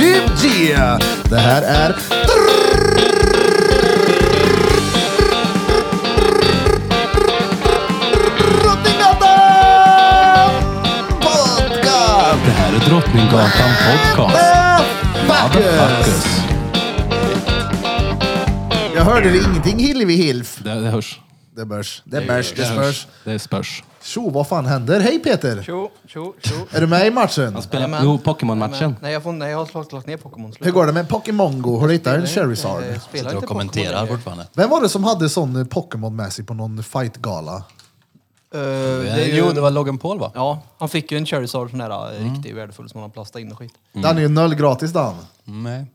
det. Det här är... Drottninggatan Podcast! Det här är Drottninggatan Podcast. Motherfuckers! Motherfuckers. Jag hörde det ingenting Hillevi Hilf. Det, det hörs. Det börs, det börs, det hörs. spörs. Det är spörs. Tjo, vad fan händer? Hej Peter! Tjo, tjo, tjo. Är du med i matchen? Spela, Jajamän. jo, Pokémon-matchen. Nej, jag, får, nej, jag har slagit, lagt ner Pokémon. Slut. Hur går det med Pokémon Go? Har du hittat en Charizard? Jag spelar Jag inte kommenterar Pokémon fortfarande. Vem var det som hade sån eh, Pokémon med sig på någon fightgala? längre. Eh, det är ju, Jo, det var Logan Paul va? Ja, han fick ju en Charizard sån där mm. riktigt värdefull som han har plastat in och skit. Den är ju noll gratis den. Nej.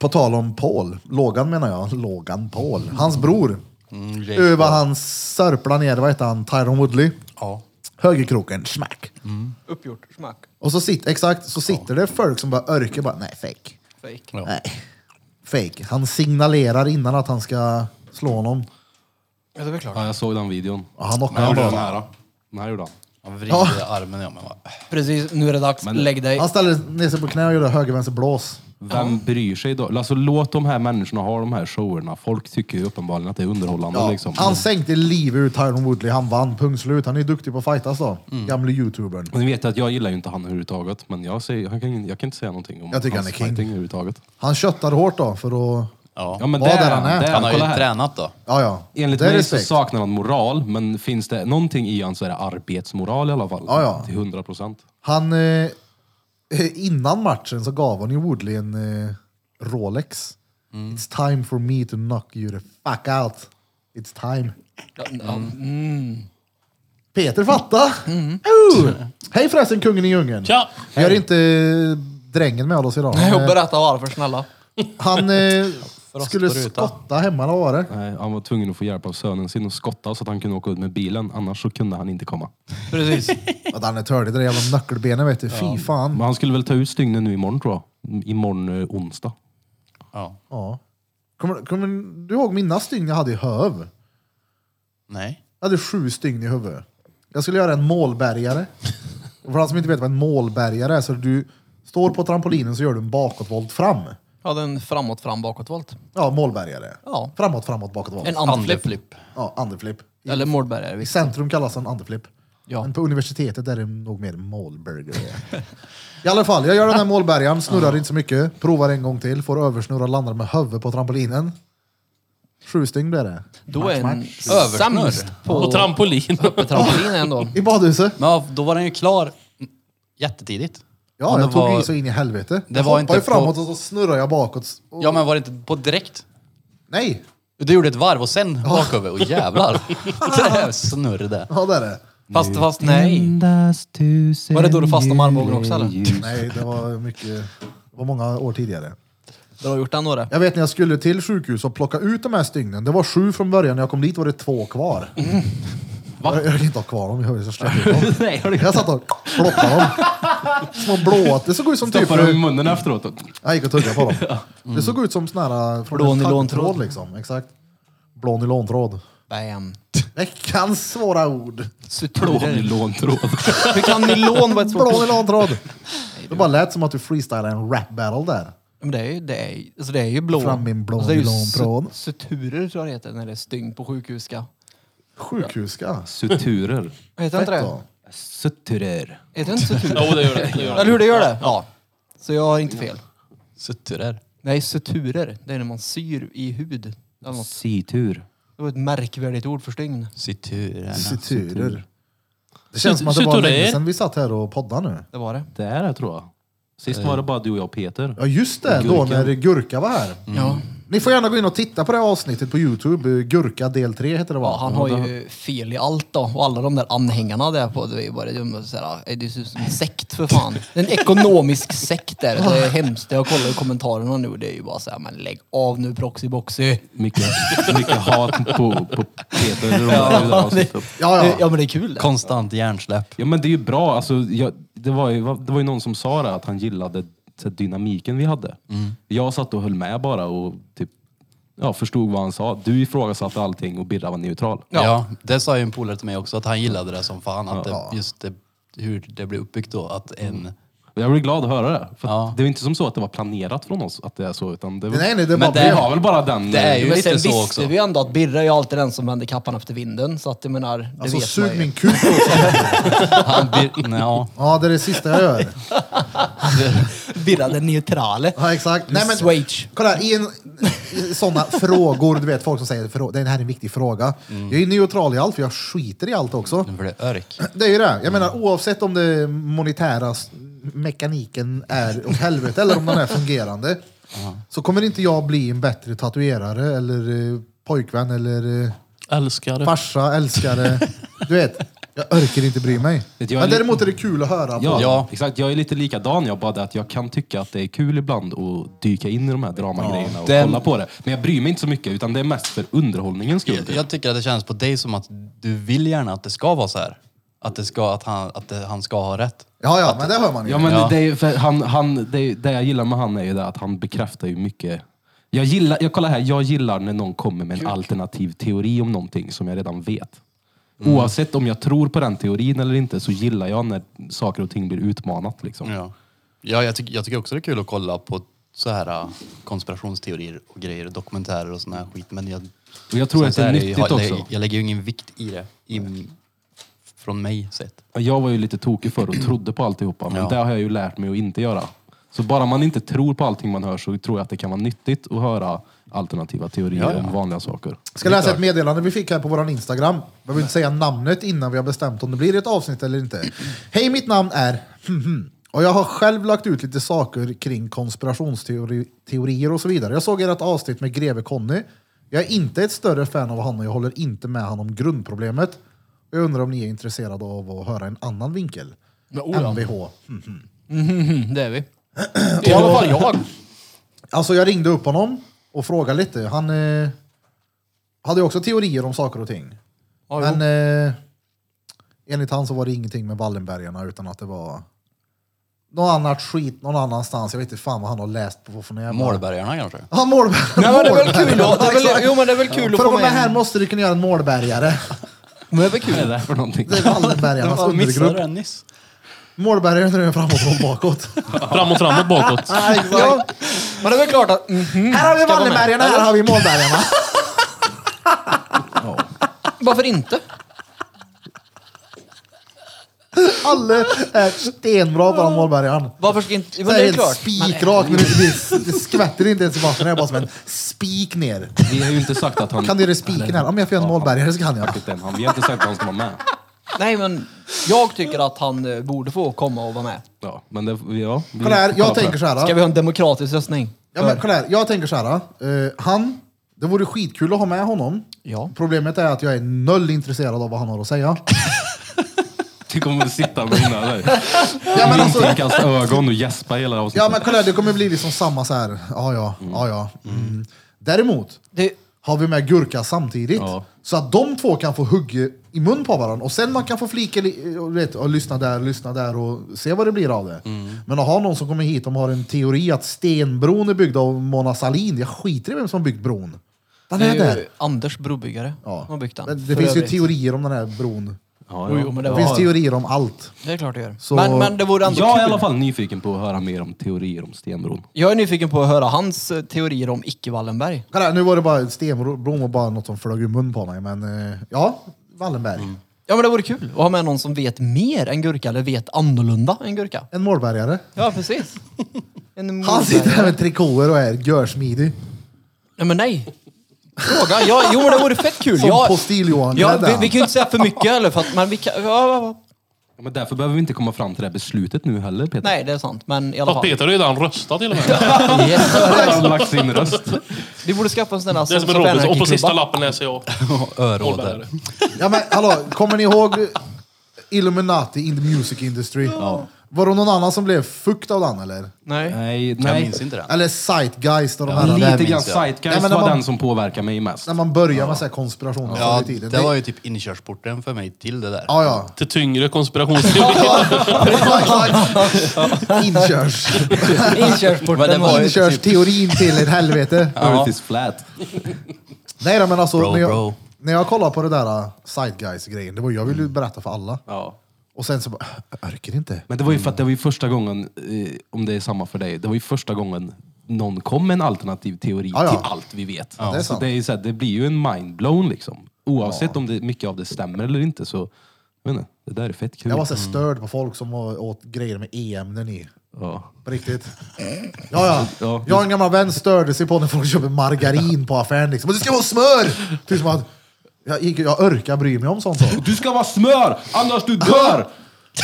På tal om Paul, Logan menar jag, Logan Paul. Hans bror. Mm, Jake Över Paul. han sörplade ner, vad heter han, Tyron Woodley. Ja. Högerkroken, smack. Uppgjort, smack, Och så sitter, exakt, så sitter det folk som bara örker bara, nej fake. fake. Ja. Nej. Fake. Han signalerar innan att han ska slå honom. Ja, det är väl klart. Ja, jag såg den videon. Ja, han knockar honom bara. Den här gjorde han. Han vrider armen ja, men va? Precis, nu är det dags. Lägg dig. Han ställer ner sig på knä och gör höger vänster blås. Vem bryr sig då? Alltså låt de här människorna ha de här showerna. Folk tycker ju uppenbarligen att det är underhållande Ja. liksom. Han sänkte livet ur Tyron Woodley. Han vann, punkt slut. Han är duktig på att fightas då. Gamle youtubern. Och Ni vet att jag gillar ju inte han överhuvudtaget, men jag, säger, jag, kan, jag kan inte säga någonting om Jag tycker hans han är king. fighting överhuvudtaget. Han köttar hårt då för att... Ja. Ja, men Vad där där är han är. Där han har ju kolla här. tränat då. Ja, ja. Enligt Det är mig så respekt. saknar han moral, men finns det någonting i han så är det arbetsmoral i alla fall. Ja, ja. Till 100 procent. Han... Eh, innan matchen så gav han ju Woodley en eh, Rolex. It's time for me to knock you the fuck out. It's time. Ja, ja. Mm. Peter fatta. Oh! Hej förresten kungen i djungeln. Tja! Vi har inte eh, drängen med oss idag. Jag Han, eh, berättar varför, snälla. han eh, Frost skulle på rutan. skotta hemma, eller vad var det? Nej, Eh, han var tvungen att få hjälp av sönen sin att skotta så att han kunde åka ut med bilen, annars så kunde han inte komma. Precis. Att han är tördig, det där jävla nyckelbenet vet du. Fy fan. Men han skulle väl ta ut stygnen nu imorgon tror jag. Mm, Imorgon eh, onsdag. Ja. Ja. Kommer, kommer du ihåg mina stygn jag hade i höv? Nej. Jag hade sju stygn i huvudet. Jag skulle göra en målbärgare. Och för de som inte vet vad en målbärgare är, så du står på trampolinen så gör du en bakåtvolt fram. Jag hade en framåt, fram, bakåtvolt. Ja, målbärgare. Ja. Framåt, framåt, bakåtvolt. En andflipp. Andeflipp. Ja, underflip. I, Eller målbärgare. I visst. centrum kallas den underflip. Ja. Men på universitetet är det nog mer målburgare. I alla fall, jag gör den här målbärgaren, snurrar inte så mycket, provar en gång till, får översnurra, landar med huvudet på trampolinen. Sju stygn blir det. Då är en Översnurr. sämst på, På trampolin. på trampolin ändå. I badhuset? Men ja, då var den ju klar jättetidigt. Ja, Men jag det tog var- i så in i helvete. det jag var hoppade inte ju framåt på- och så snurrade jag bakåt. Och... Ja, men var det inte på direkt? Nej! Du gjorde ett varv och sen baköver. Åh jävlar. Det är snurr det. Ja, det är det. Fast, fast nej. Mm. Var det då du fastnade med armbågen också eller? Nej, det var mycket... Det var många år tidigare. Du har gjort den då det. Jag vet när jag skulle till sjukhus och plocka ut de här stygnen. Det var sju från början, när jag kom dit var det två kvar. Mm. Jag, jag kan inte ha kvar dem, jag hörde så släppte jag dem. Nej, har du Jag satt och plockade dem. Små blåa. Det såg ut som typ... Stoppar du i munnen efteråt? Jag gick och tuggade på dem. Det såg ut som sån här... eh, från Blå en nylontråd. taggtråd, liksom. Exakt. Blå nylontråd. Bam. Veckans svåra ord. Suturer. Plånylontråd. Hur kan nylon vara ett svårt Blå ord? nylontråd. Det bara lät som att du freestylade en rap battle där. Men det är ju, det är, alltså det är ju blå. Fram min blå alltså det är ju nylonprån. su- suturer tror jag det heter när det är stygn på sjukhuska. Sjukhuska. Suturer. Heter inte Fett det? då. Suturer. Heter det inte suturer? Jo, det gör det. det, gör det. Eller hur, det gör det? Ja. Så jag har inte fel. Sutturer. Nej, suturer, det är när man syr i hud. Eller något. Situr. Det var ett märkvärdigt ord för stygn. Suturer. Suturer. Det Sut- känns som att det var suturer. länge sedan vi satt här och poddade nu. Det var det. Det är det tror jag. Sist var det bara du och jag och Peter. Ja just det, då Gurkan. när Gurka var här. Mm. Ja. Ni får gärna gå in och titta på det här avsnittet på Youtube. Eh, Gurka del 3 heter det va? ja. Han har ju fel i allt då. Och alla de där anhängarna där på, det är ju bara dumma. Så här, "Ey, Det ser ut som en sekt för fan. Det är En ekonomisk sekt där. Det är hemskt. Jag kollar i kommentarerna nu och det är ju bara så här, men lägg av nu proxyboxy. Mycket, mycket hat på, på Peter. i de där- i det där avsnittet. Ja, ja. Eh, Ja men det är kul. det. Konstant hjärnsläpp. Ja men det är ju bra. Alltså, jag, det, var ju, det var ju någon som sa det, att han gillade så här, dynamiken vi hade. Mm. Jag satt och höll med bara och typ, ja, förstod vad han sa. Du ifrågasatte allting och Birra var neutral. Ja. Ja. det sa ju en polare till mig också, att han gillade det som fan. Att det, just det, hur det blev uppbyggt då, att en Jag blir glad att höra det. För Ja. att Det är inte som så att det var planerat från oss att det är så. Utan det var, Nej, nej, det är men bara- vi har väl bara den... Det är ju- eh, Men lite sen så visste också. vi ju ändå att Birra är ju alltid den som vänder kappan efter vinden. Så att jag menar, det Alltså vet man sug ju. min kuk också. Han blir, nej, ja. Ja, det är det sista jag gör. Birra den neutrale. Ja, exakt. Nej, men, Swage. kolla, här, i, en, i sådana frågor, du vet folk som säger "Frå- det här är en viktig fråga. Jag är neutral i allt, för jag skiter i allt också. Nu blir det örk. Det är ju det. Jag menar oavsett om det monetära s- mekaniken är åt helvete eller om den är fungerande. Så kommer inte jag bli en bättre tatuerare eller eh, pojkvän eller eh, Älskar det. farsa, älskare. Du vet, jag orkar inte bry mig. Vet jag Men lite- däremot är det kul att höra på. Ja, Ja. exakt. Jag är lite likadan jag, bara det att jag kan tycka att det är kul ibland att dyka in i de här dramagrejerna och Den- kolla på det. Men jag bryr mig inte så mycket, utan det är mest för underhållningens skull. Jag, jag tycker att det känns på dig som att du vill gärna att det ska vara så här. Att, det ska, att, han, att det, han ska ha rätt. Ja, ja, men det hör man ju. Ja, men Ja. Det, är, ju- för han, han, det, är- det jag gillar med han är ju det att han bekräftar ju mycket. Jag gillar, jag kollar här, jag gillar när någon kommer med en alternativ teori om någonting som jag redan vet. Mm. Oavsett om jag tror på den teorin eller inte så gillar jag när saker och ting blir utmanat. Liksom. Ja, ja jag, tycker- jag tycker också det är kul att kolla på så här äh, konspirationsteorier och grejer, dokumentärer och sån här skit. Men jag, Och jag tror som att det är så här, nyttigt jag, också. Jag, jag lägger ju ingen vikt i det. I, från mig sett. Jag var ju lite tokig förr och trodde på alltihopa, men Ja. det har jag ju lärt mig att inte göra. Så bara man inte tror på allting man hör så tror jag att det kan vara nyttigt att höra alternativa teorier om vanliga saker. Ska läsa ett meddelande vi fick här på våran Instagram. Behöver inte säga namnet innan vi har bestämt om det blir ett avsnitt eller inte. Hej, mitt namn är och jag har själv lagt ut lite saker kring konspirationsteorier och så vidare. Jag såg ert avsnitt med Greve Conny. Jag är inte ett större fan av han och jag håller inte med han om grundproblemet. Jag undrar om ni är intresserade av att höra en annan vinkel? oh Mvh. Mm, det är vi. I alla fall jag. Alltså jag ringde upp honom och frågade lite. Han eh, hade ju också teorier om saker och ting. Men eh, enligt han så var det ingenting med Wallenbergarna utan att det var något annat skit någon annanstans. Jag vet inte fan vad han har läst på för jävla... Målbergarna kanske? Ja, målberg. Nej, men det är väl kul Målbergarna, att- det är väl- exakt. jo, men det är väl kul att För få att vara med med här en- måste du kunna göra en målbergare. Men det är väl kul. Vad är det där för någonting? Det är Wallenbergarnas undergrupp. den nyss. Målbergare nu är framåt och bakåt. Framåt, framåt, bakåt. Ja, Ja, exakt. men det är väl klart att... mhm. Här har vi Ska vara med. Wallenbergarna, här har vi målbergarna. Varför inte? Alla är stenbra på den målbergaren. Varför ska inte... Så är Men det är helt klart. spikrak, men det, blir, det skvätter inte ens i vattnet. Det är bara som en spik ner. Vi har ju inte sagt att han... Kan du göra spiken här? Om jag får göra en målbergare så kan jag. Faktiskt än. Han- Vi har inte sagt att han ska vara med. Nej, men jag tycker att han eh, borde få komma och vara med. Ja, men det, ja, vi- Kolla här, kolla på jag tänker så Ska här. vi ha en demokratisk röstning? Ja, men, kolla här jag tänker så här. eh, han, det vore skitkul att ha med honom. Ja. Problemet är att jag är noll intresserad av vad han har att säga. Du kommer att sitta med dina där. Ja, men alltså, Kasta ögon och gäspa hela avsnittet. ja, men kolla här, det kommer bli liksom samma så här. Ja, ja, ja, ja. Mm. Däremot Det, har vi med Gurka samtidigt. Ja. Så att de två kan få hugga i mun på varandra. Och sen man kan få flika li- och, vet, och lyssna där, lyssna där och se vad det blir av det. Mm. Men att ha någon som kommer hit och har en teori att stenbron är byggd av Mona Sahlin. Jag skiter i vem som har byggt bron. Den det är, är där. ju Anders brobyggare Ja. som har byggt den. Men det För finns ju övrigt. teorier om den här bron. Ja, Jo, ja. jo, men det Det var- finns teorier om allt. Det är klart det gör. Så- Men, men det vore ändå Jag är i kul. alla fall nyfiken på att höra mer om teorier om stenbron. Jag är nyfiken på att höra hans eh, teorier om icke-Wallenberg. Kolla, här, nu var det bara stenbron och bara något som flög i mun på mig. Men eh, ja, Wallenberg. Ja men det vore kul att ha med någon som vet mer än Gurka, eller vet annorlunda än Gurka. En målbergare. Ja precis. En Han sitter här mordare. med trikåer och är görsmidig. Nej men nej. Fråga. Ja, jo men det vore fett kul. Som Ja, postil-Johan. ja, klädd är vi, han. vi kan ju inte säga för mycket heller för att, men vi kan, ja, ja, ja. Ja, Men därför behöver vi inte komma fram till det här beslutet nu heller, Peter. Nej det är sant men i alla Fast fall. Peter har ju redan röstat till och med. Yes. Han har lagt sin röst. Vi borde skaffa en sån där Det är som en Sons of Robinson. Och på Anarchy-klubba. sista lappen läser jag. Öråder. Målbärare. Ja men hallå, kommer ni ihåg Illuminati in the music industry? Var det någon annan som blev fukt av den eller? Nej. Nej, Jag nej. minns inte den. Eller Zeitgeist och de här. Lite minns grann jag. Nej, Zeitgeist men var när man- den som påverkar mig mest. När man börjar med så här konspirationer Ja, förr i tiden. det var ju typ inkörsporten för mig till det där. Ja, ja. Till tyngre konspirationsteorier. Inkörs. Inkörsporten Men det var var ju... typ ju- typ Inkörsteorin till ett helvete. Earth is flat. Nej då, men alltså Bro, när, jag, bro. när jag kollade på det där uh, Zeitgeist-grejen, det var jag ville ju berätta för alla. Ja. Och sen så bara, jag orkar inte. Men det var ju för att det Mm. var ju första gången, eh, om det är samma för dig, det var ju första gången någon kom med en alternativ teori Ja, ja. till allt vi vet. det är så sant. det, är ju så här, det blir ju en mindblown liksom. Oavsett om det, mycket av det stämmer eller inte så, jag vet inte, det där är fett kul. Jag var så Mm. här störd på folk som var- åt grejer med e-ämnen i. ja. På riktigt. Eh. Ja, Ja. ja. Jag och en gammal vän störde sig på när folk köper margarin på affären. Liksom. Och det ska vara smör! Typ som att jag, gick- jag orkar bry mig om sånt. Så. Du ska vara smör, annars du dör!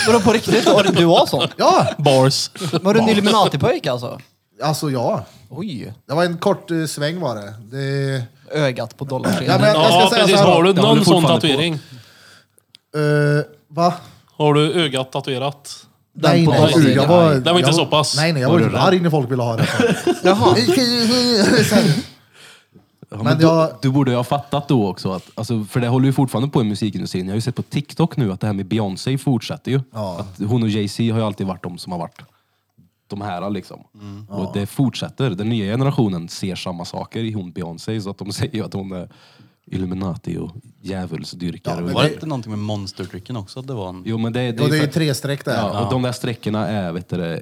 Vadå på riktigt? Var det- Du var sån? Ja, Bars. Var du en Illuminati-pojke alltså? alltså ja. Oj. Det var en kort eh, sväng var det. det... Ögat på Ja, men dollarsedeln. jag, jag ska Ja, säga precis. så här. då. Har du Det håller någon sån fortfarande på. tatuering? Eh, va? Har du ögat tatuerat? Nej, på nej. dollarsidan. jag var, Det var inte jag, så pass. Nej, nej, jag var, Var typ du arg när folk ville ha det. Jaha. Så här, Ja, men Men då, jag- du borde ju ha fattat då också, att, alltså, för det håller ju fortfarande på i musikindustrin. Jag har ju sett på TikTok nu att det här med Beyoncé fortsätter ju. Ja. Att hon och Jay-Z har ju alltid varit de som har varit de här liksom. Mm. Och det fortsätter. Den nya generationen ser samma saker i hon Beyoncé, så att de säger ju att hon är Illuminati och Ja, djävulsdyrkare. men och- Var det- det inte någonting med monsterdrycken också? Att det var en... Jo men det, det, och det är ju för- tre streck där. Ja, och de där sträckorna är, vet du, det,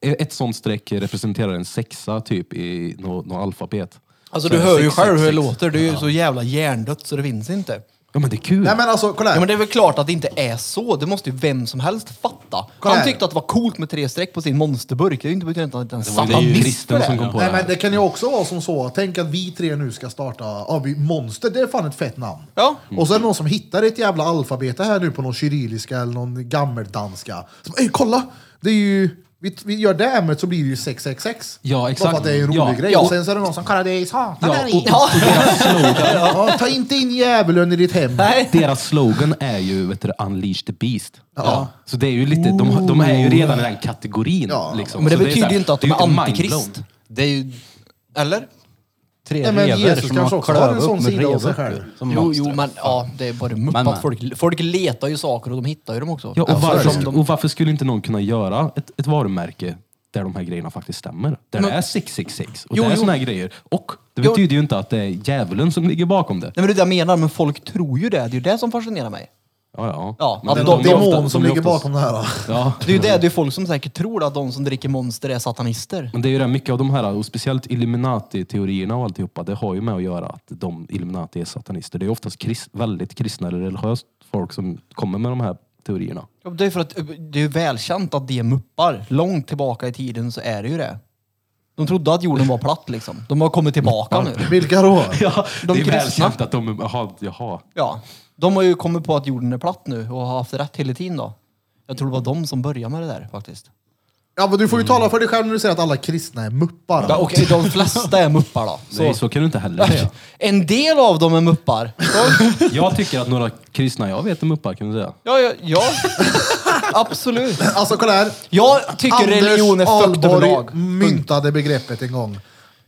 e- ett sånt streck representerar en sexa typ i något nå alfabet. Alltså Så du är hör ju sex, själv sex, hur det sex. låter. Du är ju så jävla hjärndött så det finns inte. Ja men det är kul. Nej men alltså, kolla här. Ja, men det är väl klart att det inte är så. Det måste ju vem som helst fatta. Kolla Han här. tyckte att det var coolt med tre streck på sin monsterburk. Det är ju inte betydigt att han det är ju satanist för kristen det. som kom på Nej det här. men det kan ju också vara som så, tänk att vi tre nu ska starta ja, vi- Monster, det är fan ett fett namn. Ja. Och så är det någon som hittar ett jävla alfabet här nu på någon kyrilliska eller någon gammeldanska. Som, Ey, kolla! Det är ju, vi, vi gör det här med så blir det ju 666. Ja, Bara exakt. för att det är en rolig Ja, grej. ja. Och sen så är det någon som kallar dig satan där i. Ja. Ja, ta inte in djävulen i ditt hem. Nej. Deras slogan är ju vet du, Unleash the Beast. Ja. Så det är ju lite, de, de är ju redan i den kategorin. Ja. Liksom. Men Alltså, det Så så betyder här, ju inte att det de är ju inte antikrist. mindblown. Det är ju Eller? tre Nej, men revor Jesus som kanske har också har en klövat sån upp med sida av sig revor, själv. typ, som Jo, monster. jo, men ja, det är bara muppat. Men, men. Folk, folk letar ju saker och de hittar ju dem också. Ja, och, så är det varför, ju. och varför skulle inte någon kunna göra ett, ett varumärke där de här grejerna faktiskt stämmer? Där det är 666 och Jo, det är jo. såna här grejer. Och det Jo. betyder ju inte att det är djävulen som ligger bakom det. Nej, men det är det jag menar, men folk tror ju det. Det är ju det som fascinerar mig. Ja, ja. Ja, Men att De de- är demon ofta- de som är ligger oftast- bakom det här. va? Ja. Det är ju det, det är folk som säkert tror att de som dricker monster är satanister. Men det är ju det, mycket av de här, och speciellt Illuminati-teorierna och alltihopa, det har ju med att göra att de Illuminati är satanister. Det är ju oftast krist, väldigt kristna eller religiöst folk som kommer med de här teorierna. Ja, Det är för att eh, det är välkänt att det är muppar. Långt tillbaka i tiden så är det ju det. De trodde att jorden var platt liksom. De har kommit tillbaka nu. Vilka då? Ja, de det är kristna. välkänt att de, jaha, jaha. Ja. De har ju kommit på att jorden är platt nu och har haft rätt hela tiden då. Jag tror det var de som började med det där faktiskt. Ja men du får ju tala för dig själv när du säger att alla kristna är muppar. Ja, och de flesta är muppar då. Så. Nej, så kan du inte heller säga. En del av dem är muppar. Så, Jag tycker att några kristna jag vet är muppar kan du säga. ja, ja, ja. Absolut. Alltså kolla här. Jag tycker Anders religion är fukt överlag. Ahlborg myntade begreppet en gång.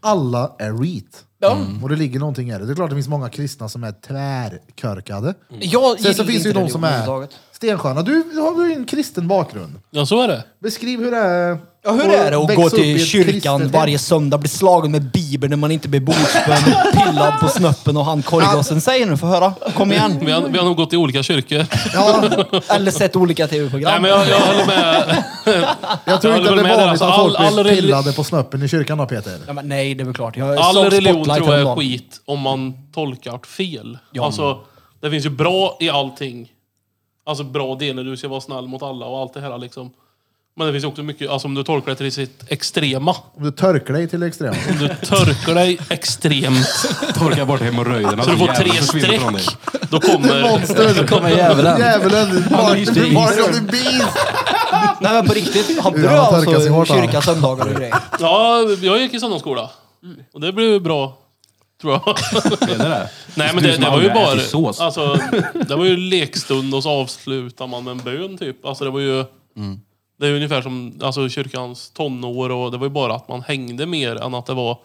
Alla är reet. Ja. Och det ligger någonting i det. Det är klart det finns många kristna som är tvärkörkade. Jag Sen så gillar finns det ju inte de som religion är överhuvudtaget. stensköna. Du du har ju en kristen bakgrund. Ja, så är det. Beskriv hur det är. Ja, hur är det att växa gå upp i ett till kristet kyrkan hem? varje söndag, bli slagen med bibeln när man inte blir bordsbön, pillad på snoppen och han korvgossen säger nu, få höra. Kom igen. Vi har, vi har nog gått i olika kyrkor. Ja, Eller sett olika Nej, tv-program. men jag, jag håller med. jag tror Jag inte håller att det med är dig. vanligt Alltså, att all- all folk blir relig- pillade på snoppen i kyrkan då Peter. Ja, men nej, det är väl klart. Jag såg All religion Spotlight tror jag är häromdagen. skit om man tolkar det fel. Alltså, det finns ju bra i allting. Alltså bra delar, du ska vara snäll mot alla och allt det här liksom. Men det finns ju också mycket, alltså om du tolkar det till sitt extrema. Om du törkar dig till det extrema. Om du törkar dig extremt Torka bort hemorrojderna. så du får tre Djävulen försvinner från dig. streck. Då kommer... Monster! Kommer djävulen. Djävulen! Mark Unleash the Mark of the beast! Nej, men på riktigt. Hade Ja, du han torkar sig hårt, alltså han. kyrka söndagar och grejer? Ja, jag gick i söndagsskola. Och det blev ju bra. Tror jag. Är det det? Nej men Du det, som det var aldrig ju har ätit bara... sås. Alltså, det var ju lekstund och så avslutar man med en bön typ. Alltså det var ju... Mm. Det är ungefär som alltså, kyrkans tonår och det var ju bara att man hängde mer än att det var...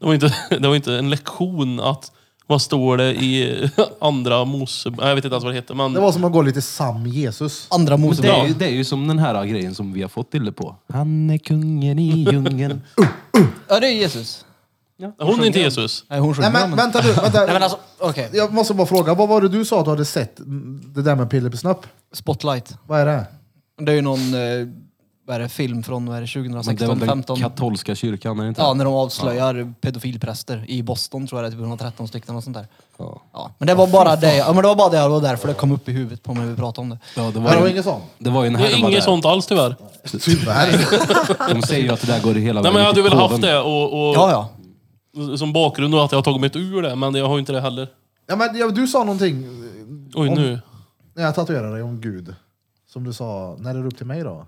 Det var inte, det var inte en lektion att... Vad står det i andra Mose... Nej, Jag vet inte ens vad det heter men... Det var som att gå lite sam Jesus. Andra Det är, ju, Mosebok. det är ju som den här grejen som vi har fått till det på. Han är kungen i djungeln. Ja, det är Jesus. Hon är inte Jesus. Nej, hon sjunger Nej men om- vänta du, vänta. Nej men alltså, okej. Jag måste bara fråga, vad var det du sa att du hade sett? Mm, Det där med pillerpesnapp? Spotlight. Vad är det? Det är ju någon eh, vad är det, film från vad är det, Men det är 2016, väl den 15? katolska kyrkan, är det inte? Ja, när de avslöjar pedofilpräster i Boston tror jag det är typ 113 stycken och sånt där. Ja. Ja, men det var bara det, ja, men det var bara det och därför det kom upp i huvudet på mig när vi pratade om det. Ja, det Var det var var ju, inget sånt? det var ju en Det är härva där. inget sånt alls tyvärr. Tyvärr. De säger ju att det där går i hela Nej men jag hade till väl haft påven. det och, och Ja, ja. som bakgrund och att jag har tagit mig ur det, men jag har ju inte det heller. Ja, men, ja, du sa någonting eh, Oj Om- nu. när jag tatuerade dig om Gud. Som du sa, när är det upp till mig då?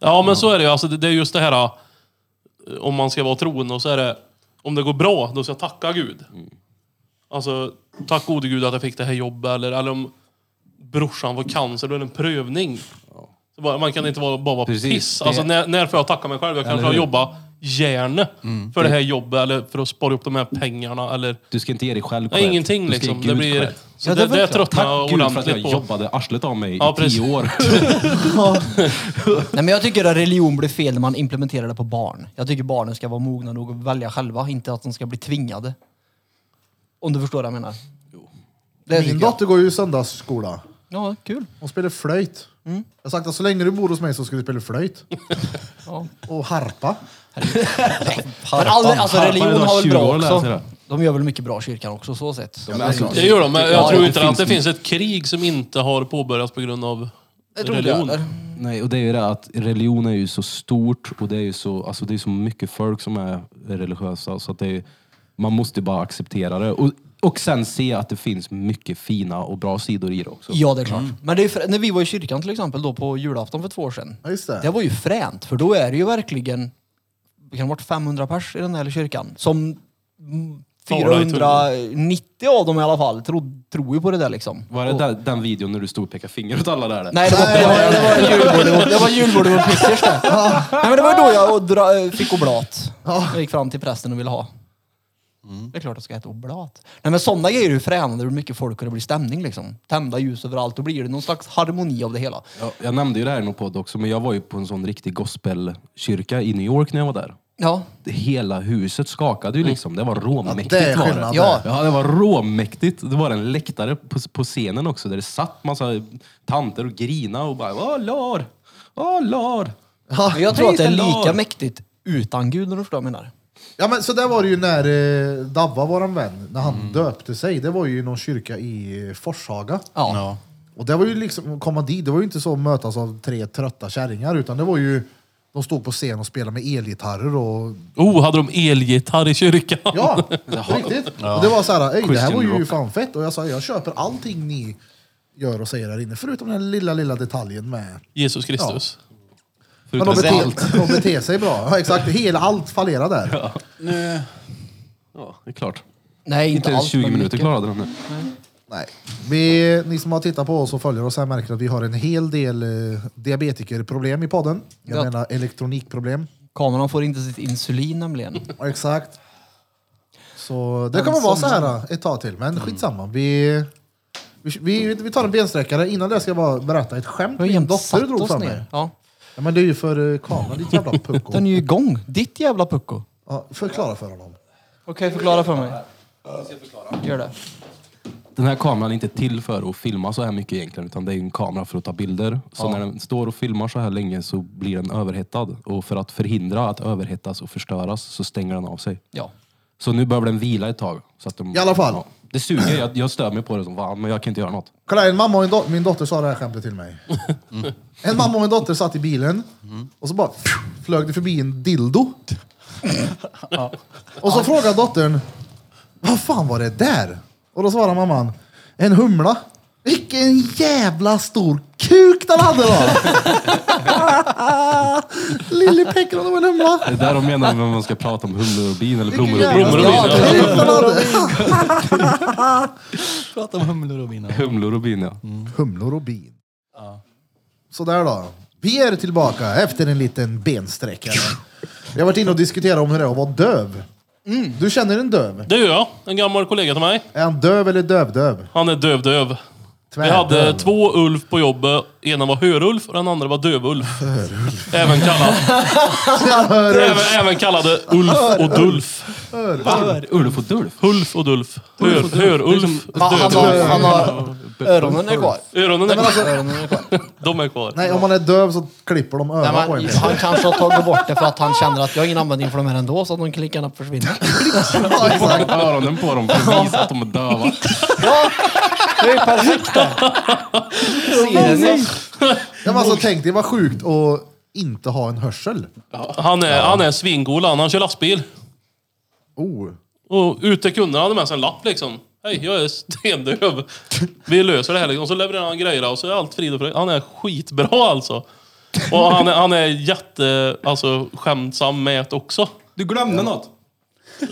Ja men så är det ju. Alltså, det, det är just det här, eh, om man ska vara troende, och så är det, om det går bra, då ska jag tacka Gud. Alltså, tack gode Gud att jag fick det här jobbet, eller, eller om brorsan får cancer, då är det en prövning. Så bara, man kan inte vara, bara vara Precis, piss. det- Alltså, när, när får jag tacka mig själv? Jag kanske har hur? jobbat järne för det här jobbet, eller för att spara upp de här pengarna, eller Du ska inte ge dig själv Nej, cred. ingenting Du ska ge liksom. Gud Det blir... cred. Så Ja, det det, är väl det klart. tröttnar Tack jag Gud för att jag ordentligt på. jobbade arslet av mig Ja, i tio precis. år. Nej, men jag tycker att religion blir fel när man implementerar det på barn. Jag tycker barnen ska vara mogna nog att välja själva, inte att de ska bli tvingade. Om du förstår vad jag menar. Det Min tycker jag. dotter går ju i söndagsskola. Ja, kul. Hon spelar flöjt. Mm. Jag har sagt att så länge du bor hos mig så ska du spela flöjt. Ja. Och harpa. Men aldrig, alltså Harpan religion är då har väl 20 år bra och lär sig också. det. De gör väl mycket bra i kyrkan också så sett. Men alltså, Det gör de, men jag Ja, tror det inte att det finns- finns ett krig som inte har påbörjats på grund av Jag tror det, religion. eller? Nej, och det är ju det att religion är ju så stort och det är ju så, alltså det är så mycket folk som är religiösa så att det är, man måste bara acceptera det. Och, och sen se att det finns mycket fina och bra sidor i det också. Ja, det är klart. Men det är frä- när vi var i kyrkan till exempel då på julafton för två år sedan. Ja, just det. Det var ju fränt, för då är det ju verkligen, det kan ha varit 500 pers i den här kyrkan. Som mm, Talar i tungor. 490 av dem i alla fall tror, tror ju på det där liksom. Var det där, den videon när du stod och pekade finger åt alla där? Nej, det var, det var, det var julbordet det var julbordet på Pickers det. Nej, men det var ju då jag och dra, fick oblat. Jag gick fram till prästen och ville ha. Det är klart att det ska heta oblat. Nej men sådana grejer är ju fränande hur mycket folk och det blir stämning liksom. Tända ljus överallt, då blir det någon slags harmoni av det hela. Jag, jag nämnde ju det här i någon podd också, men jag var ju på en sån riktig gospelkyrka i New York när jag var där. Ja, Det- Hela huset skakade Mm. ju liksom. Det var råmäktigt. det är var skillnad. Ja. Ja, det var råmäktigt. Det var en läktare på, på scenen också där det satt massa tanter och grina och bara Åh, lar! Åh, lar! men jag tror att det Praise är the lika Lord. mäktigt utan Gud, om du förstår vad jag menar. Ja men så där var det ju när eh, Davva, våran vän, när han Mm. döpte sig. Det var ju i någon kyrka i eh, Forshaga. Ja. Ja. Och det var ju liksom, att komma dit, det var ju inte så att mötas av tre trötta kärringar utan det var ju, de stod på scen och spelade med elgitarrer och Oh, hade de elgitarr i kyrkan? ja, på riktigt. Och det var så här, "Ey, det här Christian var ju rock." fan fett. Och jag sa, jag köper allting ni gör och säger här inne, förutom den lilla, lilla detaljen med Jesus Kristus. Men de beter, de beter sig bra. Ja, exakt, hela allt fallerar där. Ja, det är klart. Nej, inte, Inte ens allt, 20 men minuter mycket. klarade de nu. Nej. Vi, ni som har tittat på oss och följer oss här märker att vi har en hel del eh, diabetikerproblem i podden. Jag Ja. menar elektronikproblem. Kameran får inte sitt insulin nämligen. Ja, Exakt. Så det kommer vara så här ett tag till, Mm. men skitsamma. Vi, vi, vi, vi tar en bensträckare. Innan det ska jag bara berätta ett skämt Vi har min jämt dotter satt drog oss för mig. ner. Ja. Ja, men det är ju för eh, kameran, ditt jävla pucko. Den är ju igång. Ditt jävla pucko. Ja, förklara för honom. Okej, förklara för mig. Gör det. Den här kameran är inte till för att filma så här mycket egentligen, utan det är ju en kamera för att ta bilder. Så när den står och filmar så här länge så blir den överhettad. Och för att förhindra att överhettas och förstöras så stänger den av sig. Ja. Så nu behöver den vila ett tag. Så att de, I alla fall. det suger, jag, jag stör mig på det som fan, men jag kan inte göra något. Kolla, en mamma och en dot- min dotter sa det här skämtet till mig. En mamma och en dotter satt i bilen och så bara pju, flög det förbi en dildo. Och så frågade dottern, vad fan var det där? Och då svarade mamman, en humla. Vilken jävla stor kuk den hade då! Lille Pekka, det var en humla. Det är där de menar när man ska prata om humlor och bin eller blommor och Vilken jävla bin. blommor och bin, stor ja. kuk den hade. Prata om humlor och vinna. Humlor och bin ja. Mm. Humlor och bin. Sådär då. Vi är tillbaka efter en liten bensträckare. Jag har varit inne och diskuterat om hur det är att vara döv. Du känner en döv. Det är jag. En gammal kollega till mig. Är han döv eller dövdöv? Han är dövdöv. Tvärdöv. Vi hade två Ulf på jobbet. Ena var Hörulf och den andra var Dövulf. Även kallad, även, även kallade Ulf och Dulf. Ulf och Dulf. Hulf och Dulf. Hör, Hörulf. Ja, han, har, han har öronen är kvar. Öronen är kvar. Öronen är kvar. De är kvar. Nej, om man är döv så klipper de Nej, öronen på en. men, han kanske har tagit bort det för att han känner att jag har ingen användning för dem här ändå, så att de kan lika gärna försvinna. Ja, exakt. Öronen på dem för att visa att de är döva. Det är ju perfekt Mm. det. Ser det så. Ja, men alltså, tänk dig vad sjukt att inte ha en hörsel. Han är, han är svingol han. Han kör lastbil. Oh. Och ute kunde han hade med sig en lapp liksom. Hej, jag är stendöv. Vi löser det här liksom. Och så levererar han grejer och så är allt frid och fröjd. Han är skitbra alltså. Och han är, han är jätte, alltså skämtsam med det också. Du glömde något.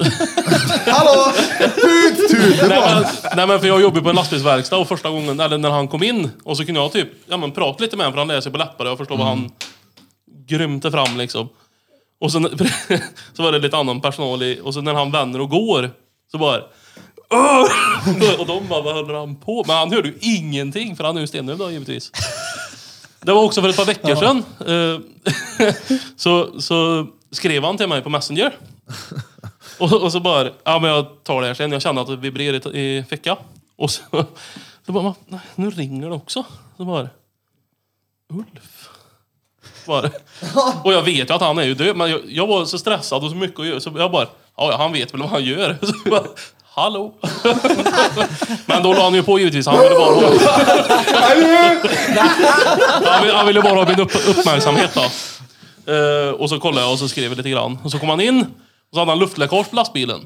Hallå! Tut, tut! Nej men, nej men för jag jobbar på en lastbilsverkstad och första gången, eller när han kom in och så kunde jag typ, ja men prata lite med honom för han läser på läppar och jag förstår vad han grymte fram liksom. Och sen så var det lite annan personal i, och så när han vänder och går så bara "Åh!" och de bara, vad håller han på Men han hörde ju ingenting för han är ju stendöv då givetvis. Det var också för ett par veckor sedan. eh, så, så skrev han till mig på Messenger. Och, och så bara, ja men jag tar det här sen. Jag kände att det vibrerade i, i fickan. Och så, så bara, nej, nu ringer det också. Så bara, Ulf. Bara. Och jag vet ju att han är ju död, men jag, jag var så stressad och så mycket att göra, så jag bara, ja ja, han vet väl vad han gör. Så bara, Hallå! Men då la han ju på givetvis, han ville bara ha... han, ville, han ville bara ha min upp, uppmärksamhet då. Eh, och så kollade jag och så skrev jag lite grann. Och så kom han in, och så hade han luftläckage på lastbilen.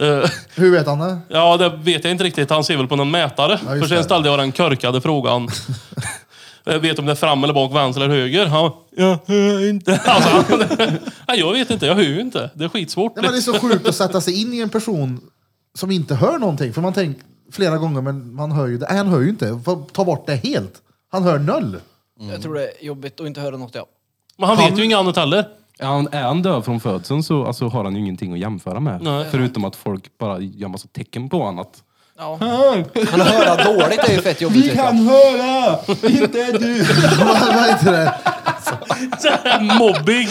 Eh, Hur vet han det? ja, det vet jag inte riktigt. Han ser väl på någon mätare. just För sen det. ställde jag den körkade frågan. Jag vet om det är fram eller bak, vänster eller höger. Han, jag hör inte. Alltså, han, nej, jag vet inte, jag hör ju inte. Det är skitsvårt. Nej, men det är så sjukt att sätta sig in i en person som inte hör någonting. För man tänker flera gånger, men man hör ju det. Nej, han hör ju inte. Får Ta bort det helt. Han hör noll. Jag tror det är jobbigt att inte höra något. Ja. Men han, vet ju inget annat heller. Är han, är han döv från födseln så alltså, har han ju ingenting att jämföra med. Nej. Förutom att folk bara gör massa tecken på honom. Att, Ja. Men att höra dåligt är ju fett jobbigt. vet jag. höra! Inte du! Man hör inte det. Mobbing!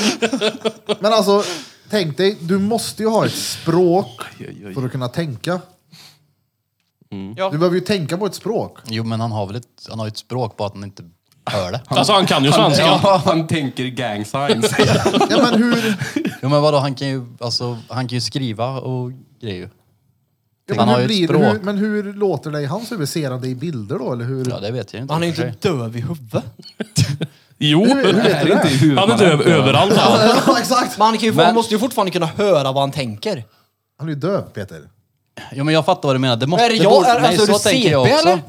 Men alltså, tänk dig, du måste ju ha ett språk för att kunna tänka. Mm. Ja. Du behöver ju tänka på ett språk. Jo, men han har väl ett, han har ju ett språk bara att han inte hör det. Alltså han kan ju svenska. Ja, han tänker gang signs. Ja, men hur, Jo, men vadå, han kan ju, alltså, han kan ju skriva och grejer. ja, men Han har hur ju ett blir språk. hur, Men hur låter det i hans huvud? Ser han det i bilder då? Eller hur? Ja, det vet jag inte. Han är ju i och för inte sig. döv i huvudet. Jo, Det här är inte i huvudet han man är döv överallt. han. ja, exakt! Men han, kan ju, han måste ju fortfarande kunna höra vad han tänker. Han är ju döv, Peter. Jo, men jag fattar vad du menar. Det måste, Är det det jag? borde- Är- alltså, är du CP, eller?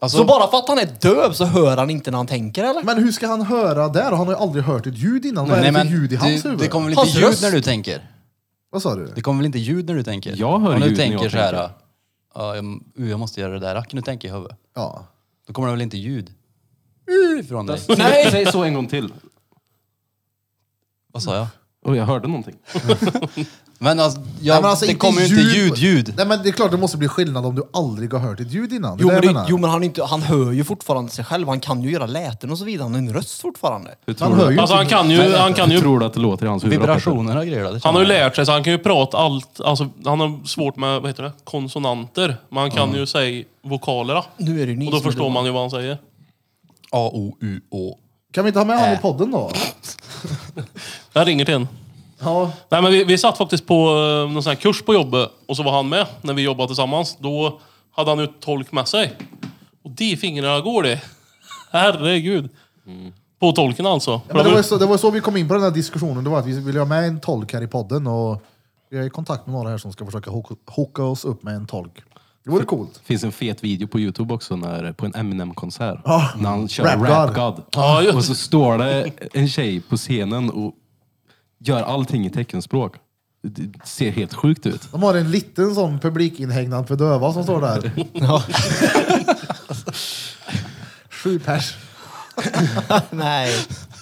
Alltså, Så bara för att han är döv så hör han inte när han tänker eller? Men hur ska han höra där? Han har ju aldrig hört ett ljud innan. Vad är nej, det för men ljud i hans det, huvud? det kommer väl inte Hans ljud röst. när du tänker? Vad sa du? Det kommer väl inte ljud när du tänker? Jag hör Om du ljud när jag tänker så här, tänker. ja, jag, uh, jag måste göra det där. Kan du tänka i huvudet? Ja. Då kommer det väl inte ljud? Ifrån dig. Nej. Säg så en gång till. Vad sa jag? Och jag hörde någonting. Men alltså, jag, Nej, men alltså, det kommer ju inte ljud-ljud. Nej men det är klart det måste bli skillnad om du aldrig har hört ett ljud innan. Jo det är men, det jag det, menar. jo men han, är inte, han hör ju fortfarande sig själv, han kan ju göra läten och så vidare, han har ju en röst fortfarande. Hur han tror du- hör ju Alltså han inte. kan ju, han kan Hur ju, tror du att det låter i hans huvud? då, Peter? Vibrationer och grejer. då, det han har ju känner jag. lärt sig så han kan ju prata allt, alltså han har svårt med, vad heter det, konsonanter. Men han kan ju säga vokalerna. Nu är det ju ni Och då som är förstår dumma. man ju vad han säger. A, O, U, Å. Kan vi inte ha med honom i Äh. podden då? Jag ringer till en. Ja. Nej men vi, vi satt faktiskt på eh, någon sån här kurs på jobbet och så var han med när vi jobbade tillsammans. Då hade han ju tolk med sig. Och de fingrarna går det. Herregud. Mm. På tolken alltså. Ja, men det, var ju så, det var så vi kom in på den här diskussionen. Det var att vi ville ha med en tolk här i podden och vi är i kontakt med några här som ska försöka hook- hooka oss upp med en tolk. Det vore coolt. Det finns en fet video på Youtube också när, på en Eminem-konsert. Ja. När han kör Rap Ah. Rap, God. God. Ja, just och så står det en tjej på scenen och gör allting i teckenspråk. Det ser helt sjukt ut. De har en liten sån publikinhägnad för döva som står där. Sju pers. Nej.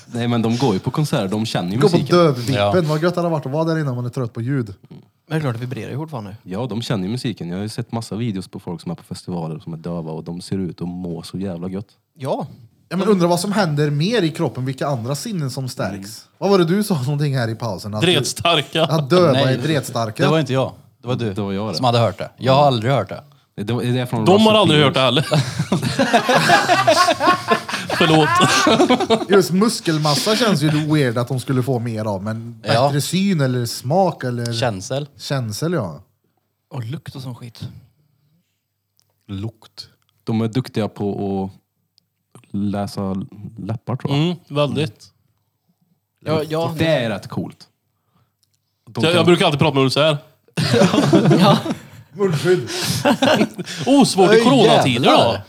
Nej men de går ju på konserter, de känner ju Gå på musiken. dövvippen. Ja. Vad gött det hade varit att vara där innan man är trött på ljud. Men det är klart, det vibrerar ju fortfarande. Ja, de känner ju musiken. Jag har ju sett massa videos på folk som är på festivaler som är döva och de ser ut att må så jävla gött. Ja. Ja, men undrar vad som händer mer i kroppen, vilka andra sinnen som stärks. Vad var det du sa någonting här i pausen? Att, Dretstarka. att döva Nej. är dretstarka. Det var inte jag. Det var du Det var jag det. som hade hört det. Jag har aldrig hört det. Det, det, det är från De har Russell aldrig Peters. hört det heller. Förlåt. Just muskelmassa känns ju weird att de skulle få mer av, men Ja. bättre syn eller smak eller Känsel. känsel ja. Och lukt och sån skit. Lukt. De är duktiga på att läsa läppar tror jag. Mm, väldigt. Ja, ja, Det är rätt coolt. De Jag, kan- jag brukar alltid prata med Ulf så här. Munskydd. Oh, svårt i Oj, coronatider då. jävlar.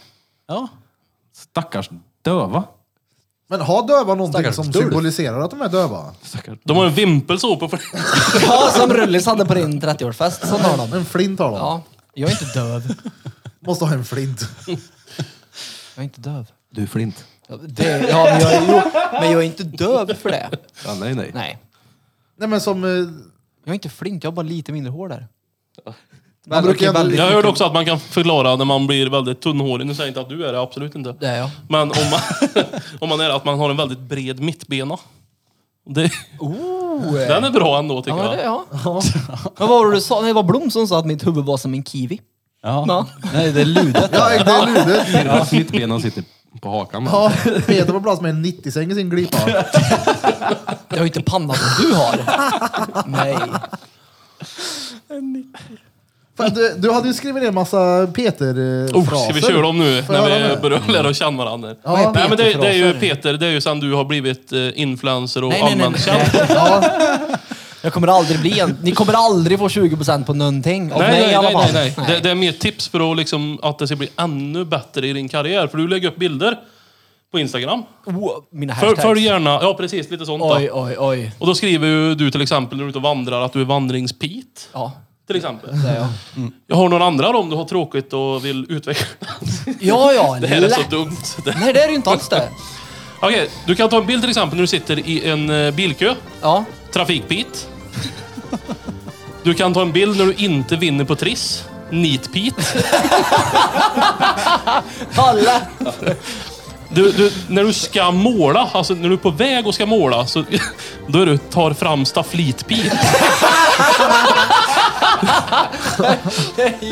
Ja. Stackars döva. Men har döva någonting Stackars som dulf. symboliserar att de är döva? Stackars De har en vimpel så på. ja som Rullis hade på din 30-årsfest. Sån har de. En flint har de. Ja. Jag är inte döv. Måste ha en flint. Jag är inte döv. Du är flint. Ja, Det, ja, men, jag är, jo, men jag är inte döv för det. Ja, nej, nej. Nej. Nej men som... eh, Jag är inte flink, jag har bara lite mindre hår där. Man Men brukar okej, ändå- väldigt- Jag hörde också att man kan förklara när man blir väldigt tunnhårig. Nu säger jag inte att du är det, absolut inte. Det är jag. Men om man, om man är att man har en väldigt bred mittbena. Det, Oh, eh. den är bra ändå tycker Ja, men jag. det, ja. Men vad var det du sa? Nej, det var Blom som sa att mitt huvud var som en kiwi. ja. Ja. Nej, det är ludet. Ja, det är ludet. Ja. Mittbenan sitter på hakan. Ja, Peter var plats med en 90-säng i sin glipa. Jag har ju inte panna som du har. Nej. Fan, Du, du hade ju skrivit ner massa eh, Peter-fraser. Oh, ska vi köra dem nu Får jag när höra vi nu? börjar lära känna varandra? Vad är nej, men det, det är ju Peter-fraser? Peter, det är ju sen du har blivit eh, influencer och Nej, nej, nej, allmänt nej. känd. Ja, Jag kommer aldrig bli en... Ni kommer aldrig få 20% på någonting av Nej, mig i nej, alla nej, nej, fall. nej. Det, det är mer tips för att, liksom, att det ska bli ännu bättre i din karriär. För du lägger upp bilder på Instagram. Oh, mina För, hashtags. följ gärna, ja precis, lite sånt då. Oj, oj, oj. Och då skriver ju du till exempel när du är ute och vandrar att du är vandringspit. Ja, Till exempel. det är jag. Jag har några andra då, om du har tråkigt och vill utveckla. Ja, ja. Det här är så lätt. dumt. Det- Nej, det är det ju inte alls det. Okej, du kan ta en bild till exempel när du sitter i en eh, bilkö. Ja. Trafikpit. Du kan ta en bild när du inte vinner på Triss. Nitpit. Alla. Du, du, när du ska måla, alltså när du är på väg och ska måla, så, då är du tar fram staflitpit.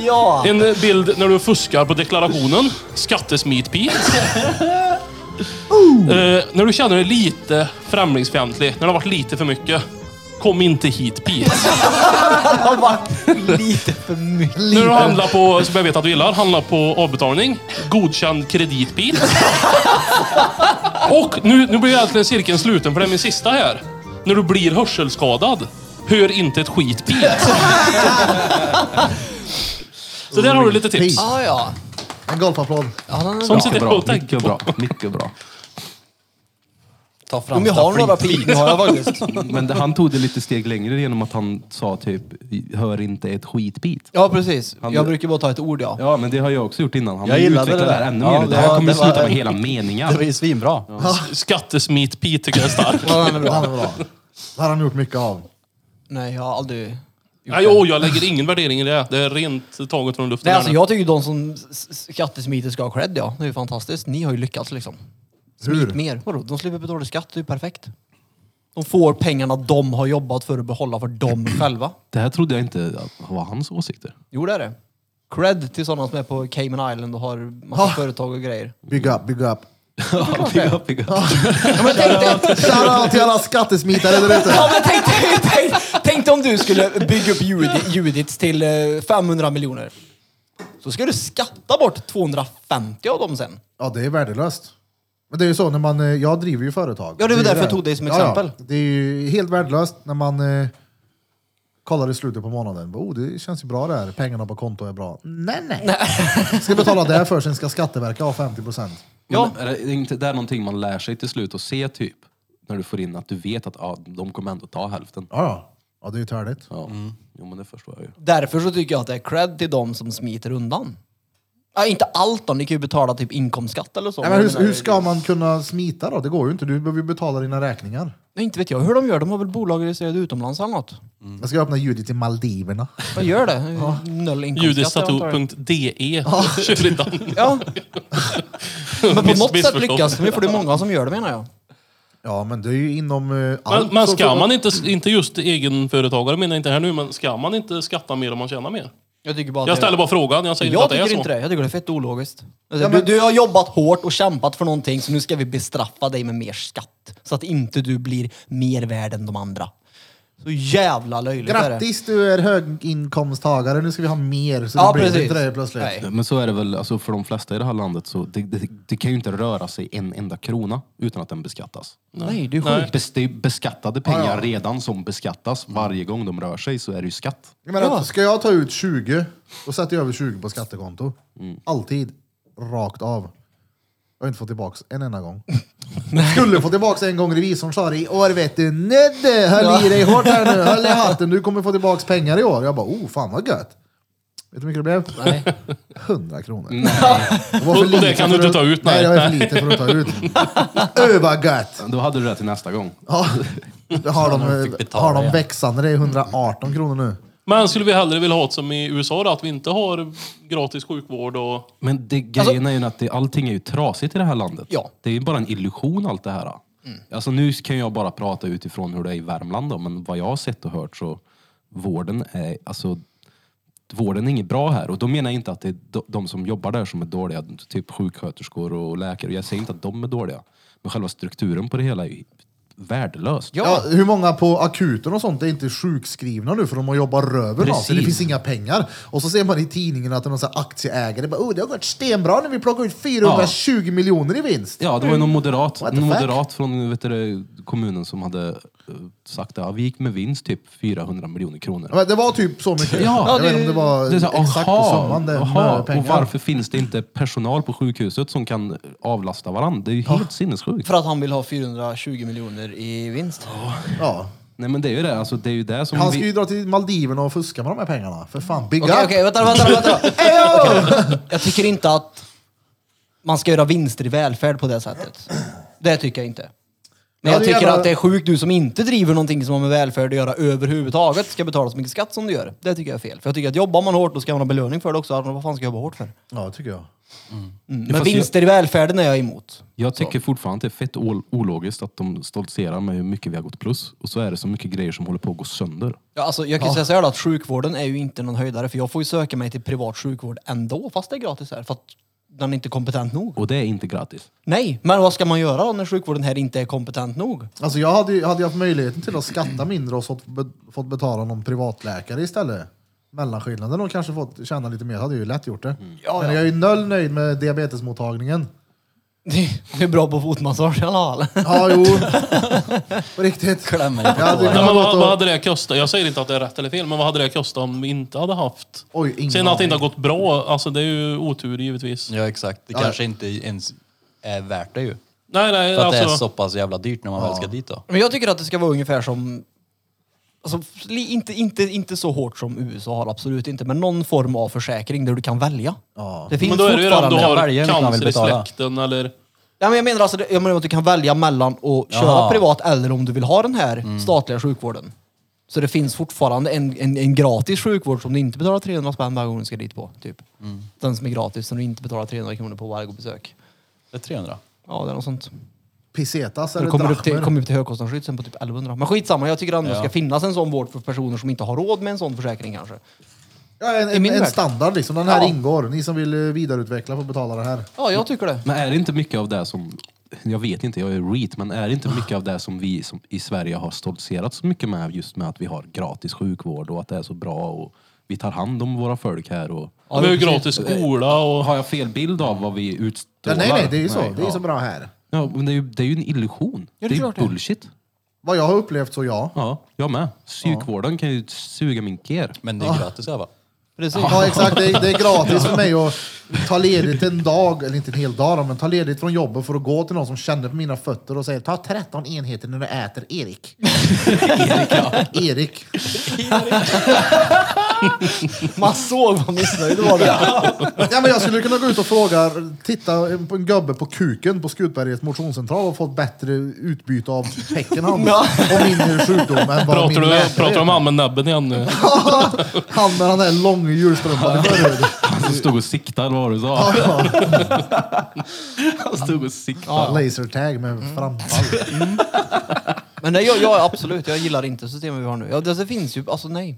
Ja. En eh, bild när du fuskar på deklarationen. Skattesmitpit. Eh, när du känner dig lite främlingsfientlig, när det har varit lite för mycket. Kom inte hit Pete. Det har varit lite för mycket. När du handlar på, som jag vet att du gillar, handlar på avbetalning. Godkänd kredit Pete. Och nu, nu blir egentligen cirkeln sluten för det är min sista här. När du blir hörselskadad. Hör inte ett skit Pete. Så där har du lite tips. Pete. Ja, ja. en golfapplåd. ja den är bra. Som sitter Mycket bra. och tänker Mycket på. bra. Mycket bra. Ta fram Om jag har några stafflit. pin, har jag faktiskt. Men det, han tog det lite steg längre genom att han sa typ, hör inte ett skitbit. Ja, precis. Jag Han- brukar bara ta ett ord, ja. Ja, men det har jag också gjort innan. Han Jag har ju gillade utvecklat det det där. här ännu Ja, mer. det Det här var- kommer det ju sluta var- med hela meningar. Det var ju svinbra. Skattesmit-Pete tycker jag är stark. Ja, den är bra. Han är bra. Det har han gjort mycket av. Nej, jag har aldrig... Nej, åh, jag lägger ingen värdering i det. Det är rent taget från luften. Nej, alltså här nu. jag tycker ju de som s- s- skattesmiter ska ha cred, ja. Det är ju fantastiskt. Ni har ju lyckats liksom. Smit Hur? mer. Vadå? De slipper betala skatt, det är ju perfekt. De får pengarna de har jobbat för att behålla för dem själva. Det här trodde jag inte var hans åsikter. Jo, det är det. Cred till sådana som är på Cayman Island och har massa företag och grejer. Big up, big up. Pigga, pigga. Ja, men tänk dig, Shoutout till alla skattesmitare där ute. ja, men tänk, dig, tänk, tänk dig om du skulle bygga upp Judi- Judits till eh, 500 miljoner. Så ska du skatta bort 250 av dem sen. Ja, det är värdelöst. Men det är ju så när man, eh, jag driver ju företag. Ja, det var ju därför jag tog dig som Ja, ja. exempel. Det är ju helt värdelöst när man eh, kollar i slutet på månaden. Oh, det känns ju bra det här. Pengarna på konto är bra. Nej, nej. Ska betala det här för, sen ska Skatteverket ha 50 procent. Ja. Är det, inte, det är någonting man lär sig till slut att se typ. När du får in att du vet att ja, de kommer ändå ta hälften. Ja, ja. Ja, det är ju törligt. Ja. Jo men det förstår jag ju. Därför så tycker jag att det är cred till de som smiter undan. Ja, inte allt då, ni kan ju betala typ inkomstskatt eller så. Nej, men hur, Jag menar, hur ska man kunna smita då? Det går ju inte. Du behöver ju betala dina räkningar. Nej, inte vet jag hur de gör, de har väl bolag registrerade utomlands eller något. Jag ska öppna ljudet till Maldiverna. De gör det. Noll inkomstskatt. jag antar det. Judistato.de E. kör i Dan. Ja. Men på Miss- något sätt missförstånd. lyckas de ju, för det är många som gör det menar jag. Ja, men det är ju inom eh, Men, allt. men som- ska man inte, inte just egenföretagare menar jag inte här nu, men ska man inte skatta mer om man tjänar mer? Jag tycker bara att Jag det- ställer bara frågan, jag säger Jag inte att tycker det är inte så. det. Jag tycker det är fett ologiskt. men- du, du har jobbat hårt och kämpat för någonting så nu ska vi bestraffa dig med mer skatt. Så att inte du blir mer värd än de andra. Så jävla löjligt är det. Grattis, du är höginkomsttagare. Nu ska vi ha mer. Så Ja, det blir precis. inte det här plötsligt. Nej. Men så är det väl alltså, för de flesta i det här landet. Så det, det, det kan ju inte röra sig en enda krona utan att den beskattas. Nej, det är Nej. sjukt. Bes, det är beskattade pengar redan som beskattas. Varje gång de rör sig så är det ju skatt. Jag menar, Ska jag ta ut 20, då sätter jag över 20 på skattekonto. Mm. Alltid. Rakt av. Jag har inte fått tillbaks en enda gång. Skulle få tillbaks en gång revisorn sa det i år vet du. Nedde, höll i dig hårt här nu. Höll i hatten. Du kommer få tillbaks pengar i år. Jag bara, oh fan vad gött. Vet du hur mycket det blev? Nej. 100 kronor. Det var för Och- och det lite kan för du inte att- ta ut, Nej, nej. det var för lite för att ta ut. Öh vad gött. Då hade du det till nästa gång. Ja, det har de, fick betala har de igen. växande. Det är 118 kronor nu. Men skulle vi hellre vilja ha det som i USA då, att vi inte har gratis sjukvård och... Men det, Alltså- grejen är ju att det, allting är ju trasigt i det här landet. Ja. Det är ju bara en illusion allt det här. Mm. Alltså nu kan jag bara prata utifrån hur det är i Värmland då, men vad jag har sett och hört så vården är, alltså vården är inget bra här. Och då menar jag inte att det är de, de som jobbar där som är dåliga, typ sjuksköterskor och läkare. Jag säger inte att de är dåliga. Men själva strukturen på det hela är ju värdelöst. Ja. Ja, hur många på akuten och sånt är inte sjukskrivna nu för de har jobbat röven av sig. Det Precis. finns inga pengar. Och så ser man i tidningen att det är någon sån här aktieägare bara oh, det har gått stenbra när vi plockar ut 420 miljoner i vinst. Ja, det var ju någon moderat, What the någon fuck? moderat från vet du, det, kommunen som hade eh, sagt att ja, vi gick med vinst typ 400 miljoner kronor. Men Det var typ så mycket. Ja, jag det- vet inte om det var Det är så här, exakt på aha, summan. Det är aha, mycket och pengar. varför finns det inte personal på sjukhuset som kan avlasta varandra? Det är ju helt sinnessjukt. För att han vill ha 420 miljoner i vinst. Ja. Nej men det är ju det, alltså, det, är ju det som Han vi- ska ju dra till Maldiverna och fuska med de här pengarna. För fan, bygga. Okej, okej, vänta, vänta, vänta. Okej. Jag tycker inte att man ska göra vinster i välfärd på det sättet. Det tycker jag inte. Men Ja, jag det är tycker jävla- att det är sjukt du som inte driver någonting som har med välfärd att göra överhuvudtaget ska betala så mycket skatt som du gör. Det tycker jag är fel. För jag tycker att jobbar man hårt då ska man ha belöning för det också. Annars Vad fan ska jag jobba hårt för? Ja, det tycker jag. Mm. Ja, Men fast jag- vinster i välfärden är jag emot. Jag tycker fortfarande att det är fett ol- ologiskt att de stoltserar med hur mycket vi har gått plus. Och så är det så mycket grejer som håller på att gå sönder. Ja, alltså, jag kan ju säga så här då, att sjukvården är ju inte någon höjdare för jag får ju söka mig till privat sjukvård ändå fast det är gratis här. För att den är inte kompetent nog. Och det är inte gratis. Nej, men vad ska man göra då när sjukvården här inte är kompetent nog? Alltså jag hade, ju- hade jag haft möjligheten till att skatta mindre och fått, be, fått betala någon privatläkare istället. Mellanskillnaden och kanske fått tjäna lite mer hade jag ju lätt gjort det. Ja, Men ja. jag är ju noll nöjd med diabetesmottagningen. Du är bra på fotmassage i alla fall. Ja, jo. På riktigt. Klämmer dig på Jag hade tårna. Nej, men kunnat vad, och- vad hade det kostat? Jag säger inte att det är rätt eller fel, men vad hade det kostat om vi inte hade haft? Oj, ingen Sen att det inte har aning. gått bra, alltså det är ju otur givetvis. Ja exakt, det kanske inte ens är värt det ju. Nej, nej, För att det är alltså. så pass jävla dyrt när man väl ska dit då. Men jag tycker att det ska vara ungefär som... Alltså, li- inte, inte, inte så hårt som USA har, absolut inte, men någon form av försäkring där du kan välja. Ja. Det finns Men då är det ju om du fortfarande... har Väljer vilken man vill cancer i betala. släkten eller... Ja, men jag menar alltså, det- jag menar att du kan välja mellan att köra Ja. privat eller om du vill ha den här statliga sjukvården. Så det finns fortfarande en, en, en gratis sjukvård som du inte betalar 300 spänn varje gång du ska dit på. Typ. Den som är gratis som du inte betalar 300 kronor på varje besök. Det är 300. Ja, det är något sånt. Pissetas Det eller kommer upp, till, drachmer. kommer upp till högkostnadsskydd sen på typ 1100. Men skitsamma, jag tycker ändå det ska finnas en sån vård för personer som inte har råd med en sån försäkring kanske. Ja, en, i en, min en värld. standard liksom. Den här Ja. ingår. Ni som vill eh, vidareutveckla får betala det här. Ja, jag tycker det. Men är det inte mycket av det som, jag vet inte, jag är reet, men är det inte mycket av det som vi som i Sverige har stoltserat så mycket med just med att vi har gratis sjukvård och att det är så bra och vi tar hand om våra folk här och... vi har ju gratis Oh, skola och... Har jag fel bild av vad vi Ja, utstrålar? nej, nej, det är ju så. Det är ju ja. så bra här. Ja, men det är ju, det är ju en illusion. det är det är klart det ju är. bullshit. Vad jag har upplevt så ja. Ja, jag med. Psykvården kan ju suga min ker. Men det är gratis här va? Precis. Ja exakt, det är, det är gratis för mig att ta ledigt en dag, eller inte en hel dag då, men ta ledigt från jobbet för att gå till någon som känner på mina fötter och säger ta 13 enheter när du äter Erik. Erik, Erik. Man såg vad missnöjd du var där. Ja, men jag skulle kunna gå ut och fråga, titta på en gubbe på kuken på Skutbergets motionscentral och fått bättre utbyte av pecken han Ja. och min sjukdom än vad Pratar min du, läkare pratar du gör. om han med näbben igen nu? Han med den där långa julstrumpan i förhud. Han som stod och siktade, eller vad var det du sa? Han stod och siktade. Lasertag med framfall. Men nej, jag, jag, absolut, jag gillar inte systemet vi har nu. Ja, det, det finns ju, alltså nej.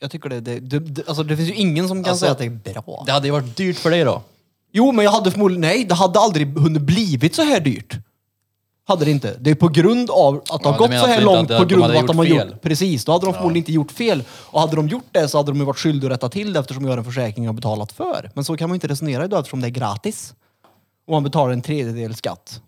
Jag tycker det, det, det, det, alltså, det finns ju ingen som kan Alltså- säga att det är bra. Det hade ju varit dyrt för dig då. Jo, men jag hade förmodligen, nej, det hade aldrig hunnit blivit så här dyrt. Hade det inte. Det är på grund av att det Ja, har du gått menar så att här de långt inte på hade- de grund av hade att de har gjort gjort, fel. precis, då hade de förmodligen inte gjort fel. Och hade de gjort det så hade de ju varit skyldiga att rätta till det eftersom vi har en försäkring och betalat för. Men så kan man ju inte resonera idag eftersom det är gratis. Och man betalar en tredjedel skatt.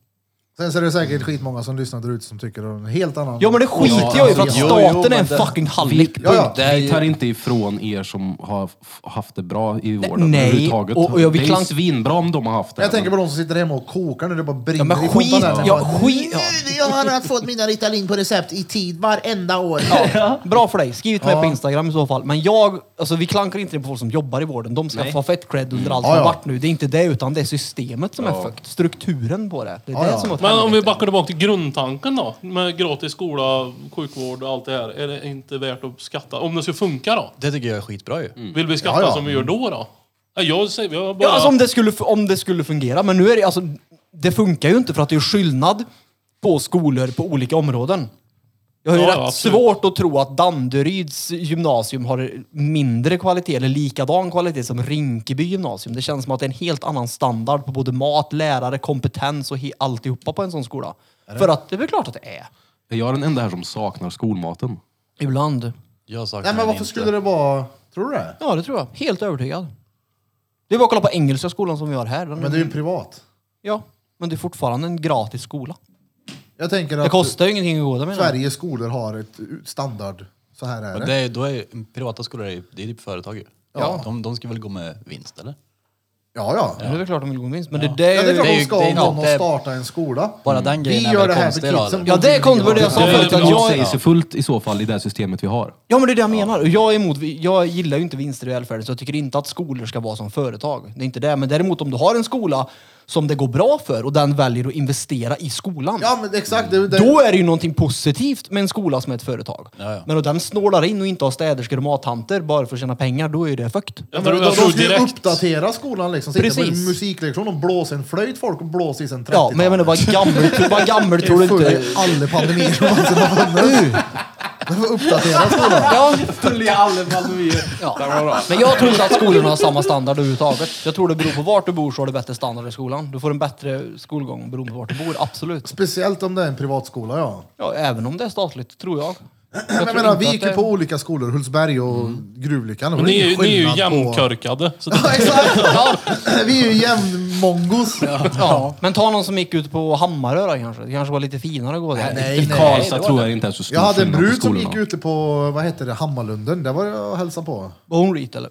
Sen så är det säkert skitmånga som lyssnar där ute som tycker det är en helt annan... Ja men det skiter jag i för att Ja, alltså, jo, staten jo, är men en det- fucking hallick. Ja, ja. Det är ju... Vi tar inte ifrån er som har f- haft det bra i vården Nej, överhuvudtaget. och- och jag vill det är klank- ju svinbra om de har haft det. Jag tänker på de som sitter hemma och kokar nu, det bara brinner Ja, men i skit- fontanen. ja, Bara, skit- ja. "Nu, Jag har fått mina Ritalin på recept i tid varenda år. Bra för dig. Skriv till mig Ja. på Instagram i så fall. Men jag, alltså vi klankar inte på folk som jobbar i vården. De ska Nej. få fett cred under allt Ja, som Mm. ja. har varit nu. Det är inte det, utan det är systemet som är fucked. Strukturen på det. Det är Ja, det ja. som är åt Men om vi helvete. backar tillbaka till grundtanken då. Med gratis skola, sjukvård och allt det här. Är det inte värt att skatta? Om det ska funka då? Det tycker jag är skitbra ju. Vill vi skatta Ja, ja. som vi gör då då? Nej, Jag säger jag bara... Ja, alltså om det, skulle, om det skulle fungera. Men nu är det alltså, det funkar ju inte för att det är skillnad på skolor på olika områden. Jag har ju Ja, rätt ja, absolut. svårt att tro att Danderyds gymnasium har mindre kvalitet eller likadan kvalitet som Rinkeby gymnasium. Det känns som att det är en helt annan standard på både mat, lärare, kompetens och he- alltihopa på en sån skola. För att det är väl klart att det är. Är jag den enda här som saknar skolmaten? Ibland. Jag saknar Nej men den varför inte. skulle det vara... Tror du det? Ja, det tror jag. Helt övertygad. Det är bara att kolla på Engelska skolan som vi har här. Den Men det är ju privat. Ja, men det är fortfarande en gratis skola. Jag tänker Det att kostar ju ingenting att gå där menar jag. Sveriges skolor har ett standard... Så här är Men det. det är, då är, ju- privata skolor är ju det är typ företag ju. Ja. De, de ska väl gå med vinst eller? Ja, ja. Ja. Det är väl klart de vill gå minst. Men det, det, Ja, det är klart det är de ju- ska det är om någon inte- har startat en skola. Bara den Vi grejen är gör väl det här för konstig då, kidsen. eller? Ja, det är konstigt, men det jag sa Det är förut. bra Att Jag jag, säger sig fullt i så fall i det systemet vi har. ja, men det är det jag menar. Och Jag, är emot, jag gillar ju inte vinster i välfärden, så jag tycker inte att skolor ska vara som företag. Det är inte det. Men däremot om du har en skola som det går bra för och den väljer att investera i skolan. Ja, men exakt. Det, det, Då är det ju någonting positivt med en skola som är ett företag. Ja, ja. Men om den snålar in och inte har städerskor och mattanter bara för att tjäna pengar, då är ju det fukt. Ja, jag men tror, de, jag de tror ska ju direkt... uppdatera skolan liksom. Sitta på en Precis. musiklektion och blåsa en flöjt folk och blåsa i sen 30 Ja, men jag menar, vad gammalt, vad gammalt tror du inte... Alla pandemier som någonsin har funnits. De får uppdatera skolan. Ja. Ja. Men jag tror inte att skolorna har samma standard överhuvudtaget. Jag tror det beror på vart du bor så har du bättre standard i skolan. Du får en bättre skolgång beroende på vart du bor, absolut. Speciellt om det är en privatskola, ja. Ja, även om det är statligt, tror jag. jag Men tror jag menar, inte vi att gick ju det- Mm. på olika skolor, Hultsberg och Gruvlyckan. Det var Ni, är ju- ingen ni är ju skillnad på- jämnkörkade. Så det, Ja, exakt! Vi är ju jämnmongos. Ja. Men ta någon som gick ut på Hammarö då kanske. Det kanske var lite finare att gå där. Nej, I nej. Karlstad tror jag inte är så stor Jag hade en skillnad på brud som skolorna. gick ute på, vad hette det, Hammarlunden. Där var jag och hälsade på. Var hon rit eller?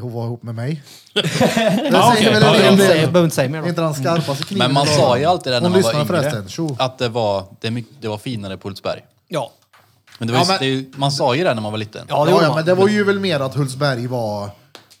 Hon var ihop med mig. Det Ja, okej. säger väl en Ja, ja. Jag hel det- säger- del. behöver inte säga mer Det är då. inte den skarpaste kniven. Men man idag. sa ju alltid det när Hon man var lyssnar yngre. förresten. Tjo. Att det var, det, är mycket, det var finare på Hultsberg. Ja. Men, det var ju, Ja, men- Det är ju, man sa ju det när man var liten. Ja, det Ja, gjorde ja, man. men det var ju väl mer att Hultsberg var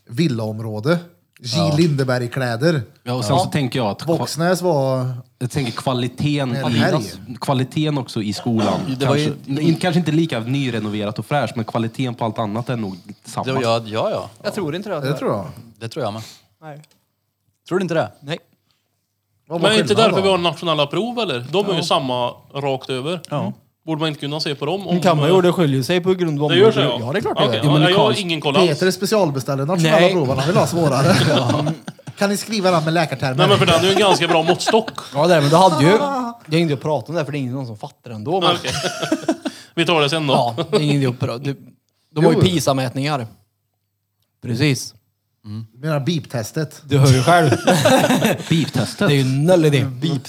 villaområde. J. Lindeberg-kläder. Ja, och sen så tänker jag att kva- Voxnäs var... jag tänker kvaliteten, Mer i, färg. kvaliteten också i skolan. Det var ju- kanske, in- kanske inte lika nyrenoverat och fräscht, men kvaliteten på allt annat är nog samma. Det, ja, ja, ja. Jag tror inte det. Det tror jag. Det tror jag med. Nej. Tror du inte det? Nej. Vad var men är inte skillnaden därför då? vi har nationella prov eller? De är ju samma rakt över. Borde man inte kunna se på dem? Om, det skiljer sig på grund av... Det gör sig ja. Ja, det är klart Okej, det ja, men i Jag har Karlstad- ingen koll alls. Peter specialbeställer nationella Nej. proven, han vill ha svårare. Kan ni skriva den med läkartermer? Nej men för den är ju en ganska bra måttstock. Ja, det är, men det hade ju... Det är inte att prata om det här, för det är ingen någon som fattar ändå. Men... Okej. Vi tar det sen då. Ja, det är ingen idé att prata. De, de har ju Jo. PISA-mätningar. Precis. Menar beep-testet. Du hör ju själv. Beep-testet. Mm. Det är ju noll idé.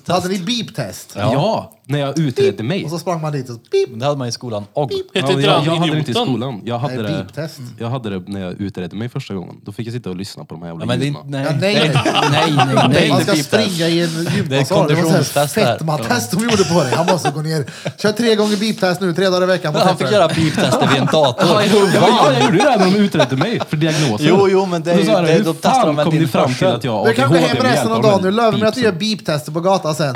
Hade ni beep-test? Ja. När jag utredde mig. Och så sprang man dit och så, pip. Men det hade man i skolan och... Hette inte jag, han jag hade det inte i idioten? skolan. Jag hade, Nej, det, biptest. jag hade det när jag utredde mig första gången. Då fick jag sitta och lyssna på de här jävla Ja, men det, är ljudna. inte- nej. Ja, nej, nej. Nej, nej, nej. Man inte ska pip där. springa i en Det är ett gymnasal. Det var så här konditionstest där. fetmatest de gjorde på dig. Han måste gå ner. Kör tre gånger beep-test nu, tre dagar i veckan. på Han fick tester. göra piptester vid en dator. Ja, men jag, jag gjorde ju det här när de utredde mig för diagnoser. Jo, jo, men det är Då sa ju- jag, det- hur då testar fan de väl kom din ni fram till hörsel?" att jag har Du kan gå hem ADHD med hjälp resten av av dagen. den Nu lovar att du beepsen? gör beep-tester på gatan sen.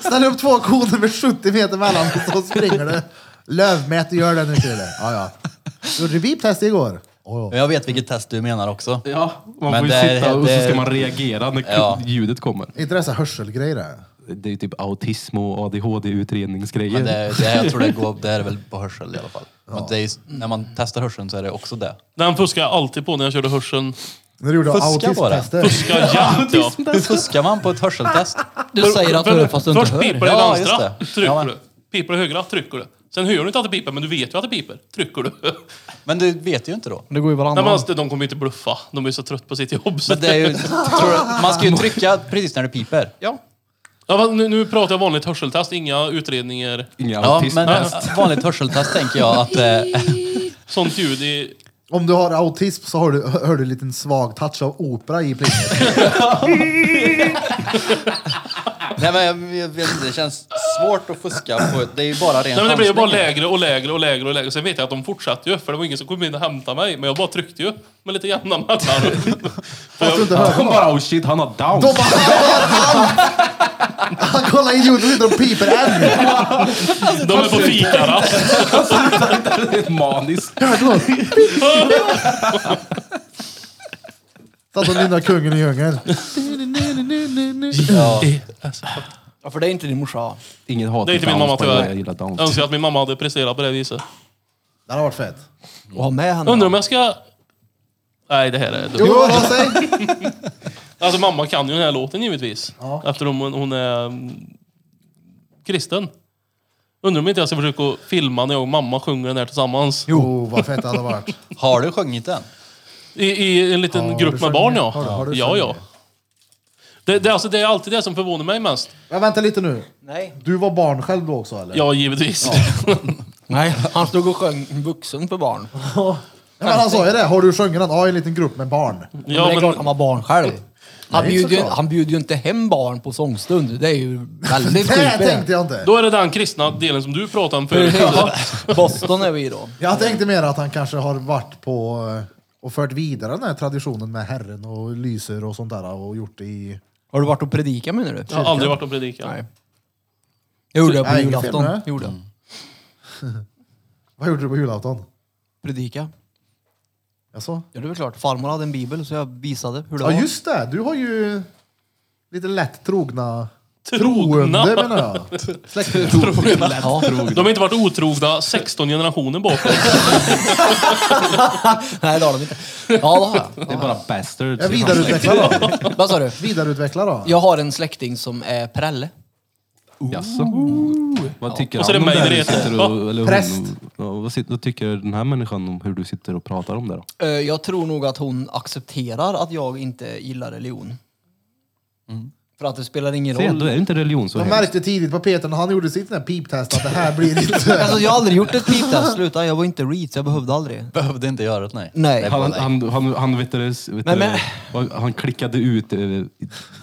Ställ upp två koner med 70 meter mellan och så springer du. Lövmät, du gör det nu Krille. Ja, ja. Gjorde du beep-test igår? Oh, Jag vet vilket test du menar också. Ja, man Men får ju det- sitta och så det- ska man reagera när Ja. ljudet kommer. Inte det så här hörselgrejer? det? Det är ju typ autism och ADHD-utredningsgrejer. Men det, det, jag tror det, går, det är väl på hörsel i alla fall. Och det är, ju- när man testar hörseln så är det också det. Den fuskade jag alltid på när jag körde hörseln. När du gjorde Fuska bara. autism-tester? Fuskade jämt ja. Fuskar man på ett hörseltest? Du säger att du hör fast du inte Först hör. pipar det Ja, vänstra, just det. trycker Ja, men- du. Pipar det högra, trycker du. Sen hör du inte att det pipar, men du vet ju att det pipar. Trycker du. Men du vet ju inte då. Det går ju Nej, men varannan. alltså, de kommer ju inte bluffa. De är ju så trött på sitt jobb. Så. Men det är ju, tror du, man ska ju trycka precis när det piper. Ja. Ja, va, nu, nu pratar jag vanligt hörseltest, inga utredningar. Inga Ja, men autismtest. vanligt hörseltest tänker jag att... Eh, Sånt ljud i... Om du har autism så hör du, hör du en liten svag touch av opera i plinget. nej men jag, jag vet inte, det känns svårt att fuska på... Det är ju bara rent Nej, men det blev ju bara chansning. lägre och lägre och lägre och lägre. Sen vet jag att de fortsatte ju, för det var ingen som kom in och hämtade mig. Men jag bara tryckte ju med lite jämna mellanrum. För Fast du jag- Alltså, inte hör Hon dem. bara oh shit, han har down. De bara, Han kollar in och sitter och piper än. De är på fikarast. Maniskt. Satt och nynnade kungen i djungeln. Ja. Ja, för det är inte din morsa. Ingen hat Det är inte min Downs, mamma by the way. tyvärr. Jag gillar Jag Downs. önskar att min mamma hade presterat på det viset. Det hade varit fett. Och ha med henne. Undrar om jag ska... Nej, det här är dumt. Jo, vad säg? Alltså mamma kan ju den här låten givetvis. Eftersom hon, hon är mm, kristen. Undrar om inte jag ska försöka att filma när jag och mamma sjunger den här tillsammans. Jo, vad fett det hade varit. Har du sjungit den? I, i en liten Har du grupp med sjungit? barn ja. Har du- har du ja, ja. sjungit? Det, det, alltså, det är alltid det som förvånar mig mest. Men vänta lite nu. Nej. Du var barn själv då också eller? Ja, givetvis. Nej, han stod och sjöng vuxen för barn. Nej, men han sa ju det, har du sjungit den? Ja, i en liten grupp med barn. Ja, men det är klart han men, var barn själv. Han, Nej, bjuder ju, såklart. han bjuder ju inte hem barn på sångstund. Det är ju väldigt Det creepy. tänkte jag inte. då är det den kristna delen som du pratade om förut. Ja, Boston är vi då. Jag tänkte mer att han kanske har varit på eh, och fört vidare den här traditionen med Herren och lyser och sånt där eh, och gjort det i... Har du varit och predikat menar du? Jag har aldrig varit och predikat. Nej. Jag gjorde det på Nej, Mm. ingen julafton. film, nej. Gjorde. jag. Vad gjorde du på julafton? Predika. Jaså? Ja, det är väl klart. Farmor hade en bibel så jag visade hur det Ja var. just det, du har ju lite lätt trogna... Trogna. Troende menar jag. Släktingar. Ja. De har inte varit otrogna 16 generationer bakåt. Nej, det har de inte. Ja, det har jag. Det är bara bastards. Jag vidareutvecklar då. Vad sa du? Vidareutvecklar då. Jag har en släkting som är prälle. Jaså? Vad tycker Och så är han det om det här? mig det du heter. sitter och- eller hon- Präst. Ja, Vad sit- vad tycker den här människan om hur du sitter och pratar om det då? Eh, Jag tror nog att hon accepterar att jag inte gillar religion. För att det spelar ingen Se, roll. då är det inte religion så Jag hemskt. märkte tidigt på Peter när han gjorde sitt sån här piptest att det här blir inte... Alltså, jag har aldrig gjort ett piptest. Sluta, jag var inte reet så jag behövde aldrig. Behövde inte göra det, nej. Nej. Det är bara Han, nej. han, han, han, vet du, det- vet du, Men- men- vad- han klickade ut eh,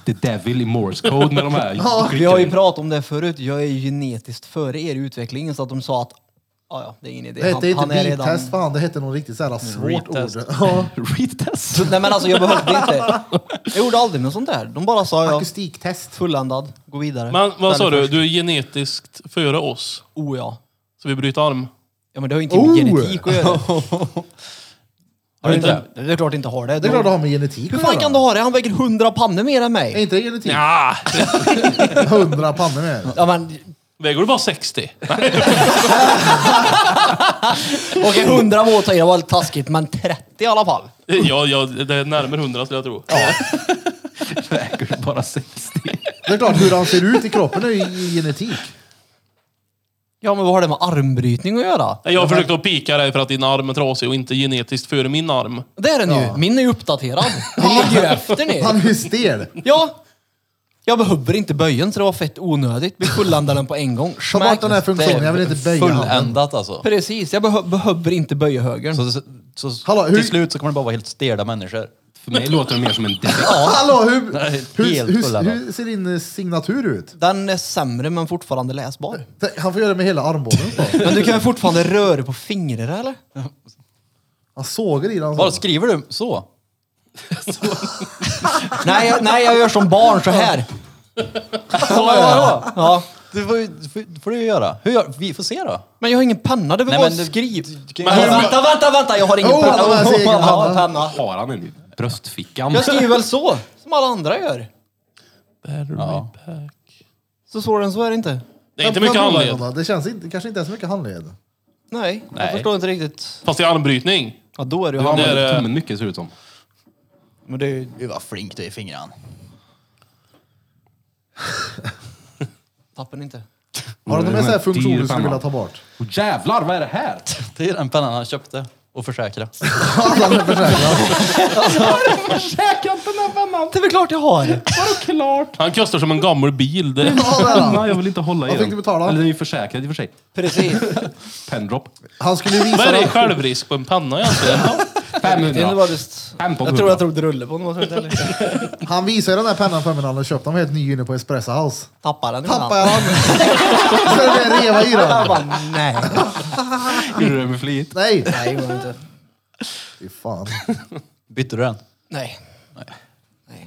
the devil i morse code med de här. Vi har ju pratat om det förut. Jag är ju genetiskt före er i utvecklingen så att de sa att ja, ja, det är ingen idé. Det hette inte är beep-test för han, det hette något riktigt såhär svårt Retest. ord. Ja. Retest. Så, nej men alltså jag behövde inte. Jag gjorde aldrig något sånt där. De bara sa ja, Akustiktest. fulländad, gå vidare. Men vad sa Ställ dig du? först. Du är genetiskt före oss. Oh ja. Så vi bryter arm. Ja men det har ju inte med Oh! genetik att göra. Har du inte det? Det är klart det inte har det. Det är klart det har med genetik Hur att fan göra. kan du ha det? Han väger hundra pannor mer än Är mig. inte det genetik? Ja. Hundra pannor med. Ja men Väger du bara 60? okej hundra må ta i, det var lite taskigt men 30 i alla fall. ja, ja, det är närmare 100 skulle jag tro. Väger bara 60. Det är klart, hur han ser ut i kroppen är ju i genetik. Ja men vad har det med armbrytning att göra? Nej, Jag försökte att pika dig för att din arm är trasig och inte genetiskt före min arm. Det är den ju. Min är ju uppdaterad. Ni ligger ju efter ni. Han är ju stel. Ja. Jag behöver inte böjen så det var fett onödigt. Vi fullandade den på en gång. Ta bort den här funktionen, jag vill inte böja handen. Fulländat alltså. Precis, jag behö- behöver inte böja högern. Så, så, så Hallå, hur- till slut så kommer det bara vara helt stela människor. För mig låter det mer som en defekt. Hallå, hur, Nej, hur, helt hur, fulländat. hur ser din eh, signatur ut? Den är sämre men fortfarande läsbar. Han får göra det med hela armbågen. så. Men du kan ju fortfarande röra på fingrarna eller? Han sågar i den. Vad så. skriver du? Så? Nej, jag, nej, jag gör som barn så här. Så ja. Ja. Det får, ju- det får, det får du ju göra. Hur gör, vi får se då. Men jag har ingen penna, det är väl Nej, bara men att du- skriv. kan Men Ja, hur- vänta, vänta, vänta, jag har ingen Oh, penna. han har sin egen Ja, penna. penna. Har han en i bröstfickan? Jag skriver väl så, som alla andra gör. Battery Ja. pack. Så svårare än så är det inte. Det är inte Men mycket vad handled. handlar Det Det känns inte, kanske inte ens mycket handled. Nej, jag Nej. förstår inte riktigt. Fast det är armbrytning. Ja, då är det ju Du han. det är använder det. tummen mycket ser det eh, ut som. Men det är ju... Gud vad flink du är i fingrarna. Tappar ni inte. Har du någon det är mer en sån här funktion dyr du skulle penna. vilja ta bort? Åh jävlar, vad är det här? Det är den pennan han köpte och försäkrade. Alla är försäkrade. Käka inte den här pennan! Det är väl klart jag har. Vadå klart? Han kostar som en gammal bil. Det. Ja, där har han. Nej, jag vill inte hålla i Vad den. fick du betala? Eller den är ju försäkrad i och för sig. Precis. Pendrop. Han skulle ju Vad visa är det dig. självrisk på en penna egentligen? Det är 500. inte bara just... Femton Jag tror jag hundra. tog drulle på honom. Han visade den här pennan för mig när han hade köpt den helt ny inne på Espresso House. Tappar den Tappade jag den? Så det blev reva i Jag den. bara, nej. Gjorde du det med flit? Nej! Nej, det går inte. Fy fan. Bytte du den? Nej.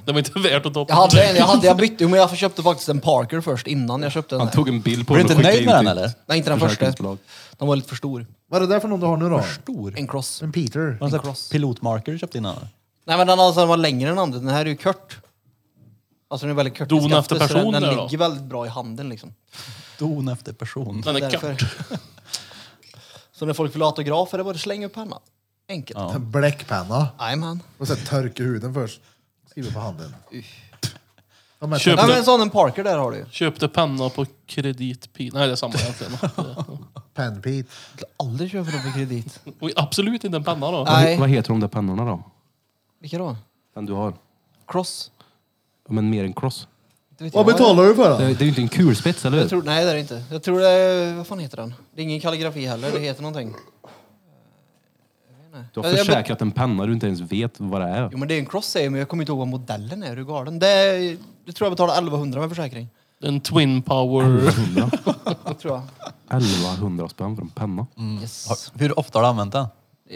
Det var inte värt att ta Jag på hade en, jag, hade, jag bytte, men jag köpte faktiskt en Parker först innan jag köpte den Han här. tog en bild på Blir du den inte och skickade nöjd in med den till- eller? Nej, inte den första. Försäkringsbolag. Den var lite för stor. Vad är det där för någon du har nu då? Stor. En cross. En Peter? Var det en sån här pilotmarker du köpte innan? eller? Nej men den, alltså, den var längre än andra. Den här är ju kort. Alltså den är väldigt kort. i Don skaftet, efter så den- person Den där då? ligger väldigt bra i handen liksom. Don efter person. Den är Därför. kort. Så när folk vill ha autograf är det bara slänga upp pennan. Enkelt. Ja. En bläckpenna? Jajamän. Och sen törka huden först. Skriver på handen. De här Köp Nej men det. en sån en Parker där har du ju. Köpte penna på kreditpil. Nej, det är samma egentligen. Pen Pete. Aldrig köper dem på kredit. Och absolut inte en penna då. Nej. Vad heter de där pennorna då? Vilka då? Den du har? Cross? Ja, Men mer än cross. Det vet Vad jag. betalar du för Det den? det är ju inte en kulspets, eller Jag hur? tror, nej det är det inte. Jag tror det är, vad fan heter den? Det är ingen kalligrafi heller, det heter någonting. Du Jag- har jag- försäkrat en penna du inte ens vet vad det är. Jo men det är en cross säger jag, men jag kommer inte ihåg vad modellen är. Är du galen? Det, är- det tror jag betalade 1100 med försäkring. En twin Mm. power. 100. Det tror jag. 1100 spänn för en penna. Yes. Har- Hur ofta har du använt den?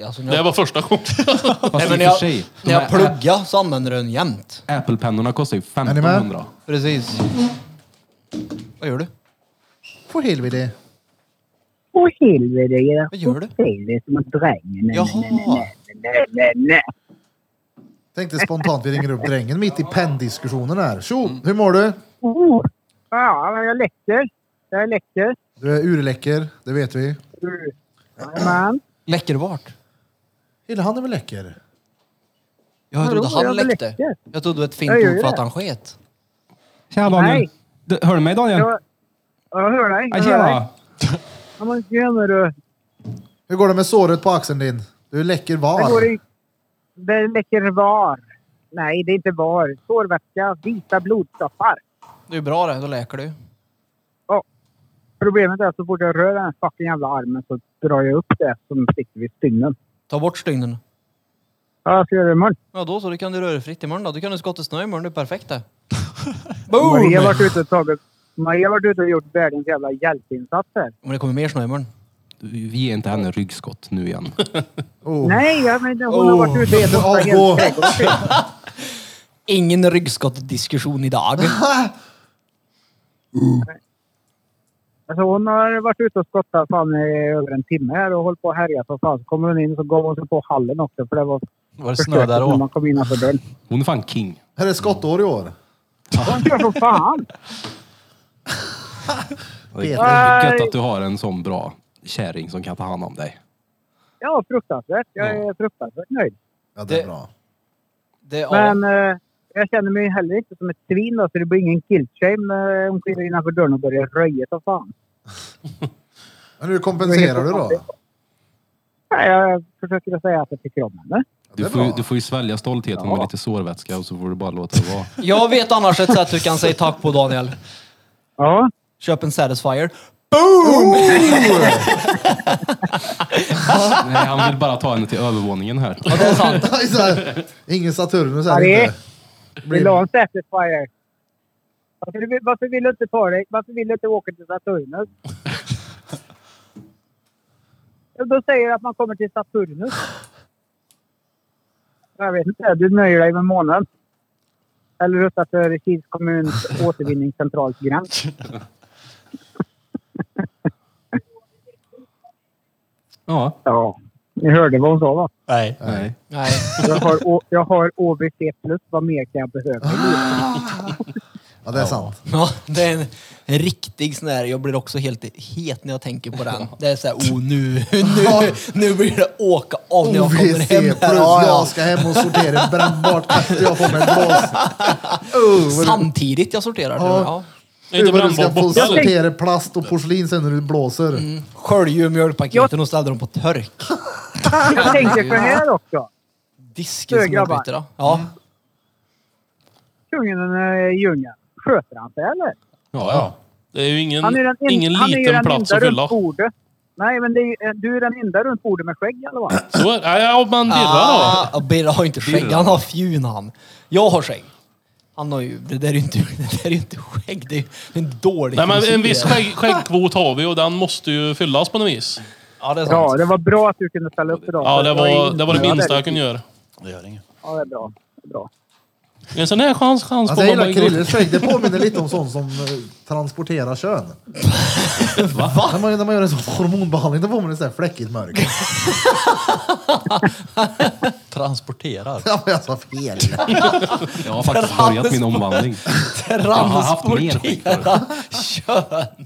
Alltså, när Det jag, var första gången. Fast nej, i och men när för jag, sig, när de jag här pluggade så använde jag den jämt. Ä- Apple-pennorna kostar ju ni med? 1500. Precis. Vad gör du? Får helvete. Åh helvete, era Vad gör du? det är som att drängen... Nej, Jaha. nej, nej, nej, nej, nej. Tänkte spontant vi ringer upp drängen mitt i penndiskussionen här. Tjo! Hur mår du? Oh. Ja, men jag läcker. Jag är läcker. Mm. Du är urläcker, det vet vi. Man. Läcker vart? Hela han är väl läcker? Jag trodde Vadå, han jag läckte. läcker. Jag trodde det var ett fint Jag gör ord för det. att han sket. Tja Daniel. Du, hör du mig Daniel? Jag, jag hör dig. Jag hör dig. Ja, men tjena du. Hur går det med såret på axeln din? Du är läcker Det går var. i... Det läcker var. Nej, det är inte var. Sårvätska, vita blodstoppar. Det är ju bra det, då läker du. Problemet är att så fort jag rör den här fucking jävla armen så drar jag upp det som sitter vid stygnen. Ta bort stygnen. Ja, jag ska göra det imorgon. Ja då så, då kan du röra fritt imorgon då. Du kan du skotta snö imorgon, det är perfekt det. Maria har Boom! varit ute och tagit... Maria har varit ute och gjort världens jävla hjälteinsats här. Men det kommer mer snö imorgon. Vi ger inte henne ryggskott nu igen. Oh. Nej, jag menar, hon Oh, har varit ute Peter, och borta avgå. helt trädgården. Ingen ryggskottdiskussion idag. Alltså, hon har varit ute och skottat fan i över en timme här och hållit på och härjat och fan. Så kommer hon in så gav hon sig på hallen också för det var Var det snö förstökat där när man då? kom innanför dörren. Hon är fan king. Här är skottår i år. Hon kör som fan! Det Peter. är gött att du har en sån bra kärring som kan ta hand om dig. Ja, fruktansvärt. Jag är fruktansvärt nöjd. Ja, det är Det- bra. Det, ja, Men eh, jag känner mig heller inte som ett svin då, så det blir ingen guilt-shame när hon kliver innanför dörren och börjar röja som fan. Men hur kompenserar du då? Nej, jag försöker att säga att jag tycker om henne. det Du är får, ju- bra. du får ju svälja stoltheten med lite sårvätska och så får du bara låta det vara. Jag vet annars ett sätt du kan säga tack på Daniel. Ja, Köp en Satisfyer. Nej, han vill bara ta henne till övervåningen här. Ja, det är sant. Det är så här, Ingen Saturnus här Harry. inte. vill du ha en Satisfyer? Varför, vill- varför vill du inte ta dig? Varför vill du inte åka till Saturnus? Jo, Då säger du att man kommer till Saturnus. Jag vet inte, du nöjer dig med månaden. Eller röstar för Kils kommuns återvinningscentrals gräns. Ja, Ja. Ni hörde vad hon sa va? Nej. nej. Nej. Jag har, å- jag har OBC+, vad mer kan jag behöva? Ja, det är sant. Ja, det är en, en riktig sån här, jag blir också helt het när jag tänker på den. Det är såhär, oh nu, nu, nu blir det åka av när jag kommer OVC hem. plus Här. Ja, jag ska hem och sortera brännbart efter jag får mig en blås. ja. Samtidigt jag sorterar. Ja. Oh, Ja. Ja. Är inte vad du ska brännbart få borta eller? sortera plast och porslin sen när du blåser. Mm. Skölj ur mjölkpaketen och ställde dem på törk. Jag tänker så här också. Disken som Högra jag byter. då. Ja. Kungen i djungeln, sköter han sig eller? Ja, ja. Det är ju ingen, Han är den, en, ingen han är ju liten den plats enda att fylla. runt bordet. Nej, men det är, ju- eh, du är den enda runt bordet med skägg eller vad? Så är det. Ja, men Birra då. Ah, Birra har inte skägg, han har fjun han. Jag har skägg. Han har ju, det där är ju inte, det där är ju inte skägg, det är ju en dålig Nej, men en filosofi. viss skägg, skäggkvot har vi och den måste ju fyllas på något vis. Ja, det är sant. Ja, det var bra att du kunde ställa upp idag. Ja, det var det, var det Ja, minsta jag kunde göra. Det gör inget. Ja, det är bra. Det är bra. En sån här chans, chans Alltså, jag får man gillar bara gå. Krilles skägg. Det påminner lite om sånt som eh, transporterar kön. Va? När, man, när man gör en sån hormonbehandling, då får man ett sånt här fläckigt mörker. Transporterar. Ja, men jag sa alltså fel. Jag har faktiskt börjat min omvandling. Jag har haft mer skit förut. Transportera kön.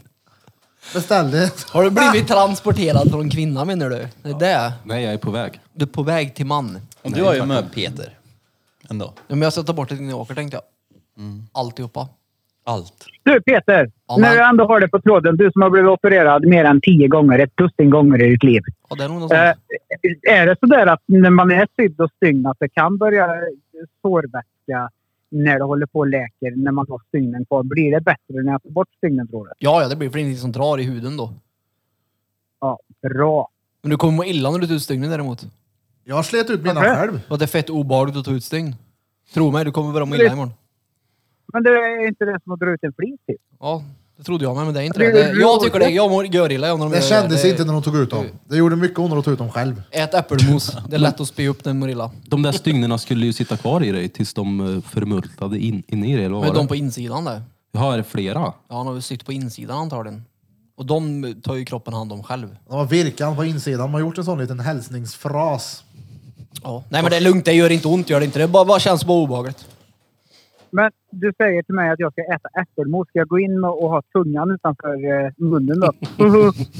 Beställde. Har du Ah. blivit transporterad från kvinna menar du? Det är det. Nej, jag är på väg. Du är på väg till man. Och du har ju med Peter. Ändå. Ja, men jag ska ta bort det innan jag åker tänkte jag. Mm. Alltihopa. Allt. Du Peter, Ja, när men- du ändå har det på tråden, du som har blivit opererad mer än tio gånger, ett dussin gånger i ditt liv. Ja, det är nog något Eh, sånt. är det sådär att när man är sydd och stygn att det kan börja sårvätska när det håller på och läker, när man har stygnen kvar? Blir det bättre när jag tar bort stygnen tror du? Ja, ja, det blir för ingenting som drar i huden då. Ja, bra. Men du kommer må illa när du tar ut stygnen däremot. Jag slet ut mina Varför? själv. Och det är fett obehagligt att ta ut stygn. Tro mig, du kommer börja må illa imorgon. Men det är inte det som att dra ut en flis typ. Ja, det trodde jag med, men det är inte det. det jag tycker det. Jag mår görilla jag när de Det gör kändes det. inte när de tog ut dem. Det gjorde mycket ont när de tog ut dem själv. Ät äppelmos. Det är lätt att spy upp när man mår illa. De där stygnerna skulle ju sitta kvar i dig tills de eh, förmultade in, in i dig, eller vad Men var de det? på insidan där. Ja, är det flera? Ja, han har väl sytt på insidan antagligen. Och de tar ju kroppen hand om själv. De har virkan på insidan. De har gjort en sån liten hälsningsfras. Ja. Nej men det är lugnt, det gör inte ont, gör det inte. Det bara, bara känns bara obehagligt. Men du säger till mig att jag ska äta äppelmos. Ska jag gå in och, och ha tungan utanför eh, munnen då?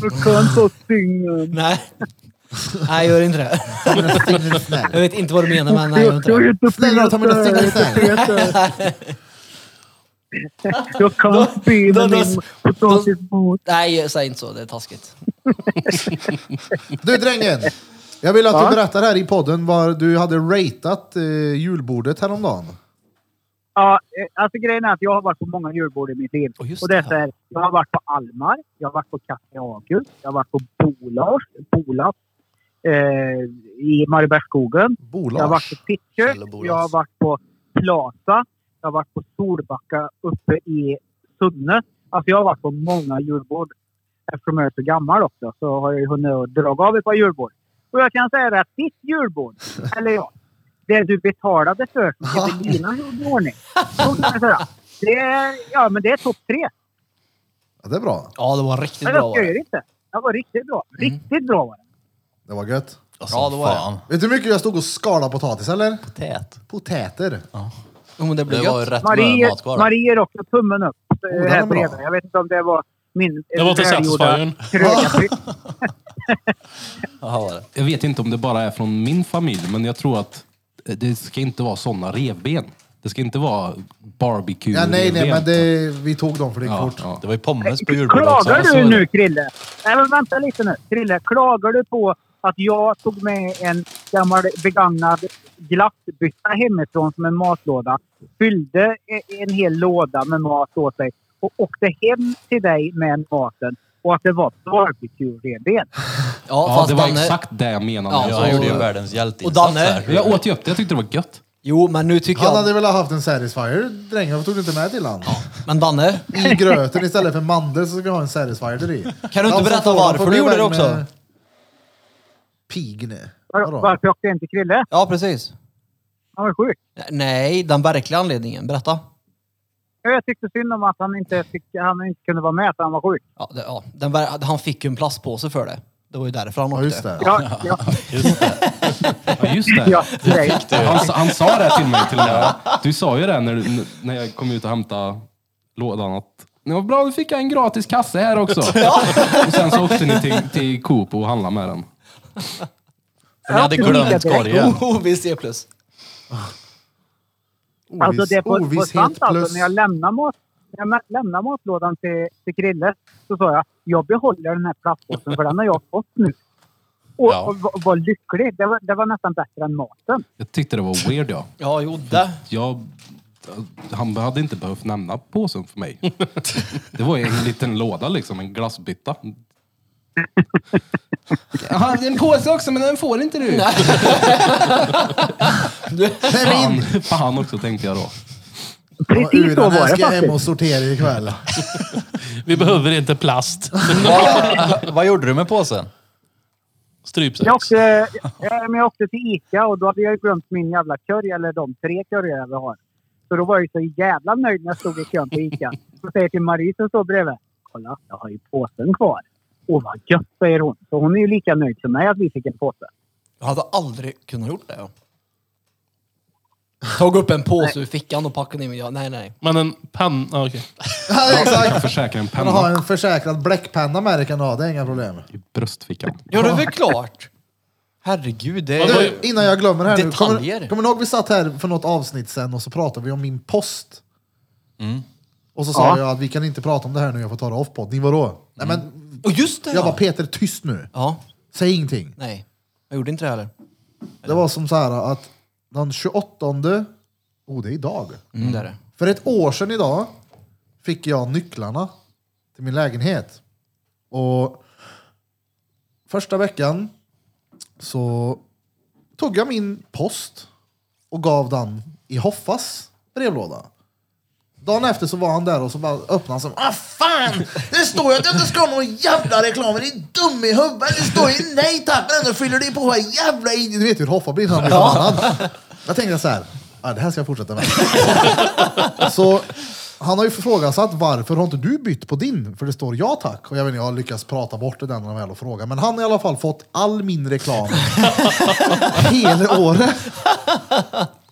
Jag kan ta stygnen. Nej. Nej, gör inte det. Stygnen är snäll. Jag vet inte vad du menar men nej, gör Jag inte det. ska inte Snälla ta mina stygnen snäll. feta. Jag kan spy då- med då- min potatismos. Nej, säg inte så. Det är taskigt. Du drängen! Jag vill att Ja? du berättar här i podden vad du hade ratat eh, julbordet häromdagen. Ja, eh, alltså grejen är att jag har varit på många julbord i mitt liv. Och just och det är det. så här, jag har varit på Almar, jag har varit på Café August, jag har varit på Bolas, Bolas eh, i Mariebergsskogen. Jag har Bolag. varit på Pitcher, Eller Bolas. jag har varit på Plaza, jag har varit på Solbacka uppe i Sunne. Alltså jag har varit på många julbord. Eftersom jag är så gammal också så har jag ju hunnit att dra av ett par julbord. Och jag kan säga det att ditt julbord, eller ja, det du betalade för som Evelina gjorde i ordning. Så kan jag säga. Det är, ja, men det är topp tre. Ja, det är bra. Ja, det var riktigt Men bra. jag Var det. skojar inte. Det var riktigt bra. Riktigt bra var det. Det var gött. Alltså, Ja, det var det. fan. Vet du hur mycket jag stod och skalade potatis eller? Tät. Potäter. Jo, men det blir Det var ju gött. rätt Marie, med mat kvar. Marie är också tummen upp. eh, den här är bra. bredvid. Jag vet inte om det var min Det var till välgjorda Satisfyern. krögarpytt. Jaha, var det. Jag vet inte om det bara är från min familj, men jag tror att eh, det ska inte vara såna revben. Det ska inte vara barbecue Ja, nej, nej, men det, vi tog dem för det gick Ja, fort. ja. Det var ju pommes på julbordet också. Klagar så är du det. nu, Krille? Nej, men vänta lite nu. Krille, klagar du på att jag tog med en gammal begagnad glassbytta hemifrån som en matlåda. Fyllde e- en hel låda med mat åt dig och åkte hem till dig med maten. Och att det var barbecuereben. Ja, fast det var Danne- exakt det jag menade. Ja, jag, så- Jag gjorde ju världens hjälteinsats Och Danne? här. jag åt ju upp det, jag tyckte det var gött. Jo, men nu tycker Han jag... hade velat haft en Satisfyer, drängen. Varför tog du inte med till han? Men Danne, I gröten istället för mandel så ska vi ha en Satisfyer till i. Kan du inte De som berätta får dem varför får du bli gjorde iväg det också? med Pigne. Var, varför åkte jag inte till Krille? ja precis. Han var sjuk. Nej, den verkliga anledningen. Berätta. Ja, Jag tyckte synd om att han inte, fick, han inte kunde vara med för han var sjuk. Ja, det, ja, den, ver- han fick ju en plastpåse för det. Det var ju därför han Ja, åkte. just det. Ja, ja, Ja, just det. ja, nej. Han, sa- han sa det till mig till och med. Du sa ju det när, du- när jag kom ut och hämtade lådan att det var bra, nu fick jag en gratis kasse här också. Och sen så åkte ni till, till Coop och handlade med den. För ni hade Ja, det glömt funkar direkt. korgen. Oh, OVC plus. Alltså det är på, på Ovisshet sant plus- alltså, när jag lämnar, mat, när jag mä- lämnar matlådan till, till Krille så sa jag jag behåller den här plastpåsen för den har jag fått nu. Och, Ja. och var, var lycklig. Det var, det var nästan bättre än maten. Jag tyckte det var weird ja. Ja, jo det. Jag, han hade inte behövt nämna påsen för mig. Det var ju en liten låda liksom, en glassbytta. Han en påse också, men den får inte du. Fan, fan också tänkte jag då. Precis så var Jag det ska hem faktiskt. och sortera ikväll. Vi behöver inte plast. Vad- Vad gjorde du med påsen? Strypsex. Jag åkte, eh, men jag åkte till Ica och då hade jag ju glömt min jävla curry, eller de tre curryar vi har. Så då var jag ju så jävla nöjd när jag stod i kön på Ica. Så säger jag till Marie som står bredvid. Kolla, jag har ju påsen kvar. Åh vad gött, säger hon. Så hon är ju lika nöjd som mig att vi fick en påse. Jag hade aldrig kunnat gjort det. Ja. Tog upp en påse ur fickan och packade ner mig. Ja, nej, nej. Men en penna, ah, okej. Ja, Jag exakt. försäkrar en Kan du ha penna en försäkrad bläckpenna med dig kan du ha, det är inga problem. i bröstfickan. Ja, det är väl klart. Herregud, det är... Du, innan jag glömmer här nu. Kommer, Detaljer. kommer ni ihåg vi satt här för något avsnitt sen och så pratade vi om min post? Mm. Och så sa Ja. jag att vi kan inte prata om det här nu, jag får ta det off podd. Ni vadå? Nej men, Och just det! jag var Ja. Peter, tyst nu. ja, Säg ingenting. nej. Jag gjorde inte det heller. Det var som så här att den 28, oh det är idag. Mm. Det är det. För ett år sedan idag fick jag nycklarna till min lägenhet. Och första veckan så tog jag min post och gav den i Hoffas brevlåda. Dagen efter så var han där och så bara öppnade han som ah fan! Det står ju att jag inte ska ha någon jävla reklam, är du dum i huvudet? Det står ju nej tack men ändå fyller du på här jävla idiot. Du vet ju hur Hoffa blir när han blir förbannad. Jag tänkte så här, ah, det här ska jag fortsätta med. Så han har ju ifrågasatt varför har inte du bytt på din? För det står ja tack. Och jag vet inte, jag har lyckats prata bort det där när de väl har frågat. Men han har i alla fall fått all min reklam hela året.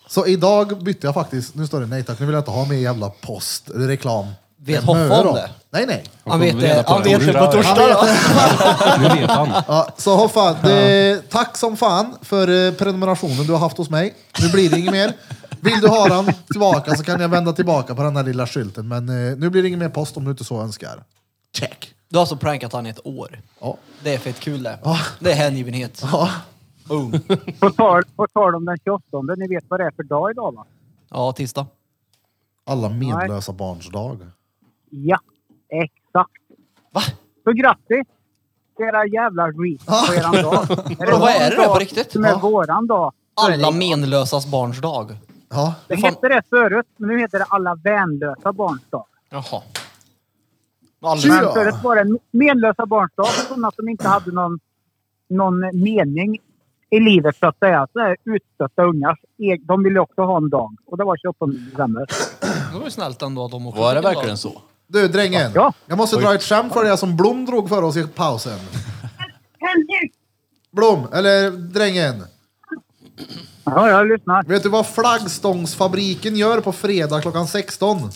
Så idag bytte jag faktiskt, nu står det nej tack, nu vill jag inte ha mer jävla post, eller reklam. Vet Det är Hoffa möra. om det? Nej nej. Han får vet reda det på han det vet det på torsdag. torsdag. då. Nu vet han. Ja, så Hoffa, det, tack som fan för eh, prenumerationen du har haft hos mig. Nu blir det inget mer. Vill du ha den tillbaka så kan jag vända tillbaka på den här lilla skylten. Men eh, nu blir det ingen mer post om du inte så önskar. Check. Du har alltså prankat han i ett år. Ja. Det är fett kul det. Det är hängivenhet. Ja. Boom. På tal, på tal om den 28, ni vet vad det är för dag idag va? Ja, tisdag. Alla medlösa barns dag. Ja, exakt. Va? Så grattis! Era jävla reach på eran dag. Är Vad är någon det då, på dag riktigt? Som är Ja. våran dag. Alla menlösas barns dag. Ja. Det hette det förut, men nu heter det alla vänlösa barns dag. Jaha. Tjena! Alla, Men förut var det menlösa barns dag för sådana som inte hade någon, någon mening i livet så att säga. Så här, utstötta ungar. E- De ville också ha en dag och det var 28 december. det var ju snällt ändå att de åkte Var det till dag. verkligen så? Du drängen, Ja. jag måste dra ett skämt för det som Blom drog för oss i pausen. Blom, eller drängen. Ja, jag lyssnar. Vet du vad flaggstångsfabriken gör på fredag klockan 16?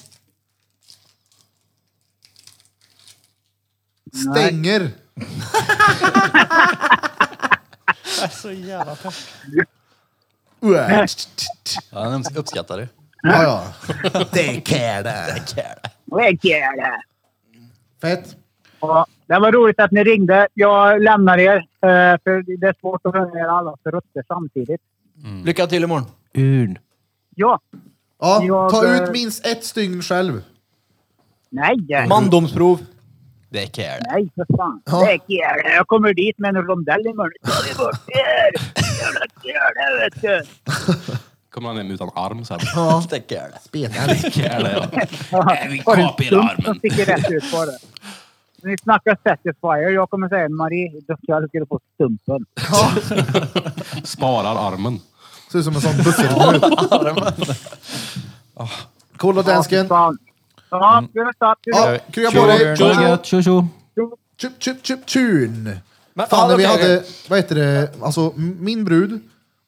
Stänger. så jävla Ja, han uppskattar det. Ja, ja. Det är care det. Vad är det? Fett. Ja, Det var roligt att ni ringde. Jag lämnar er, eh, för det är svårt att höra er alla för röster samtidigt. Lycka till imorgon. Urn. Ja. Ja, Jag, ta eh, ut minst ett stygn själv. Nej! Mandomsprov. Det är care. Nej, för fan. Ja. Det är kul. Jag kommer dit med en rondell imorgon. Då är vi bort er! Jävla kul, vet du! Kommer han hem utan arm sen? Ja, Det är care. spenar. Jävlar, ja. Vi kapar hela armen. som sticker rätt ut på det. Ni snackar Satisfyer. Jag kommer säga Marie, då ska jag skulle få stumpen. Ja, Sparar armen. ser ut som en sån buffelmur. Kolla dansken. Fan. Ja, vi hörs då. Hej då. Ja, krya på dig. Tjo, tjo. tjo tjo. Chup, chup, chup, tun. Men, Fan, ja, när vi okej, hade, vad heter det, alltså m- min brud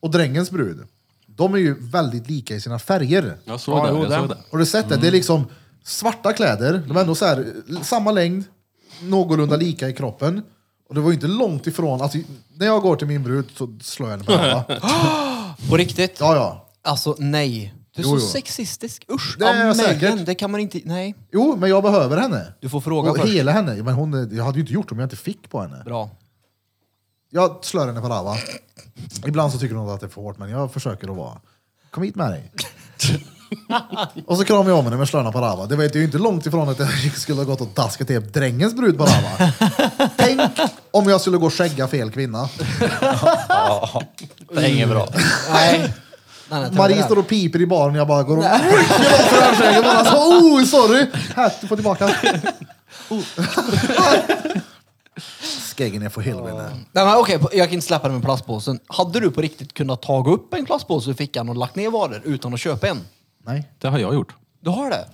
och drängens brud. De är ju väldigt lika i sina färger. Jag såg Ja, det. jo, Jag det. såg det. Har du sett det? Mm. Det är liksom svarta kläder, de är ändå så här, eh, samma längd, någorlunda Mm. lika i kroppen. Och det var ju inte långt ifrån, alltså, när jag går till min brud så slår jag henne med henne. va? På riktigt? Ja, ja. Alltså nej. Du är Jo, så jo. sexistisk. Usch. Det är jag amen. säkert. Det kan man inte... Nej. Jo, men jag behöver henne. Du får fråga Och först. hela henne. Men hon, är- jag hade ju inte gjort det om jag inte fick på henne. Bra. Jag slår henne på rava. Ibland så tycker hon att det är för hårt, men jag försöker att vara... Kom hit med dig. och så kramar jag om henne med slöna på rava. Det var ju inte långt ifrån att jag skulle ha gått och daskat till drängens brud på rava. Tänk om jag skulle gå och skägga fel kvinna. Det är inget bra. Nej. nej, nej Marie står och piper i baren och jag bara går och rycker loss rövskägget. Bara så, oh, sorry! Här, du får tillbaka. Oh. Skäggen är för helvete. Nej, men okej, jag kan inte släppa det med plastpåsen. Hade du på riktigt kunnat ta upp en plastpåse ur fickan och lagt ner varor utan att köpa en? Nej. Det har jag gjort. Du har det?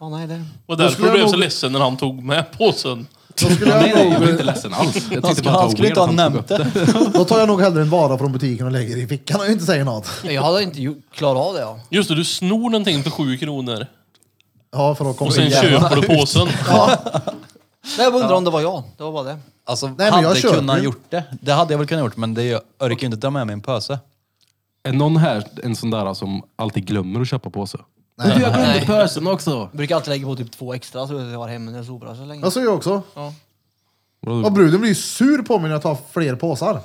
Ja, nej, det... Och Då därför skulle jag blev jag så nog- ledsen när han tog med påsen. Då skulle jag Nej, nej, jag nog... blev inte ledsen alls. Jag tyckte Han skulle, bara att han det skulle var inte ha weird att han nämnt tog upp det. Då tar jag nog hellre en vara från butiken och lägger i fickan och inte säger något. Nej, Jag hade inte ju- klarat av det. Ja. Just det, du snor någonting för sju kronor Ja, för att komma och sen in jävla- köper du påsen. Nej, jag undrar om det var jag. Det var bara det. Alltså, Nej, men men jag hade köper kunnat ju. gjort det. Det hade jag väl kunnat gjort, men det är, jag orkar ju inte ta med mig en pöse. Är någon här en sån där som alltid glömmer att köpa påse? Nej. jag glömde pösen också! Jag brukar alltid lägga på typ två extra så jag har hemma när jag sopar så länge. Jag ser ju också. Vadå? Och bruden blir ju sur på mig när jag tar fler påsar.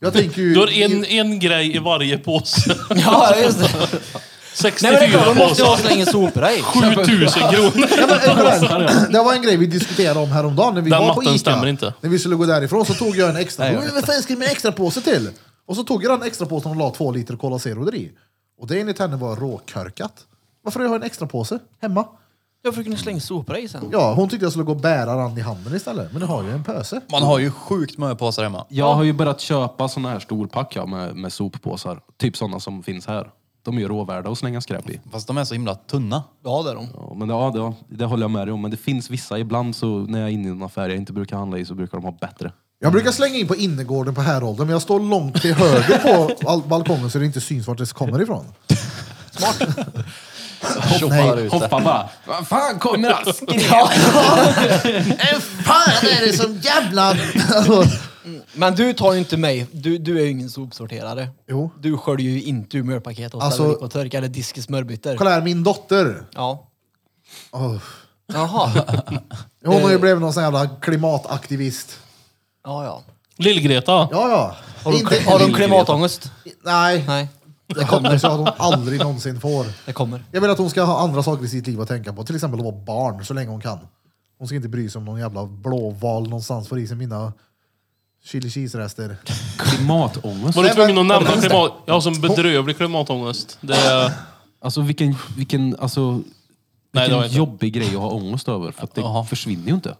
Jag tänker ju... Du har en, en grej i varje påse. Ja, just det. Nej, 64 men det är klart, man måste ju ha påsar. så länge sopor i. 7000 kronor. Ja, men, generellt, det var en grej vi diskuterade om häromdagen när vi Den var på matten Ica. stämmer inte. När vi skulle gå därifrån så tog jag en extra Nej, jag påse. Vad fan ska jag med en extra påse till? Och så tog jag den extra påsen och la två liter Cola Zero där i. Och det enligt henne var råkörkat. Varför har jag en extra påse hemma? Jag får kunna slänga sopor i sen. Ja, hon tyckte jag skulle gå och bära den i handen istället. Men nu har jag en pöse. Man har ju sjukt många påsar hemma. Jag har ju börjat köpa såna här storpack ja, med, med soppåsar. Typ såna som finns här. De är ju råvärda att slänga skräp i. Fast de är så himla tunna. Ja, det är de. Ja, men ja, det, det håller jag med dig om. Men det finns vissa ibland så när jag är inne i en affär jag inte brukar handla i så brukar de ha bättre. Jag Mm. brukar slänga in på innergården på Härolden, men jag står långt till höger på all- balkongen så det inte syns vart det kommer ifrån. Tjoffar ute. Hoppa bara. Vad fan kommer det? Vem fan är det som jävla... Alltså, Men du tar ju inte mig. Du, du är ju ingen sopsorterare. Jo. Du sköljer ju inte ur mjölpaket och Alltså- ställer upp och torkar eller disk i smörbyter. kolla här, min dotter. Ja. Åh. Jaha. Hon har ju blivit någon sån jävla klimataktivist. Ja, ja. Lill-Greta. Ja, ja. Har de, har de klimatångest? Nej, Nej, det kommer så att hon aldrig någonsin får. det kommer. Jag vill att hon ska ha andra saker i sitt liv att tänka på. Till exempel att vara barn så länge hon kan. Hon ska inte bry sig om någon jävla blåval någonstans får i sig mina chili cheese-rester. Klimatångest. Var du Nej, tvungen att men- nämna klimat... Jag har sån bedrövlig klimatångest. Det är... Alltså vilken, vilken, alltså, Nej, det vilken har jag inte. jobbig grej att ha ångest över. För att det försvinner ju inte.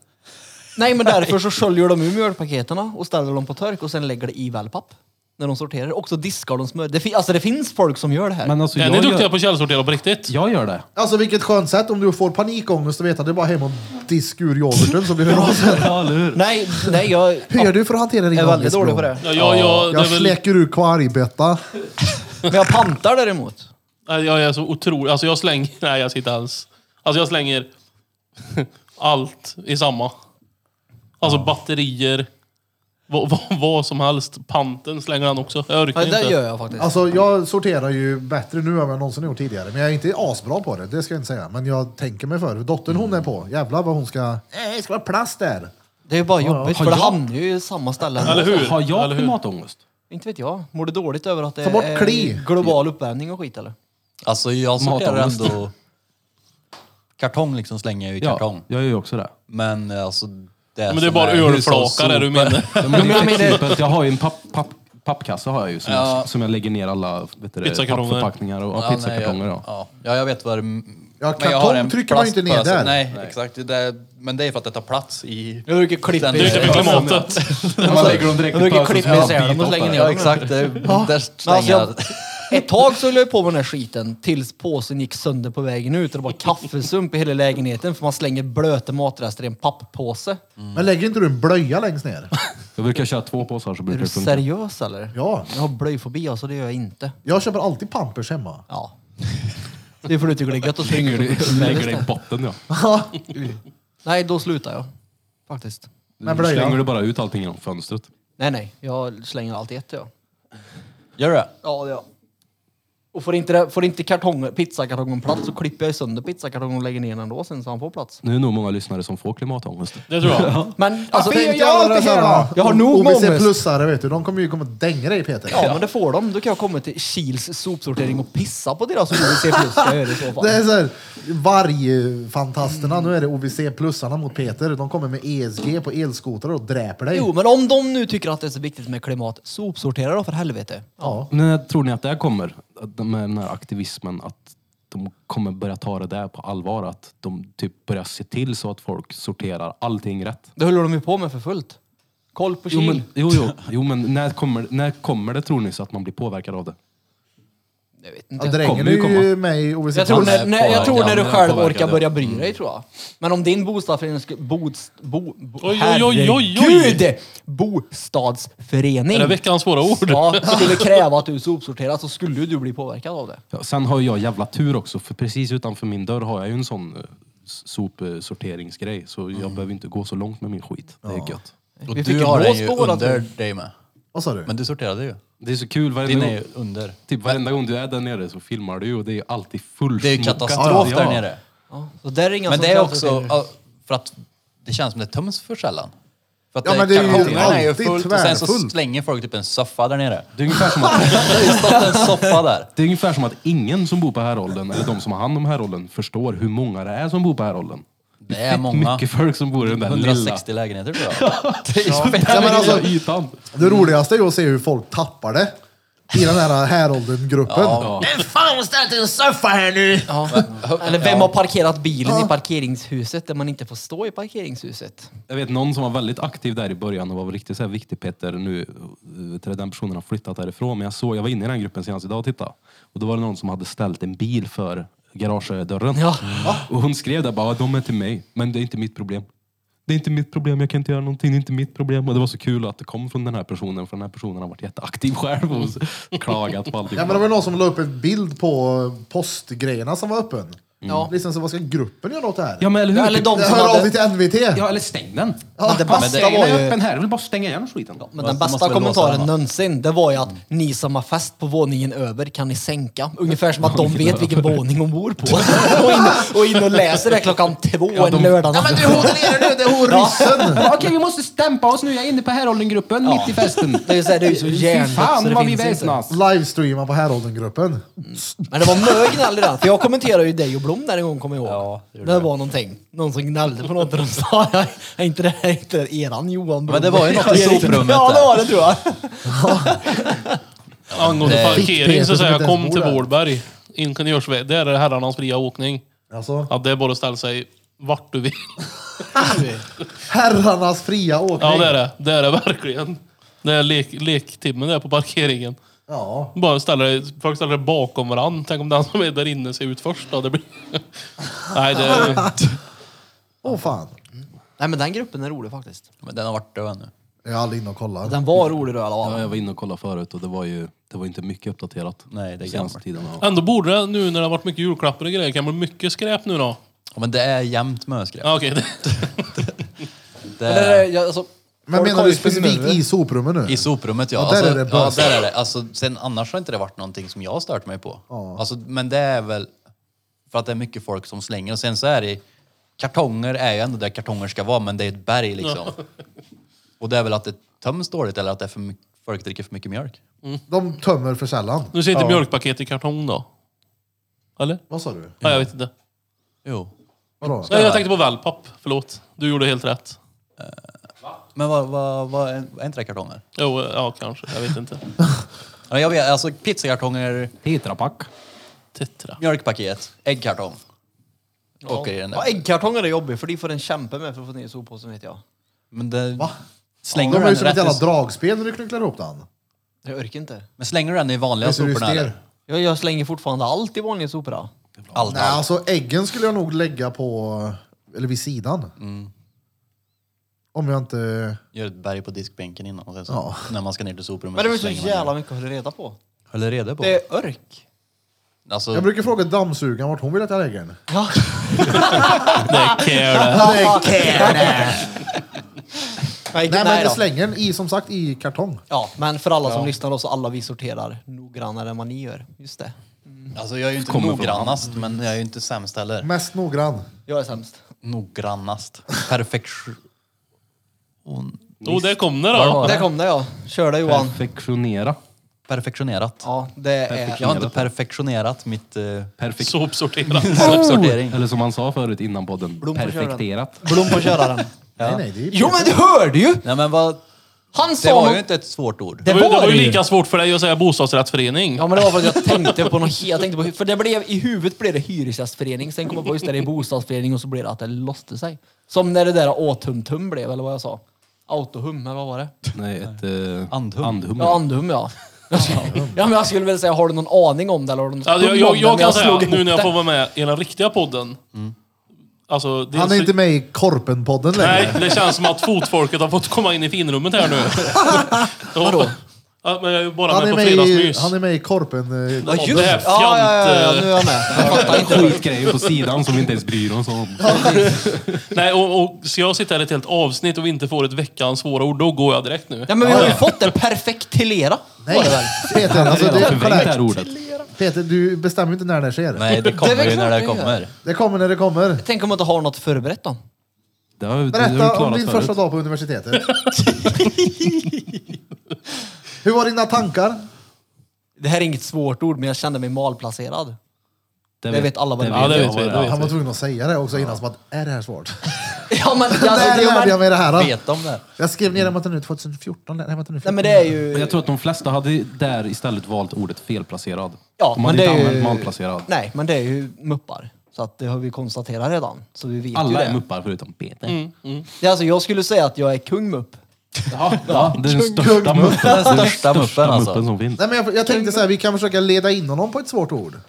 Nej, men därför så sköljer de ur mjölpaketerna och ställer dem på tork och sen lägger det i wellpapp. När de sorterar. Och så diskar de smör. Det, fi- alltså det finns folk som gör det här. Men alltså, Är jag, ni duktiga gör, på källsortera på riktigt? jag gör det. Alltså vilket skönt sätt om du får panikångest och vet att det är bara hem och disk ur yoghurten så blir det bra sen. Nej, nej jag... Hur gör du för att hantera din Jag är ångest? väldigt dålig på Blom? det. Ja, jag, jag, det Jag är väl, släcker ur kvargbötta. Men jag pantar däremot. Nej, jag är så otrolig. Alltså jag slänger... Nej, jag sitter alls. Alltså jag slänger allt i samma. Alltså batterier, Vad, vad, vad som helst. Panten slänger han också. Jag orkar Ja, det inte. gör jag faktiskt. Alltså jag sorterar ju bättre nu än vad jag någonsin gjort tidigare. Men jag är inte asbra på det, det ska jag inte säga. Men jag tänker mig för. Dottern hon är på. Jävlar vad hon ska... Nej, det ska vara plast där. Det är ju bara jobbigt, Har för det jag- hamnar ju i samma ställe. Eller hur? Har jag Eller hur? klimatångest? Inte vet jag. Mår du dåligt över att det Ta bort är kli. global uppvärmning och skit eller? Alltså jag sorterar Matångest. ändå... Kartong liksom slänger jag i kartong. Ja, jag gör ju också det. Men eh, alltså... Det Men det är bara ölflakar är du menar. Ja, men det är flexibelt. Jag har ju en papp, papp, pappkasse har jag ju som, Ja. jag, som jag lägger ner alla vet du, det, Pizzakartonger. pappförpackningar och ja, pizzakartonger. ja. Ja. Ja, ja, jag vet vad det... men Ja, jag har kartong en trycker man ju inte ner plastpåse. där. Nej, exakt. Det där, men det är för att det tar plats i... Jag brukar klippa Det Det är inte för isär- klimatet. Man lägger dem direkt Jag brukar påsen som klippa en isär dem och bitoppare. slänga ner Ja, dem. exakt. Det, där Men slänger Alltså, jag... jag, ett tag så höll jag på med den här skiten tills påsen gick sönder på vägen ut och det var kaffesump i hela lägenheten för man slänger blöta matrester i en papppåse. Men lägger inte du en blöja längst ner? Jag brukar köra två påsar så Är brukar du det funka. seriös eller? Ja. Jag har blöjfobi alltså, det gör jag inte. Jag köper alltid pampers hemma. Ja. Det är för att du tycker det är gött att springa ut och Lägger det i pulverista. botten ja. Nej, då slutar jag. Faktiskt. Men Då slänger du blöja. bara ut allting genom fönstret. Nej, nej. Jag slänger allt i ett jag. Gör det? Ja, det gör jag. Och får inte, det- får inte kartong, pizzakartongen plats så klipper jag sönder pizzakartongen och lägger ner den ändå sen så han får plats. Nu är det nog många lyssnare som får klimatångest. Det tror jag. Men alltså, det gör tänkte jag alla alltid dessa här. Jag har nog med OBC ångest. plussare vet du, de kommer ju komma och dänga dig Peter. Ja, men det får de. Då kan jag komma till Kils sopsortering och pissa på deras OVC plus. Jag gör det i så fall. Det är såhär, vargfantasterna, nu är det OVC-plussarna mot Peter. De kommer med ESG på elskotrar och dräper dig. Jo, men om de nu tycker att det är så viktigt med klimat, sopsortera då för helvete. Ja. När tror ni att det här kommer? Att de- Med den här aktivismen, att de kommer börja ta det där på allvar? Att de typ börjar se till så att folk sorterar allting rätt? Det håller de ju på med för fullt. Koll på Jo Kil. men, jo, jo, jo, men när, kommer, när kommer det tror ni så att man blir påverkad av det? Jag vet Ja, inte. drängen kommer är ju komma. ju med i OVC jag, tror Alltså, när, när, jag tror när du påverkan, själv påverkan, orkar ja. börja bry Mm. dig tror jag. Men om din bostadsförening skulle... Bods, bo, bo, Oj, oj, oj, oj, oj. Herregud! Bostadsförening! Är det veckans svåra ord? Ja, skulle kräva att du sopsorterar så skulle ju du bli påverkad av det. Ja, sen har ju jag jävla tur också, för precis utanför min dörr har jag ju en sån eh, s- sopsorteringsgrej. Så jag behöver inte gå så långt med min skit. Mm. Det är gött. Och Vi fick du ju har den blås ju på vårat under nu. dig med. Vad sa du? Men du sorterade ju. Det är så kul. Varje Din gång, är ju under. typ varenda gång du är där nere så filmar du ju och det är ju alltid full Det är ju smokat. katastrof Ja. där nere. Ja, så där är inga Men det är också sopsorterare. ja, för att det känns som det töms för sällan. För att Ja, men det är ju kartongerna är ju alltid fullt och sen så tvärfullt. slänger folk typ en soffa där nere. Det är ungefär som att Det har ju stått en soffa där. Det är ungefär som att ingen som bor på häråldern, eller de som har hand om häråldern, förstår hur många det är som bor på häråldern. Det är många. Mycket folk som bor i den där lilla, 160 lägenheter tror jag. Det är ju fett. Ja, men lilla alltså, ytan. Det roligaste är ju att se hur folk tappar det. I den här häråldern-gruppen. Vem fan har ställt en soffa här nu? Ja. Eller vem har parkerat bilen i parkeringshuset där man inte får stå i parkeringshuset? Jag vet någon som var väldigt aktiv där i början och var riktigt så här viktig Peter. Nu, eh, till den personen har flyttat därifrån. Men jag såg, jag var inne i den gruppen senast idag och tittade. Och då var det någon som hade ställt en bil för garagedörren. Ja. Och hon skrev där bara, de är till mig, men det är inte mitt problem. Det är inte mitt problem, jag kan inte göra någonting, det är inte mitt problem. Och det var så kul att det kom från den här personen, för den här personen har varit jätteaktiv själv och klagat på allting. Ja, men det var någon som la upp en bild på postgrejerna som var öppen. Ja. Liksom, så vad ska gruppen göra åt det här? Ja, men eller hur? Ja, eller de som Hör av hade... dig till NVT! Ja, eller stäng den. Ja, det bästa Stäng var den ju- öppen här, jag vill bara stänga igen skiten. Ja, Men den Fast det måste bästa väl kommentaren låsa den, va? någonsin, det var ju att ni som har fest på våningen över kan ni sänka. Ungefär som att de vet vilken våning hon bor på. och, in, och in och läser det klockan två en de- lördag Ja, men du håller ner nu, det är hon ryssen! Okej, vi måste stämpa oss nu, jag är inne på häråldengruppen, mitt i festen. Det är ju så här, det är ju så hjärndött så det finns inte. Livestreama på häråldern-gruppen. Men det var mycket gnäll i den. För jag kommenterade ju dig och Blom där en gång, kommer jag ihåg. Ja, det gjorde det du. var någonting. Någon som gnällde på något och de sa, "Ja, är inte det här inte det eran Johan Blom? Men det var ju något i Erik." soprummet Ja, det där. var det tror jag. Angående parkering Peter så som säger jag inte ens kom bor till där." Vårberg. Ingenjörsväg. Där är herrarnas fria åkning. Alltså, Att det är bara att ställa sig vart du vill. herrarnas fria åkning. Ja, det är det. Det är det verkligen. Det är lek, lektimmen där på parkeringen. Ja. Bara ställa dig, folk ställer sig bakom varandra. Tänk om den som är där inne ser ut först då. Det blir... Nej, det är... Åh fan. Nej, men den gruppen är rolig faktiskt. Men den har varit död nu. Jag är aldrig inne och kollar. Den var rolig då i alla fall. Ja, jag var inne och kollade förut och det var ju det var inte mycket uppdaterat. Nej, det är senaste gammalt. tiden. Ja. Ändå borde det, nu när det har varit mycket julklappar och grejer, kan det bli mycket skräp nu då? Ja, men det är jämnt med skräp. Ja, okej. Det Men det, är, är- jag, alltså, Men Folk menar har du ju specifikt spinneror. i soprummet nu? I soprummet ja. Ja, där alltså, är det bra. ja, där är det. Alltså, sen annars har inte det varit någonting som jag har stört mig på. Alltså, men det är väl för att det är mycket folk som slänger. Och sen så är det, kartonger är ju ändå där kartonger ska vara, men det är ett berg liksom. Och det är väl att det töms dåligt eller att det är för mycket, folk dricker för mycket mjölk. De tömmer för sällan. Nu ser inte mjölkpaket i kartong då? Eller? Vad sa du? Nej, jag vet inte. Jo. Vadå? Nej, jag tänkte på wellpapp. Förlåt. Du gjorde helt rätt. Men vad, vad, vad är är inte det kartonger? Jo, ja kanske. Jag vet inte. Ja, jag vet, alltså pizzakartonger, Tetrapack. Tetra. mjölkpaket, äggkartong. Åker i den Ja, där. äggkartonger är jobbigt för de får en kämpa med för att få ner i soppåsen vet jag. Men, det, De slänger du har ju den som ett jävla rätt, i- dragspel när du knycklar ihop den. Jag orkar inte. men slänger du den i vanliga Vet du hur soporna? det är? eller? Jag, jag slänger fortfarande allt i vanliga sopor. då. Allt, Nej, allt. alltså äggen skulle jag nog lägga på, eller vid sidan. Om jag inte... Gör ett berg på diskbänken innan och sen så, Ja. när man ska ner till soprummet Men det är så slänger man jävla ner. mycket att hålla reda på. Höll du reda på? Det är örk. Alltså, Jag brukar fråga dammsugaren vart hon vill att jag lägger den. Care. Ja, det är- Nej, Nej nej men då. slänger den i, som sagt i kartong. Ja, men för alla som lyssnar då så alla vi sorterar noggrannare än vad ni gör. Just det. alltså jag är ju inte Kommer från noggrannast, men jag är ju inte sämst heller. Mest noggrann. Jag är sämst. Noggrannast. Perfektion. Jo, där kom det Var då. var Där kom det ja. Kör det Johan. Perfektionera. Perfektionerat. Ja, det är... Perfekt. Jag har inte perfektionerat mitt eh, Perfekt. Sopsorterat. sopsortering. Eller som han sa förut innan podden, Blom på perfekterat. Blom på köraren. Nej nej, det är ju... Jo men du hörde ju! Nej men vad, Han det sa var ju något. inte ett svårt ord. Det Det var, ju- det var var ju det ju. lika svårt för dig att säga bostadsrättsförening. Ja men det var för att jag tänkte på något helt- jag tänkte på, hy- För det blev, i huvudet blev det hyresgästförening, sen kom jag på just det, det är bostadsförening och så blev det att det låste sig. Som när det där åtumtum blev, eller vad jag sa. Autohum, eller vad var det? Nej, ett... Eh, Andhum. andhum. Ja, andhum ja. Jag skulle- ja men jag skulle väl säga, har du någon aning om det eller har du något Alltså, jag, hum jag, om det? jag Men kan säga, slog ihop nu när jag det. får vara med i den riktiga podden. Alltså, det Han är inte med i Korpen-podden Nej, längre. det känns som att fotfolket har fått komma in i finrummet här nu. Vadå? Ja, men jag är ju bara Han med är på med, i, fredagsmys. han är med i Korpen... eh, Ja just Det det! här eh. Ja, ja, ja, ja, fjant, nu är jag med. Jag fattar inte. Skitgrejer på sidan som vi inte ens bryr oss om. eh, Nej, och, och ska jag sitta här ett helt avsnitt och inte får ett veckans svåra ord, då går jag direkt nu. Ja, men vi har ju fått det perfektilera. Nej, Peter, alltså, Redan det, kolla förvrängt det här här. ordet. Peter, du bestämmer ju inte när det sker. Nej, det kommer Det är väl ju klart när det det gör. kommer. Det kommer när det kommer. Tänk om man inte har något förberett då? Det har, det har vi Berätta om klarat din förut. första dag på universitetet. Hur var dina tankar? Det här är inget svårt ord, men jag kände mig malplacerad. Det vet alla vad det är. Ja, det jag vet vad vi, är. det vet Han var tvungen att säga det också innan, som att är det här svårt? Ja, men, alltså, När det, är- lärde jag mig det här? Då? Vet de det? Jag skrev ner det matten nu 2014. Nej, vänta nu. Nej, men det är ju... Men jag tror att de flesta hade där istället valt ordet felplacerad. Ja, de hade men det inte är ju- använt malplacerad. Nej, men det är ju muppar. Så att det har vi konstaterat redan. Så vi vet ju Alla det. är muppar förutom Peter. Det är Alltså, jag skulle säga att jag är kung mupp. Ja, det är den största muppen. Det är Den största muppen, alltså. som finns. Nej, men jag, jag tänkte så här, vi kan försöka leda in honom på ett svårt ord. Kan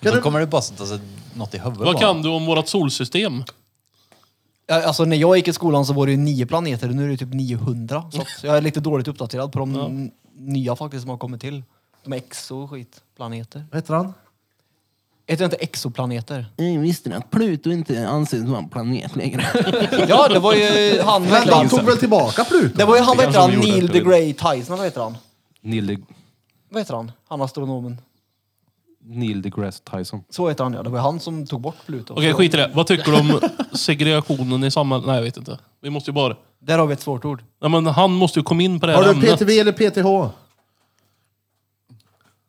Då du, kommer det bara sätta sig något i huvudet Vad bara. kan du om vårt solsystem? Ja, Alltså när jag gick i skolan så var det ju nio planeter och nu är det typ 900. Så att jag är lite dåligt uppdaterad på de n- nya faktiskt som har kommit till. De är exo och skit. Planeter. vad heter han? Heter det inte exoplaneter? Visste ni att Pluto inte anses vara en planet längre? Ja, det var ju han... vad Men heter han han? tog väl tillbaka Pluto? Det var ju han, vad heter han? Det kanske de gjorde, Neil jag vet deGray Tyson, vad heter han? Neil, de, Vad heter han? Han astronomen. Neil deGrasse Tyson. Så heter han ja. Det var ju han som tog bort Pluto. Okej, skit i det. Vad tycker du om segregationen i samhället? Nej, jag vet inte. Vi måste ju bara... Där har vi ett svårt ord. Nej, men han måste ju komma in på det här Har du ämnet. PTV eller PTH?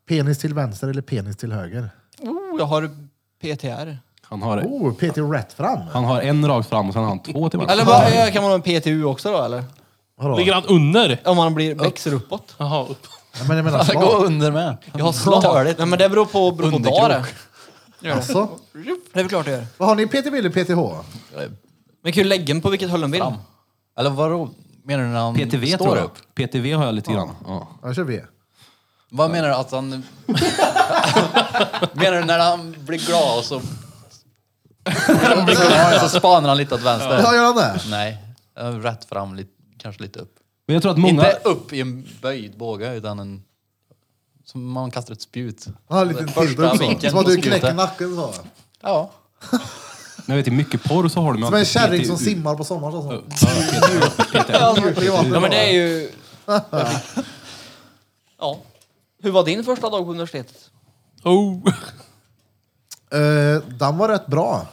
Penis till vänster eller penis till höger? Oh, jag har PTR. Han har, Oh, PT rätt fram. han har en rakt fram och sen har han två till Eller vad, eh, kan man ha en PTU också då eller? Vadå? Ligger han under? Om man blir, växer uppåt? Jaha, upp. Ja, men jag menar Det går slag. under med. Jag har slag. Nej men det beror på, beror på Underkrok. dag det. Gör det. Alltså, Det är väl klart det gör. vad har ni PTV eller PTH? Man kan ju lägga den på vilket håll den vill. Fram. Eller vadå? Menar du när han PTV står tror jag. upp? PTV har jag lite grann. Ja. Ja, kör vi. Vad menar du att han... menar du när han blir glad och så... Han blir glad och så spanar han lite åt Ja, vänster? gör han det? Nej, eh, rätt fram, lite, kanske lite upp. Men jag tror att många... Inte upp i en böjd båge utan en... Som man kastar ett spjut. Han har en liten Första tilt upp så. vinkeln Som att på du knäcker spjutet. nacken så. Ja. Men jag vet, i mycket porr så har de ju Som en alltid kärring PT som ut. simmar på sommaren. och sånt. Ja, men det är ju... ja. Hur var din första dag på universitetet? Oh. Eh, den var rätt bra.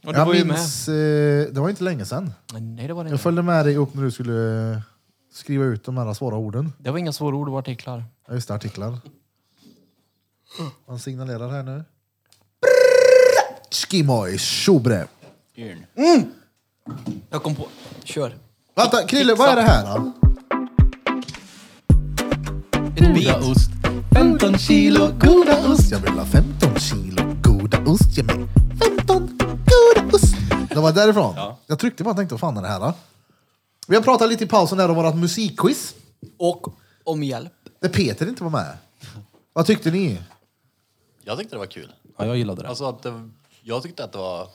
Ja, du jag var ju minns, eh, det var inte länge sedan. Nej, det var det Jag inte. följde med dig upp när du skulle eh, skriva ut de här svåra orden. Det var inga svåra ord, det var artiklar. Ja, just det, artiklar. Man signalerar här nu. Skimoj, tjobre. Jag kom på... Kör. Vänta, Krille, vad är det här då? Ett beat. ost. 15 kilo goda ost. Jag vill ha 15 kilo goda ost. Jag vill 15 goda ost. Det var därifrån. Jag tryckte bara och tänkte, vad fan är det här då? Vi har pratat lite i pausen här om vårt musikquiz. Och om hjälp. Där Peter inte var med. Vad tyckte ni? Jag tyckte det var kul. Ja, jag gillade det. Alltså att det, jag tyckte att det var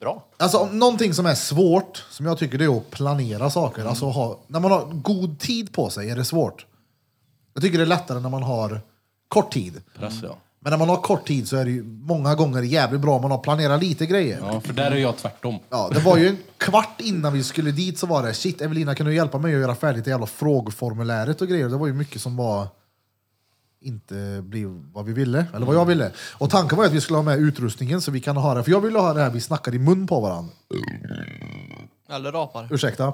bra. Alltså om någonting som är svårt, som jag tycker det är att planera saker. Alltså ha, när man har god tid på sig är det svårt. Jag tycker det är lättare när man har kort tid. Press, ja. Men när man har kort tid så är det ju många gånger jävligt bra om man har planerat lite grejer. ja, för där är jag tvärtom. Ja, det var ju en kvart innan vi skulle dit så var det shit Evelina kan du hjälpa mig att göra färdigt det jävla frågeformuläret och grejer. Det var ju mycket som var inte blev vad vi ville, eller vad jag ville. Och tanken var ju att vi skulle ha med utrustningen så vi kan ha det. För jag ville ha det här vi snackar i mun på varandra. Eller rapar. Ursäkta.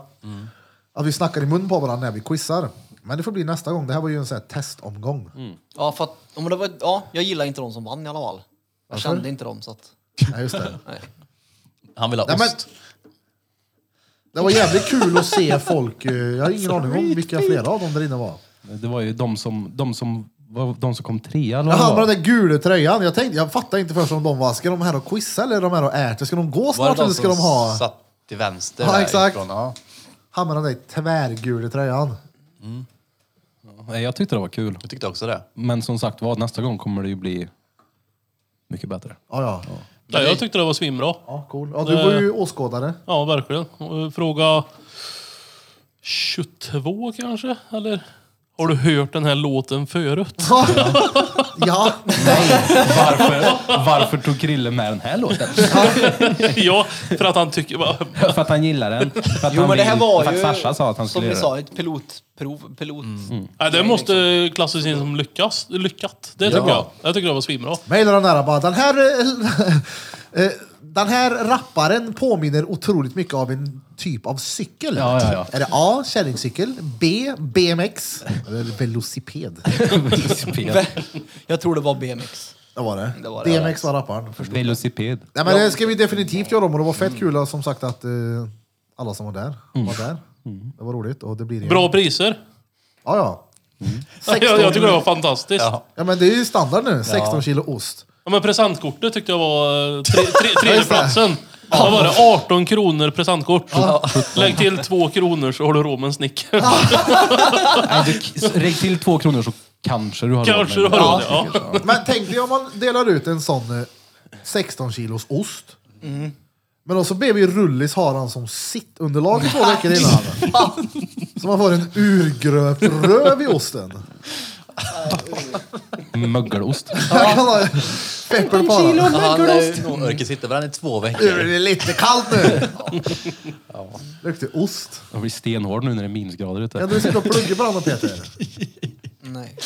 Att vi snackar i mun på varandra när vi quizar. Men det får bli nästa gång. Det här var ju en sån här testomgång. Ja, för att, ja, men det var, ja, jag gillar inte de som vann i alla fall. Jag kände inte dem så att... Ja, just det. Nej. Han vill ha Nej, men- ost. det var jävligt kul att se folk. eh, Jag har ingen aning om vilka flera av dem där inne var. Det var ju de som, de som, var- de som kom trea eller vad det Han var. med den där gula tröjan. Jag, tänkte, jag fattar inte först om de var, ska de här och quizza eller är de här och äta? Ska de gå Var snart det eller de ska de som ha? satt till vänster? Ja, där exakt. ifrån? Ja. Han med den där tvärgula tröjan. Nej, Jag tyckte det var kul. Jag tyckte också det. Men som sagt vad nästa gång kommer det ju bli mycket bättre. Ja, ja. Ja, jag tyckte det var svinbra. ja cool. Ja, du var ju åskådare. Ja, verkligen. Och eh, Fråga 22 kanske, eller? Har du hört den här låten förut? Ja, Varför, varför tog Krille med den här låten? ja, för att han tycker... bara- För att han gillar den? För att Jo, han men det här vill- var för ju, att Sasha sa att han som skulle vi göra Mm. sa, ett pilotprov. Pilot. Mm. Nej, det måste klassas in som lyckas, lyckat. Det tycker Ja. jag. Jag tycker det var svinbra. mejla den där bara. Den här, eh, eh, den här rapparen påminner otroligt mycket av en typ av cykel. Ja, ja, ja. Är det A. Kärringcykel? B. BMX? Eller velociped? Velociped. Jag tror det var BMX. Det var det. Det var det. BMX var rapparen. Velociped. Nej, men det ska vi definitivt göra om och det var fett kul som sagt att eh, alla som var där var där. Det var roligt och det blir igen. Bra priser. Ja, ja. Jag, 16, jag tycker det var fantastiskt. Ja. ja, men det är ju standard nu. 16 kilo ost. men presentkortet tyckte jag var eh, tre, tre, tredjeplatsen. Vad var det? 18 kronor presentkort. Lägg till 2 kronor så har du råd med en Snickers. Nej, du- Lägg till två kronor så kanske du har Kanske du råd med har den. råd, ja. Men tänk dig om man delar ut en sån eh, 16 kilos ost. Men också ber vi Rullis ha den som sitt underlag i två veckor innan. Så man får en urgröpt röv i osten. Mögelost. Jag kan ha pepper på den. Han eh, nog orkar sitta med den i två Det veckor. är lite kallt nu. Luktar ost. Jag blir stenhård nu när det är minusgrader Kan ute. du sitta och plugga på den Peter? Nej.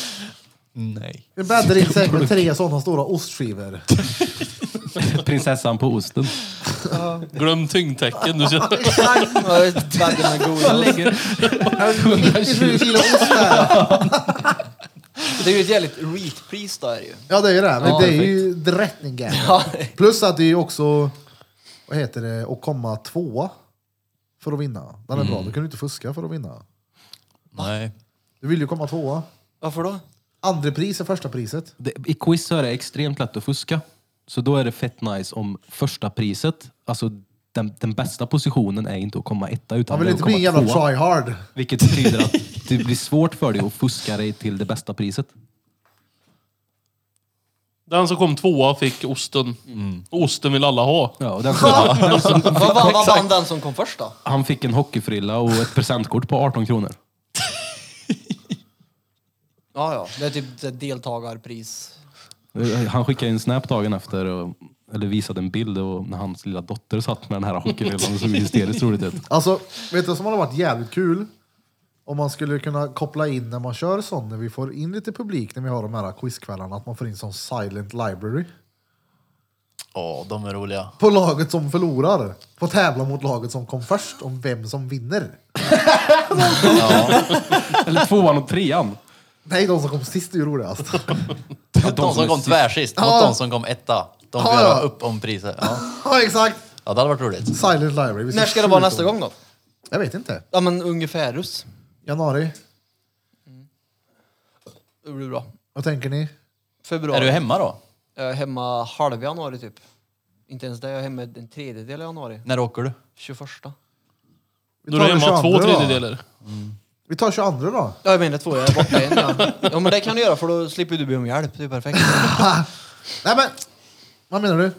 Nej. En bäddringssäck med tre sådana stora ostskivor. Prinsessan på osten. Glöm tyngdtäcken. Du ser. Ja, ett Badde med goda. Sju kilo ost där. Det är ju ett jävligt reat-pris då är det ju. Ja det är ju det. Men Ja, det är ju drättningen. Ja. Plus att det är ju också, vad heter det, att komma tvåa för att vinna. Den är Mm. bra, du kan ju inte fuska för att vinna. Nej. Du vill ju komma tvåa. Varför då? Andra pris är första priset. Det, I quiz så är det extremt lätt att fuska. Så då är det fett nice om första priset, alltså den, den bästa positionen är inte att komma etta utan Man vill det är inte att bli en komma jävla tvåa. tryhard. Vilket betyder att det blir svårt för dig att fuska dig till det bästa priset. Den som kom tvåa fick osten. Osten vill alla ha. Ja, och den som, den som, Vad vad- vad vann den som kom först då? han fick en hockeyfrilla och ett presentkort på 18 kronor. Ja, ja. Det är typ ett deltagarpris. Han skickade en snap dagen efter och eller visade en bild och när hans lilla dotter satt med den här hockeyrullen och såg hysteriskt roligt ut. Alltså, vet du vad som hade varit jävligt kul? Om man skulle kunna koppla in när man kör sån, när vi får in lite publik när vi har de här quizkvällarna, att man får in sån silent library. Åh, de är roliga. På laget som förlorar. Får tävla mot laget som kom först om vem som vinner. Eller tvåan och trean. Nej, de som kom sist är ju roligast. De, som kom tvärsist mot Ja. de som kom etta. De får Ja, göra ja. upp om priser. Ja. ja, exakt! ja, det hade varit roligt. Silent library. Vi När ska det vara nästa gång då? Jag vet inte. Ja men ungefärus. Januari. Det blir bra. Vad tänker ni? Februari. Är du hemma då? Jag är hemma halv januari typ. Inte ens det, jag är hemma en tredjedel av januari. När åker du? 21. Ja, Vi Då är det den hemma 22 två då. tredjedelar. Vi tar 22 då. jag menar två, jag är borta en. Ja. ja men det kan du göra för då slipper du be om hjälp, det är perfekt. Nej men, vad menar du?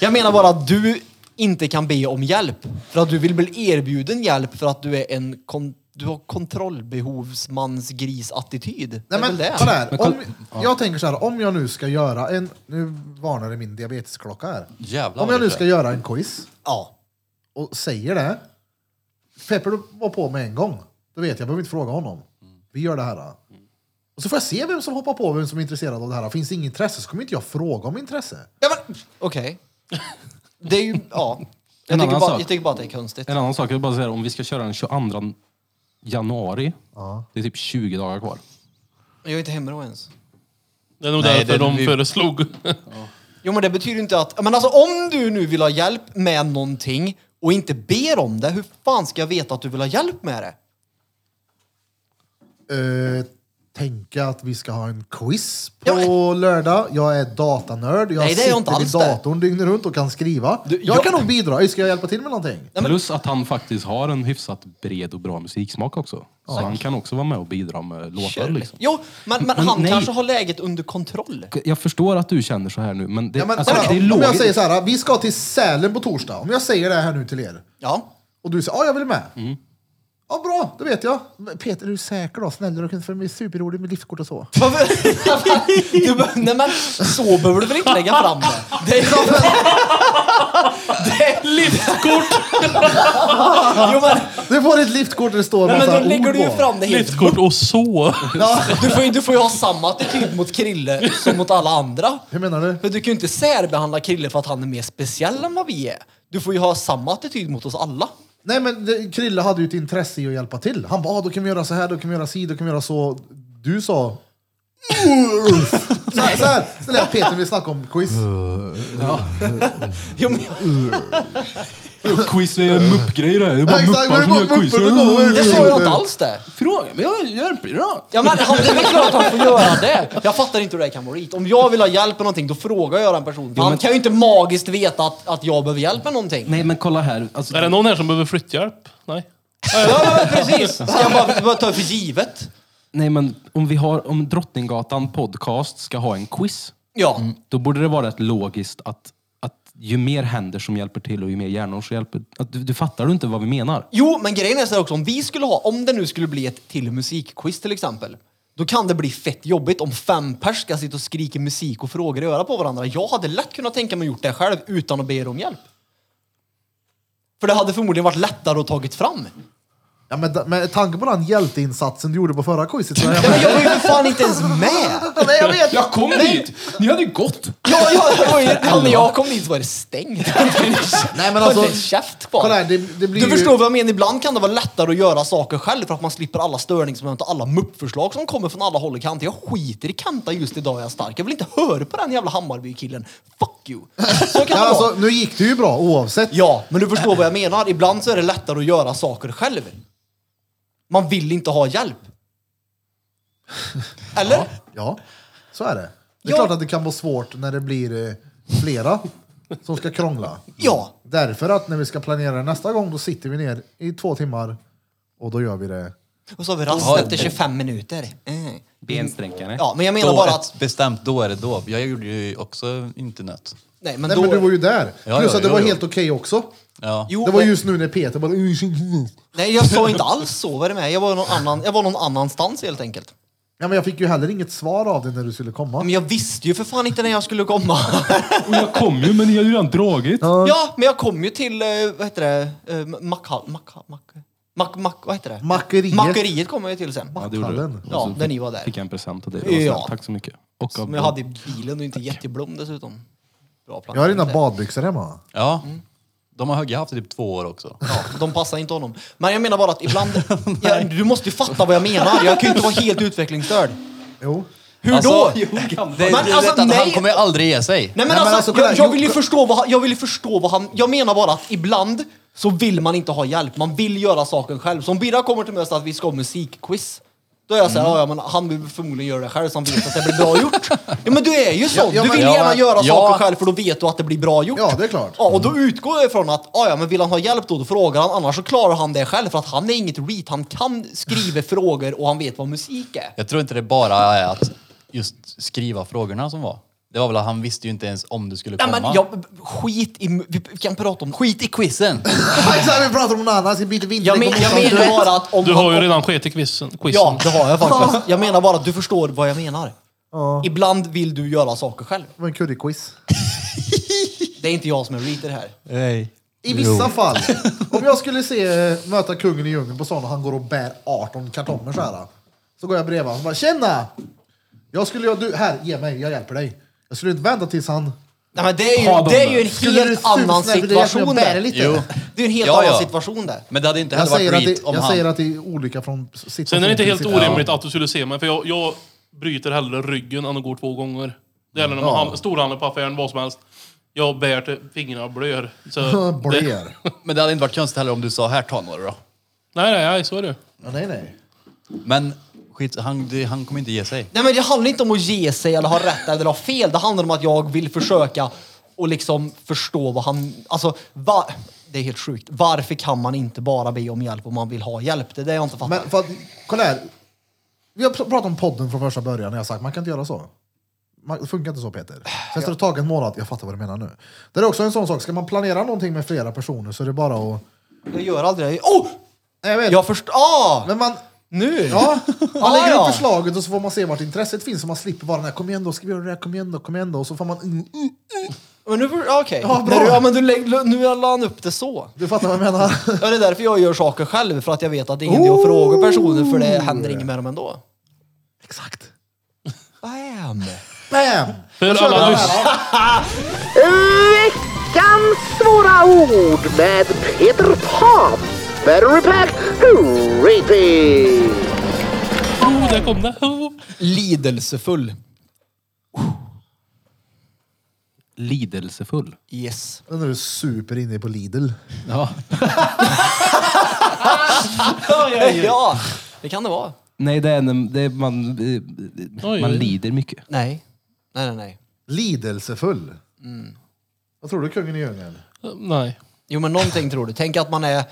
Jag menar bara att du inte kan be om hjälp. För att du vill bli erbjuden hjälp för att du är en kon- du har kontrollbehovsmansgris-attityd. Det Nej är men, väl det. kolla här. Om, jag tänker så här, om jag nu ska göra en... Nu varnar det min diabetesklocka här. Jävlar Om vad jag nu det ska är. göra en quiz Ja. och säger det. Pepper var på med en gång. Då vet jag, jag behöver inte fråga honom. Vi gör det här. då. Och så får jag se vem som hoppar på, vem som är intresserad av det här. Finns det inget intresse så kommer inte jag fråga om intresse. ja men, okej. Det är ju, ja. Jag En tycker, annan bara, sak. jag tycker bara att det är konstigt. En annan sak, jag vill bara säga om vi ska köra den 22 januari. Det är typ 20 dagar kvar. Jag är inte hemma då ens. Det är nog Nej, därför det- de vi- föreslog. Jo men det betyder ju inte att, men alltså om du nu vill ha hjälp med någonting och inte ber om det, hur fan ska jag veta att du vill ha hjälp med det? Eh, tänka att vi ska ha en quiz på Ja, lördag. Jag är datanörd. Jag Nej, det är sitter jag inte vid alls det. datorn dygnet runt och kan skriva. Du, jag, jag- kan nog bidra. Ska jag hjälpa till med någonting? men- Plus att han faktiskt har en hyfsat bred och bra musiksmak också. Så han kan också vara med och bidra med låtar. Kör. Liksom. Jo, men, men Men han nej. kanske har läget under kontroll. Jag förstår att du känner så här nu, men det, Ja, men, alltså, kolla, det är om jag logiskt. säger så här, vi ska till Sälen på torsdag. Om jag säger det här nu till er Ja. och du säger ja, jag vill med. Mm. Ja, bra, då vet jag. Men Peter, är du säker då? Snälla, du kan få en superrolig med liftkort och så. Varför- du, be- nej men så behöver du väl inte lägga fram det? det, är, det är, Liftkort! jo, men, Du får ett liftkort där det står nej, massa men då lägger ord du ju på. fram det helt. Liftkort och så. Du får, ju- du får ju ha samma attityd mot Krille som mot alla andra. Hur menar du? Men du kan ju inte särbehandla Krille för att han är mer speciell än vad vi är. Du får ju ha samma attityd mot oss alla. Nej men det, Krille hade ju ett intresse i att hjälpa till. Han bara, ah, då kan vi göra så här, då kan vi göra si, då kan vi göra så. Du sa... så här, så här. Så lät Peter när vi snackade om quiz. Jo, men, Quiz, vi gör muppgrejer här. Det är Ja, bara exakt, muppar det är som bara gör quiz. muppar, det går väl. jag sa ju inte alls det. Fråga, men jag hjälper dig då. Ja, men, han, det är väl klart att han får göra det. Jag fattar inte hur det här kan vara rit. Om jag vill ha hjälp med någonting, då frågar jag den personen. Han kan ju inte magiskt veta att, att jag behöver hjälp med någonting. Nej, men kolla här. Alltså, Är det någon här som behöver flytthjälp? Nej. Ja, ja, precis. Ska jag bara, bara ta för givet? Nej, men om vi har, om Drottninggatan podcast ska ha en quiz, Ja. då borde det vara rätt logiskt att, att ju mer händer som hjälper till och ju mer hjärnor som hjälper... Att du, du fattar du inte vad vi menar? Jo, men grejen är så här också, om vi skulle ha, om det nu skulle bli ett till musikquiz till exempel, då kan det bli fett jobbigt om fem pers ska sitta och skrika musik och frågor i örat på varandra. Jag hade lätt kunnat tänka mig gjort det själv utan att be er om hjälp. För det hade förmodligen varit lättare att tagit fram. Ja, men da- med tanke på den hjälteinsatsen du gjorde på förra quizet så är Nej, jag... men jag var ju för fan inte ens med! Nej, jag vet! Jag kom dit! Ni hade gått! Ja, ja, det var ju, ja, när jag kom dit så var det stängt. Nej, men alltså- käft kvar. Kolla här, det, det blir Du ju... förstår vad jag menar, ibland kan det vara lättare att göra saker själv för att man slipper alla störningsmoment och alla muppförslag som kommer från alla håll och kanter. Jag skiter i Kanta just idag jag är stark. Jag vill inte höra på den jävla Hammarby-killen. Fuck you! Så kan Ja, det vara. alltså, nu gick det ju bra oavsett. Ja, men du förstår vad jag menar. Ibland så är det lättare att göra saker själv. Man vill inte ha hjälp. Eller? Ja, så är det. Det är Ja. klart att det kan vara svårt när det blir eh, flera som ska krångla. Ja. Därför att när vi ska planera nästa gång då sitter vi ner i två timmar och då gör vi det. Och så har vi rast Ja, efter 25 minuter. Mm. Bensträckare. Ja, men jag menar Då bara är att... det bestämt, då är det då. Jag gjorde ju också internet. Nej, men Nej då... men du var ju där. Ja, Plus ja, att det ja, var ja. helt okej också. Ja. Jo, Det var men- just nu när Peter bara... Nej, jag sa inte alls så. Vad är det med? Jag var någon, annan, jag var någon annanstans helt enkelt. Ja, men jag fick ju heller inget svar av dig när du skulle komma. Men jag visste ju för fan inte när jag skulle komma. Och jag kom ju, men ni har ju redan dragit. Mm. ja, men jag kom ju till, eh, vad heter det, eh, Mackhall... Mackhall... Mack... Mack... Mack... Vad heter det? Makeriet. Makeriet kom jag ju till sen. Ja, det gjorde du. Hallen. Och Ja, så när fick- ni var där. Fick jag en present av dig. Det var så här, Ja. Tack så mycket. Och av Som jag hade i bilen och inte gett i Blom dessutom. Bra plan. Jag har dina badbyxor hemma. Ja. De har Hugge haft i typ två år också. Ja, de passar inte honom. Men jag menar bara att ibland... ja, du måste ju fatta vad jag menar. Jag kan ju inte vara helt utvecklingsstörd. Jo. Hur då? Alltså, Det, Men du alltså, vet att nej. han kommer ju aldrig ge sig. Nej men, Nej, men alltså, alltså, kolla jag, här, jag vill ju Jocke- förstå vad han, jag vill ju förstå vad han, jag menar bara att ibland så vill man inte ha hjälp, man vill göra saken själv. Så om Birra kommer till mig och säger att vi ska ha musikquiz, då är jag såhär, "Ja, ja men han vill förmodligen göra det själv så han vet att det blir bra gjort. Ja men du är ju sån, ja, du men- vill ja, gärna men- göra ja. saker själv för då vet du att det blir bra gjort. Ja, det är klart. Mm. Ja, och då utgår jag ifrån att, "Ja, ja men vill han ha hjälp då, då frågar han, annars så klarar han det själv för att han är inget reat, han kan skriva frågor och han vet vad musik är. Jag tror inte det bara är att just skriva frågorna som var. Det var väl att han visste ju inte ens om du skulle Nej komma. men jag, skit i, vi kan prata om Skit i quizen! Exakt, vi pratar om någon annan. Ska byta vinter. Jag, men, jag menar bara att om... Du har ju om- redan skett i quizen. quizen. Ja, det har jag faktiskt. Jag menar bara att du förstår vad jag menar. Ibland vill du göra saker själv. Det var en curryquiz. Det är inte jag som är reader här. Nej. I vissa fall. Om jag skulle se, eh, möta kungen i djungeln på stan och han går och bär 18 kartonger så här. Så går jag bredvid honom och bara “Tjena! Jag skulle, göra- du, här, ge mig, jag hjälper dig. Jag skulle inte vänta tills han... Nej, men det är Ha ju, dem det är ju där. en Skulle du helt annan supersnäll, för det är därför jag situation bär där. lite. Jo. Det är ju en helt Ja, annan ja. situation där. Men det hade inte Jag heller varit säger, att reat det, om jag säger han... att det är olika från situation Sen är det inte till helt situation. orimligt att du skulle se mig, för jag, jag bryter hellre ryggen än att gå två gånger. Det gäller när man hand- storhandlar på affären, vad som helst. Jag bär till fingrarna blöder. Så det, Blöjer. Men det hade inte varit konstigt heller om du sa här, ta några då. nej, nej, nej, så är det. Ja, nej, nej. Men skit, han, det- han kommer inte ge sig. Nej, men det handlar inte om att ge sig eller ha rätt eller ha fel. Det handlar om att jag vill försöka och liksom förstå vad han... Alltså, va, det är helt sjukt. Varför kan man inte bara be om hjälp om man vill ha hjälp? Det är det jag inte fattar. Men för att, kolla här. Vi har pr- pratat om podden från första början och jag har sagt man kan inte göra så. Man, det funkar inte så Peter. Sen står det taget en månad, jag fattar vad du menar nu. Det är också en sån sak, ska man planera någonting med flera personer så är det bara att... Jag gör aldrig det. Oh! Nej, jag vet. Jag förstår... Ah! Men man, Nu! ja, man Ah, lägger ja. upp förslaget och så får man se vart intresset finns så man slipper vara den här kom igen då, ska vi göra det här, kom igen då, kom igen då. Och så får man... Mm, mm. Men nu, okej. Ja, bra. När du- ja, men du lägg, nu la han upp det så. Du fattar vad jag menar? Ja, det är därför jag gör saker själv, för att jag vet att det är ingen idé att fråga personer, för det händer inget med dem ändå. Exakt. Bam! Bam! För alla, lys- Veckans svåra ord med Peter Pan. Battery pack rating. oh, där kom det. Oh. Lidelsefull. Lidelsefull. Yes. Nu är du super inne på Lidl. Ja, det kan det vara. Nej, det är, när- det är man, eh, Oj, man oj. lider mycket. Nej. Nej, nej, nej. Lidelsefull. Mm. Vad tror du kungen i djungeln? Nej. Jo, men någonting tror du. Tänk att man är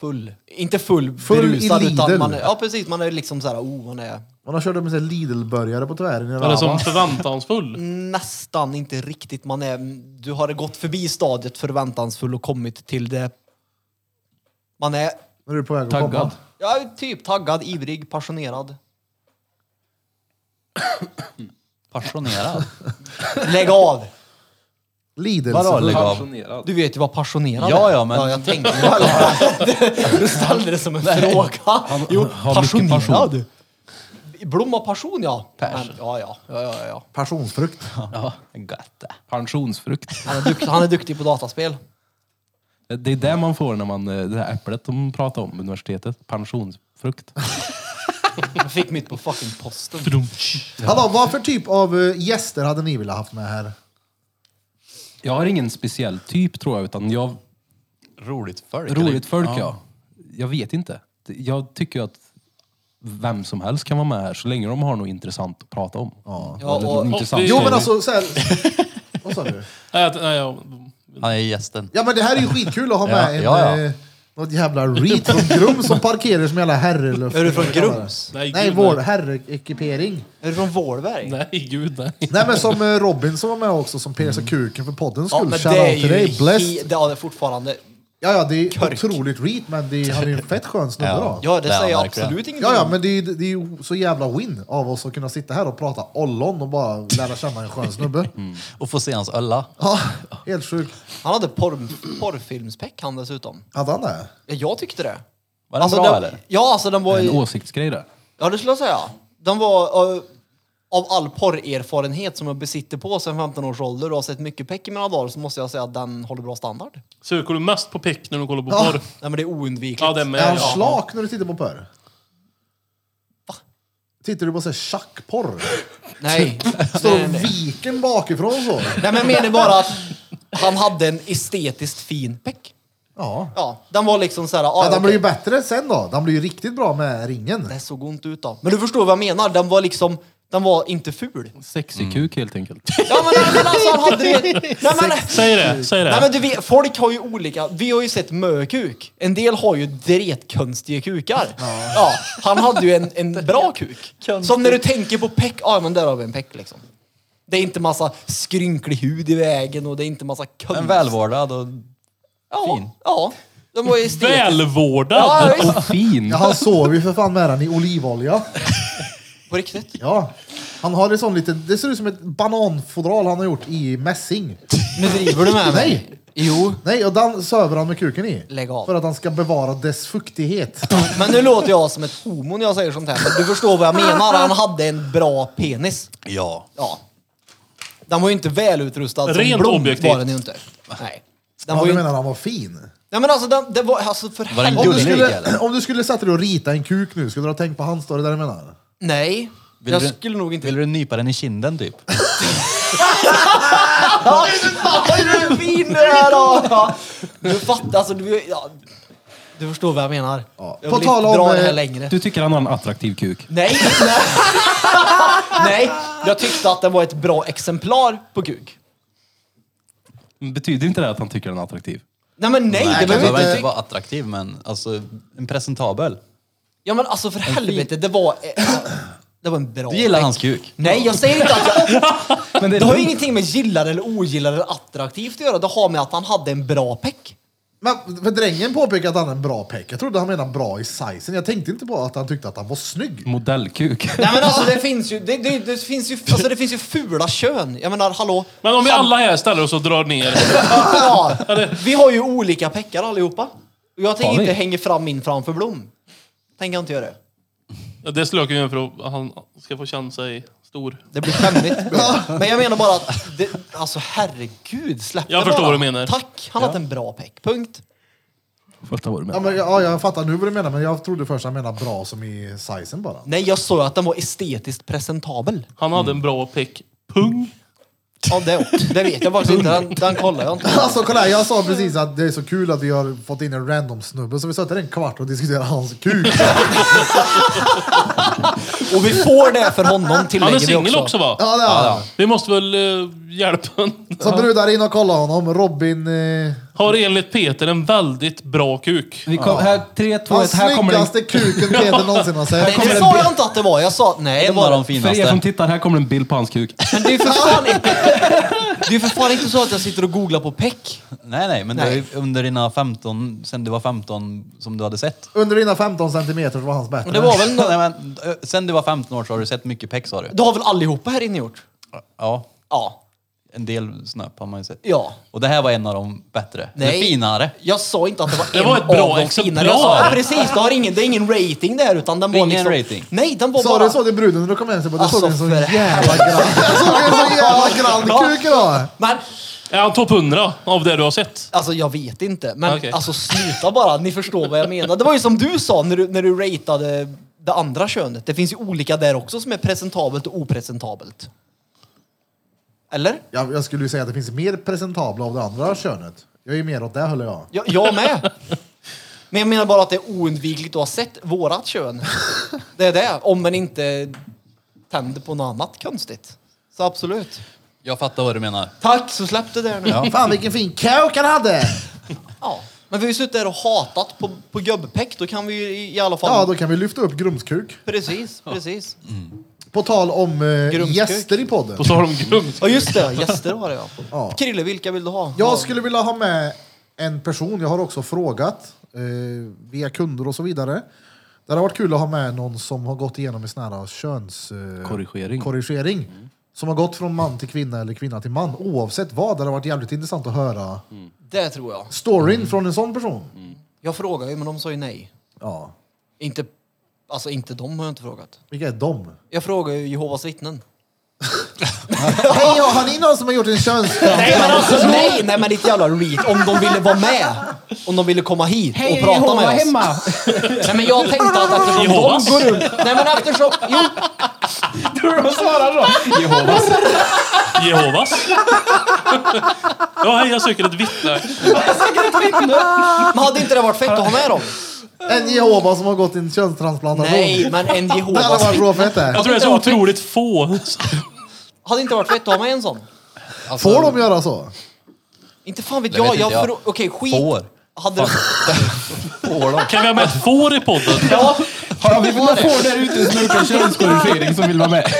full. Inte full, Full i berusad, Lidl. utan man är, Ja, precis. Man är liksom så här, oh, man är Man har kört upp en sån här Lidl-burgare på tvären i Eller Rama. som förväntansfull. nästan inte riktigt. Man är, du har gått förbi stadiet förväntansfull och kommit till det. Man är När du är på väg att Taggad. komma. ja, typ taggad, ivrig, passionerad. Passionerad. Lägg av! Vadå, Lidelsefull. lägg av? Passionerad. Du vet ju vad passionerad Ja, är. ja, men- ja, jag tänkte väl. Du ställde det som en fråga. Jo, har mycket passionerad. Blomma passion, ja. Men, ja, ja. ja, ja, ja. Passionsfrukt. ja, gött det. Pensionsfrukt. Han, är dukt, han är duktig på dataspel. Det är det man får när man, eh, det här äpplet de pratar om på universitetet. Pensionsfrukt. Jag fick mitt på fucking posten. Hallå, vad för typ av eh, gäster hade ni velat haft med här? Jag har ingen speciell typ tror jag, utan jag... Roligt folk. eller? Roligt folk ja. Jag vet inte. Det- Jag tycker ju att vem som helst kan vara med här, så länge de har något intressant att prata om. Ja, Eller och- intressant och- Jo story. men alltså, så här, vad sa du? Nej, jag- nej, jag, Han är gästen. Ja men det här är ju skitkul att ha med Ja, en... ja, ja. eh, Något jävla reet från Grums som parkerar som jävla herreluft. Är du från Grums? nej, Nej, gud, vår nej. herrekipering. Är du från Vålberg? Nej, gud nej. Nej men som eh, Robin som var med också som persade kuken för podden skull. men Shoutout till dig. he- Blessed. det- Ja, det är fortfarande Ja, ja, det är Körk. otroligt reat, men det är, han är ju en fett skön snubbe Ja. då. Ja. Ja, det Ja, säger jag verkligen. absolut ingenting Ja, om. men det är, det är ju så jävla win av oss att kunna sitta här och prata ollon och bara lära känna en skön snubbe. Och få se hans ölla. Ja, helt sjukt. Han hade porr, porrfilmspäck han dessutom. Hade han det? Ja, jag tyckte det. Var den bra den, eller? Ja, alltså den var... En ju- åsiktsgrej där. Ja, det skulle jag säga. Den var... eh, av all porrerfarenhet som jag besitter på sedan 15 års ålder och har sett mycket peck i mina dagar så måste jag säga att den håller bra standard. Söker du mest på pick när du kollar på Ja. porr? Nej men det är oundvikligt. Ja, det är Är med. han Ja. slak när du tittar på porr? Va? Tittar du på såhär tjackporr? Nej. Står nej, och nej. viken bakifrån så? nej men jag menar bara att han hade en estetiskt fin peck. Ja. Ja, den var liksom såhär... Ah, ja den okej. blir ju bättre sen då. Den blir ju riktigt bra med ringen. Det såg ont ut då. Men du förstår vad jag menar. Den var liksom... Den var inte ful. Sexig kuk helt enkelt. Ja men, nej, men alltså han hade ju... Nej, men, Säg det, säg Nej det. men du vet, folk har ju olika. Vi har ju sett mökuk. En del har ju dretkonstiga kukar. Ja. han hade ju en, en bra kuk. Som när du tänker på peck, ja men där har vi en peck liksom. Det är inte massa skrynklig hud i vägen och det är inte massa konst. Men välvårdad och... ja, fin. Ja, den var ju estetisk. Välvårdad! Ja, visst. Och fin! Ja, han sov ju för fan med den i olivolja. På riktigt. Ja. Han har en sån liten, det ser ut som ett bananfodral han har gjort i mässing. Nu driver du med mig. Nej. Jo, Nej, och den söver han med kuken i. Lägg av. För att han ska bevara dess fuktighet. men nu låter jag som ett homo när jag säger sånt här. Men du förstår vad jag menar. Han hade en bra penis. Ja. Ja. Den var ju inte välutrustad som Rent blom objektivt. var den ju inte. Nej. Den Ja, var ju... du menar han var fin? Nej men alltså, den, det var, alltså för Var den helvete. Om du, Gullig, skulle, eller? om du skulle sätta dig och rita en kuk nu, skulle du ha tänkt på han? Står det där jag menar? Nej. Vill jag du- skulle nog inte... Vill du nypa den i kinden typ? Ja, vad är det fin det här då? Ja. Du fattar, alltså du... Ja, du förstår vad jag menar. Ja. Jag På vill tal inte om, dra det här eh, längre. Du tycker han har en attraktiv kuk? Nej, nej. nej, jag tyckte att det var ett bra exemplar på kuk. Betyder inte det att han tycker den är attraktiv? Nej men nej, Nej, det det behöver behöver inte... inte vara attraktiv men alltså en presentabel. Ja men alltså för helvete, det var... eh, Det var en bra... Du gillar hans kuk. Nej, jag säger inte att jag... Men det Det har ju lugnt. ingenting med gillar eller ogillar eller attraktivt att göra. Det har med att han hade en bra peck. Men för drängen påpekade att han är en bra peck. Jag trodde han menade bra i sizen. Jag tänkte inte på att han tyckte att han var snygg. Modellkuk. Nej men alltså det finns ju, det, det, det finns ju, alltså, det finns ju fula kön. Jag menar hallå. Men om vi Sam- alla här ställer oss och drar ner. Ja, vi har ju olika peckar allihopa. Och Jag Har tänker vi? inte hänga fram min framför Blom. Tänker jag inte göra. Det skulle jag kunna göra för att han ska få känna sig stor. Det blir skämmigt. men jag menar bara att, det, alltså herregud släpp Jag det förstår bara. vad du menar. Tack, han hade en bra peck. Punkt. Första året Ja, med. men, ja, jag fattar nu vad du menar, men jag trodde först han menade bra som i sizen bara. Nej, jag sa ju att den var estetiskt presentabel. Han hade en bra pick. Pung. Ja, det, också. det vet jag faktiskt inte. Den, den kollar jag inte. Alltså kolla här, jag sa precis att det är så kul att vi har fått in en random snubbe så vi satt där en kvart och diskuterade hans kuk. Och vi får det för honom Han är tillägger vi singel också. också va? Ja, det har han. Vi måste väl eh, hjälpa honom. Så brudar in och kollar honom. Robin... Eh, Har enligt Peter en väldigt bra kuk. Vi kom, här, tre, två, hans ett. Här kommer snyggaste en, kuken Peter någonsin har Nej, sett. det sa jag inte att det var. Jag sa nej, det En av var de för er som finaste. tittar, här kommer en bild på hans kuk. Men det är ju för fan inte... Det är ju för fan inte så att jag sitter och googlar på peck. Nej, nej, men det Nej. är ju under dina 15, sen du var 15 som du hade sett. Under dina 15 centimeter så var hans bättre. Men det var väl... nå- Nej, men, ö, sen du var 15 år så har du sett mycket peck sa du. Det har väl allihopa här inne gjort? Ja, Ja. en del snöp har man ju sett. Ja. Och det här var en av de bättre. Nej. Nej. finare. Jag sa inte att det var Det en var ett bra av de exemplar. finare. Jag sa, ja, precis, det, har ingen, det är ingen rating det här utan den var Ingen liksom... rating. Nej, den var Sa bara... du så till bruden när du kom hem? Så bara, du såg Alltså, en så för jävla grann... Jag såg en så jävla grann kuk idag! Men Är han topp 100 av det du har sett? Alltså jag vet inte, men Okej. alltså sluta bara, ni förstår vad jag menar. Det var ju som du sa när du, när du ratade det andra könet. Det finns ju olika där också som är presentabelt och opresentabelt. Eller? Jag, jag skulle ju säga att det finns mer presentabla av det andra könet. Jag är ju mer åt det håller jag. Jag, jag med. Men jag menar bara att det är oundvikligt att ha sett vårat kön. Det är det, om man inte tänder på något annat konstigt. Så absolut. Jag fattar vad du menar. Tack, så släpp det där nu. Ja. Fan vilken fin kuk han hade! Men vi har ju suttit där och hatat på, på gubbpäck, då kan vi ju i, i alla fall... Ja, då kan vi lyfta upp Grumskuk. Precis, precis. På tal om eh, Grumskuk. gäster i podden. Och så har de grumskuk. Ja just det, gäster har jag. Ja. Krille, vilka vill du ha? Jag skulle vilja ha med en person, jag har också frågat eh, via kunder och så vidare. Det hade varit kul att ha med någon som har gått igenom en sån här köns... Eh, Korrigering. korrigering. Som har gått från man till kvinna eller kvinna till man. Oavsett vad, det hade varit jävligt intressant att höra Det tror jag. storyn från en sån person. Jag frågade ju men de sa ju nej. Ja. Inte, alltså inte de har jag inte frågat. Vilka är de? Jag frågade ju Jehovas vittnen. Hej, ja, har ni någon som har gjort en köns... Nej men alltså nej! Nej men ditt jävla reet. Om de ville vara med. Om de ville komma hit och prata med oss. Nej men jag tänkte att eftersom Jehovas. de går runt... Nej men eftersom... Jo, Jehovas. ja, hej, jag söker ett vittne. men hade inte det varit fett att ha med dem? En Jehova som har gått en könstransplantation? Nej men en Det hade Jehovas varit så fett det. Jag tror det är så otroligt få. Hade inte varit fett att ha med en sån? Alltså, Får de göra så? Inte fan vet Det jag. vet jag inte jag. frå- Okej, skit. Får. Hade... Får de? Kan vi ha med ett får i podden? Ja, Har vi några får där ute som har gjort en könskorrigering som vill vara med?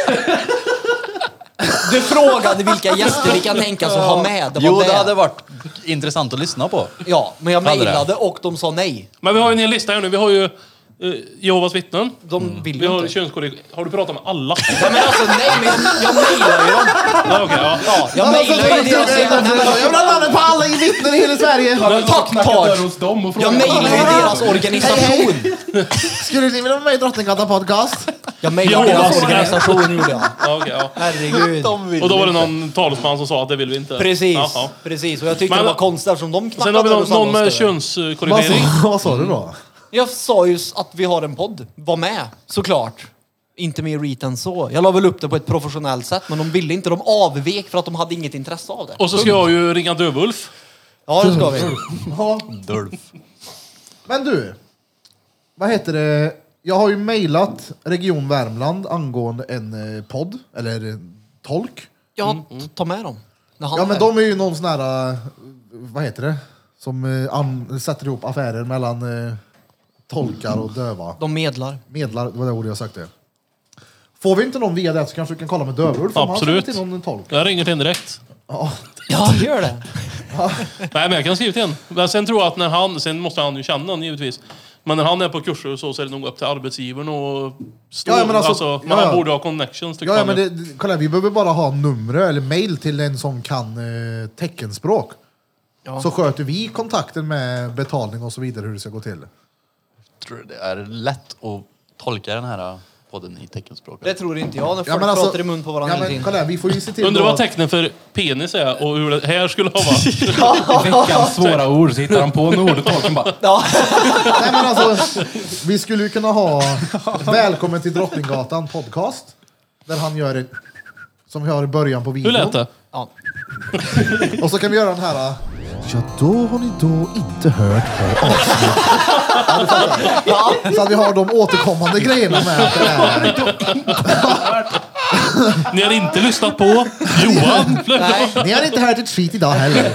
du frågade vilka gäster vi kan tänka oss att ha med. Det var Jo, det. det hade varit intressant att lyssna på. Ja, men jag Hade det? mejlade och de sa nej. Men vi har ju en hel lista här nu. Vi har ju eh, Jehovas vittnen. De Mm. vill Vi ju har inte. könskorrigering. Har du pratat med alla? Nej men alltså nej, men jag, jag mejlade ju dem. ja, okej, ja. Ja, jag Alltså, alltså, mejlade ju deras jävla... Nej, men Jag vill ha namnet på alla i vittnen i hela Sverige! alltså, Tack Dörr Tard! hos dem och Jag frågar. mejlade ju deras organisation. Skulle ni vilja vara med i Drottninggatan podcast? Jag mejlade Jo, deras alltså, det- organisation gjorde jag. Ja, okej, ja. Herregud. Och då var det någon talesman som sa att det vill vi inte. Precis, Ja, ja. precis. Och jag tyckte Men- det var konstigt eftersom de Sen har vi knackade någon, och sa någon med något större. Vad könskorrigering. sa, vad sa du då? Jag sa ju att vi har en podd. Var med, såklart. Inte mer reet än så. Jag la väl upp det på ett professionellt sätt, men de ville inte. De avvek för att de hade inget intresse av det. Och så ska jag ju ringa Dövulf. Ja, det ska vi. Dulf. Men du, vad heter det? Jag har ju mejlat Region Värmland angående en eh, podd, eller en tolk. Ja, Mm, ta med dem. När han Ja men är. de är ju någon sån här, eh, vad heter det? Som eh, an, sätter ihop affärer mellan eh, tolkar och döva. de medlar. Medlar, det var det ordet jag sökte. Får vi inte någon via det så kanske vi kan kolla med Dövulf om han känner Absolut. till någon tolk. Jag ringer till en direkt. Ja, gör det. Nej, men jag kan skriva till en. Men sen tror jag att när han, sen måste han ju känna någon givetvis. Men när han är på kurser och så, så är det nog upp till arbetsgivaren och stå. Ja, ja, men men alltså- man ja, ja. borde ha connections tycker Ja, ja man men ju. det, det- kolla här, vi behöver bara ha numret eller mail till en som kan eh, teckenspråk. Så sköter vi kontakten med betalning och så vidare hur det ska gå till. Tror du det är lätt att tolka den här äh, podden i teckenspråk? Det tror inte jag när folk pratar i mun på varandra alltså- ja, men, hela tiden. kolla här, vi får ju se till Undrar då- vad tecknen för penis är och hur det här skulle ha varit. Veckans svåra ord så hittar han på något ord och tolken bara Ja, Nej, men alltså, vi skulle ju kunna ha Välkommen till Drottninggatan podcast. Där han gör en som vi har i början på Hur videon. lät det? ja. Och så kan vi göra den här. eh, Ja, då har ni då inte hört på avsnittet. Ja, du fattar. så att vi har de återkommande grejerna med. Att det är. Ni har inte lyssnat på Johan. Nej. Ni har inte hört ett skit idag heller.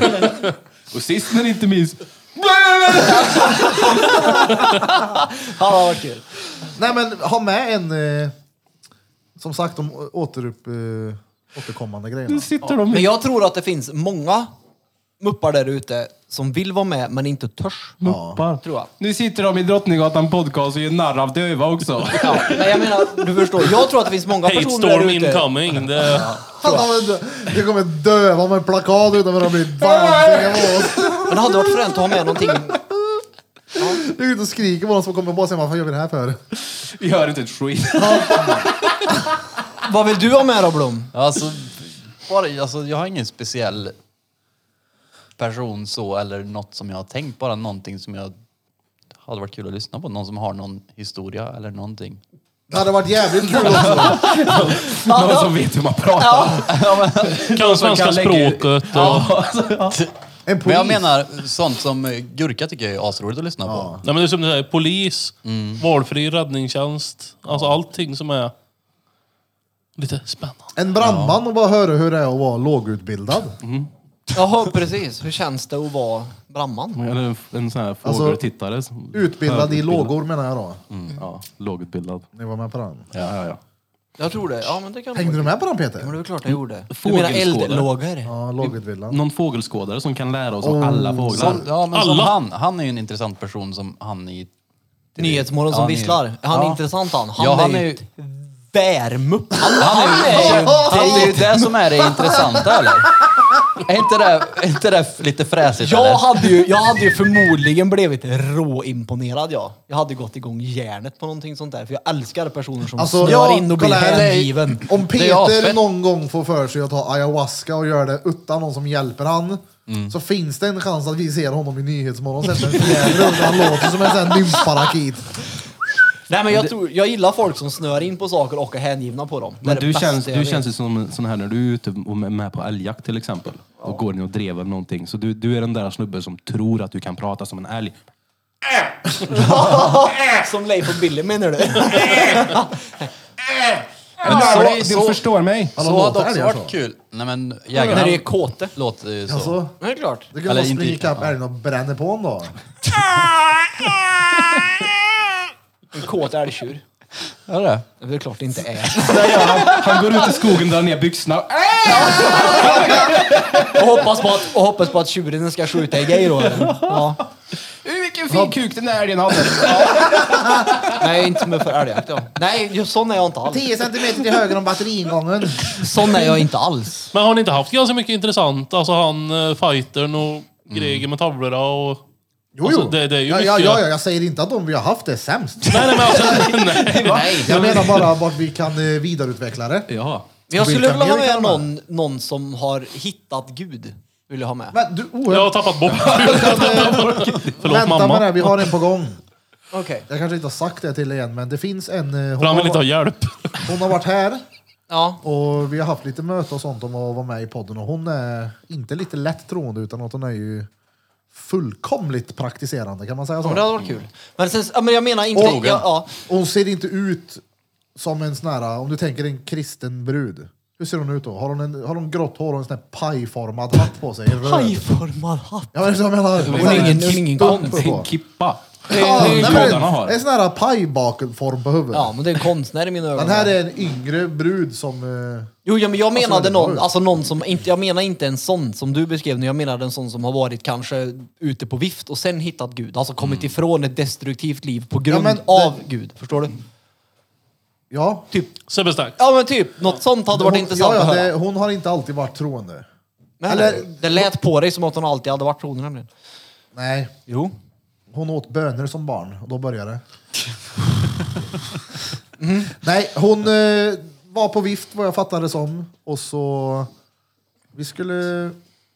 Och sist men inte minst. Ja, vad kul. Nej men ha med en, eh, som sagt, de å- återupp, eh, återkommande grejerna. Nu sitter de Men i jag tror att det finns många muppar där ute som vill vara med men inte törs. muppar. Tror jag. Nu sitter de i Drottninggatan podcast och gör narr av döva också. Ja, men jag menar, du förstår. Jag tror att det finns många Hate personer där storm ute. incoming. Det, Fan, de är- Det kommer döva med plakat utanför de blir vansinniga på oss. Men det hade varit fränt att ha med någonting Du går ut och skriker på dem som kommer och bara säger vad fan gör vi det här för? Vi hör inte ett skit. Vad vill du ha med då Blom? Alltså, bara, alltså, jag har ingen speciell person så eller något som jag har tänkt. Bara någonting som jag hade varit kul att lyssna på. Någon som har någon historia eller någonting. Det hade varit jävligt kul också. Någon som vet hur man pratar. kan svenska kan lägga- språket. Och, En Men jag polis. menar sånt som eh, Gurka tycker jag är asroligt att lyssna på. Nej, men det är som du säger, polis, Mm. valfri räddningstjänst. Alltså allting som är lite spännande. En brandman och bara höra hur det är att vara lågutbildad. Jaha, precis. Hur känns det att vara brandman? Eller en, en sån här Alltså, fågeltittare. som- Utbildad i högutbildad. lågor menar jag då. Mm, Ja, lågutbildad. Ni var med på den. Ja, ja, ja. Jag tror det. Ja, men det kan Hängde du med på den Peter? Ja, men det är klart jag gjorde. Du menar Fågelskådare. eldlågor? Ja, Mm. lågutvillan. Någon fågelskådare som kan lära oss om alla fåglar. Som, ja, men som Alla. han. Han är ju en intressant person som han i... Nyhetsmorgon som Ja, visslar. nyhet- Han är Ja. intressant han. Han, Ja, han är ju ett bärmupp. Han är ju... Det är ju det som är det intressanta eller? Är inte det, är inte det lite fräsigt Jag typ, eller? hade, ju, jag hade ju förmodligen blivit råimponerad jag. Jag hade gått igång hjärnet på någonting sånt där. För jag älskar personer som snör in och Alltså, blir kolla här, nej. hängiven. Om Det är Peter asfett. någon gång får för sig att ta ayahuasca och gör det utan någon som hjälper han, Mm. så finns det en chans att vi ser honom i Nyhetsmorgon sen med en fjäder under. Han låter som en sån här nymfparakit. Nej men jag, tror, jag gillar folk som snör in på saker och är hängivna på dem. Det är Men det du bästa känns, jag du vet. känns ju som en sån här när du är ute och är med på älgjakt till exempel. Och går ner och drever någonting. Så du, du är den där snubben som tror att du kan prata som en älg. Som Leif och Billy menar du? Men så- Du så- förstår mig. Så hade också älgar varit Alltså, så? kul. Nej men När det jägarna är kåte. låter ju så. Alltså, Det är klart. det kan Eller vara inte- springa ikapp älgen och bränna på honom då. En kåt älgtjur. Är det? Det är väl klart det inte är. Han går ut i skogen, drar ner byxorna. Äh, Och hoppas på att, och hoppas på att tjuren ska skjuta i dig då. eller? Ja. Vilken fin kuk den där älgen hade. Nej, inte med för älgjakt. Ja. Nej, just sån är jag inte alls. 10 centimeter till höger om batteriingången. Sån är jag inte alls. Men har ni inte haft ganska mycket intressant? Alltså han, eh, Mm. fightern och Greger med tavlorna och... Jo, Alltså, jo. det- det är ju ja, ja, mycket- ja, ja, jag säger inte att de vi har haft är sämst. Nej, nej men alltså... nej. Jag menar bara vart vi kan eh, vidareutveckla det. Jaha. Men jag skulle Vilka vilja ha mer kan med man? någon, någon som har hittat Gud. Vill jag ha med. Men du, oh, Jag jag eh, har tappat bort... Förlåt vänta med det, mamma. här, vi har en på gång. Okej. Jag kanske inte har sagt det till er än, men det finns en... eh, Hon, För han har, vill inte ha hjälp. hon har varit här Ja. och vi har haft lite möte och sånt om att vara med i podden och hon är inte lite lätt troende utan att hon är ju fullkomligt praktiserande, kan man säga ja, men det så? hade varit kul. Men, sen, ja, men jag menar inte... Och- Ja, ja. Hon ser inte ut som en sån här, om du tänker en kristen brud. Hur ser hon ut då? Har hon, en, har hon grått hår och en sån här pajformad hatt på sig? Röd. Pajformad hatt. Ja, men det är så jag menar. Hon är ingen, hon är ingen konst. Uppe på. Kippa. Ja, nej, men Gudarna har. en- En sån här pajbakelform på huvudet. Ja, men det är en konstnär i mina ögon. Den här är en yngre brud som... eh, Jo, ja, men jag menade det var någon, ju- alltså någon som inte, jag menar inte en sån som du beskrev nu, jag menade en sån som har varit kanske ute på vift och sen hittat Gud. Alltså kommit ifrån ett destruktivt liv på grund Mm. men det- av Gud. Förstår du? Ja. Typ, Sebbe Stack. ja men typ, något sånt hade varit hon, intressant ja, att ja, höra. det, hon har inte alltid varit troende. men, eller- det lät på dig som att hon alltid hade varit troende nämligen. Nej, Jo. hon åt bönor som barn och då började det. Mm. Nej, hon eh, var på vift vad jag fattade det som. Och så... Vi skulle...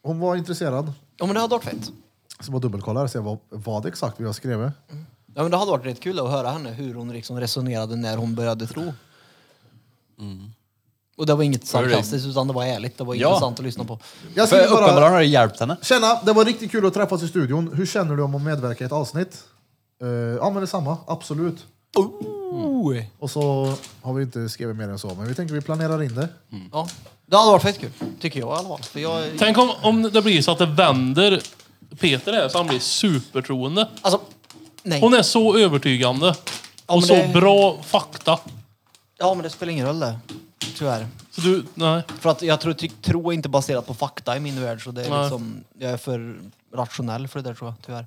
Hon var intresserad. Ja men det hade varit fett. Så jag dubbelkollar och ser vad, vad exakt vi har skrivit. Ja men det hade varit rätt kul att höra henne, hur hon liksom resonerade när hon började tro. Mm. Och det var inget Hör du? sarkastiskt utan det var ärligt, det var Ja. intressant att lyssna på. Jag För skulle bara... uppenbarligen har det hjälpt henne. Tjena, det var riktigt kul att träffas i studion. Hur känner du om att medverka i ett avsnitt? Eh, ja men detsamma, absolut. Oh. Och så har vi inte skrivit mer än så, men vi tänker vi planerar in det. Ja. Det hade varit fett kul, tycker jag i alla fall. För jag, Tänk om, om det blir så att det vänder Peter här så han blir supertroende. alltså, nej. Hon är så övertygande. Ja, och men så det- bra fakta. Ja, men det spelar ingen roll det. Tyvärr. Så du, nej. För att jag tror, ty- tro är inte baserat på fakta i min värld, så det är Nej. liksom, jag är för rationell för det där tror jag, tyvärr.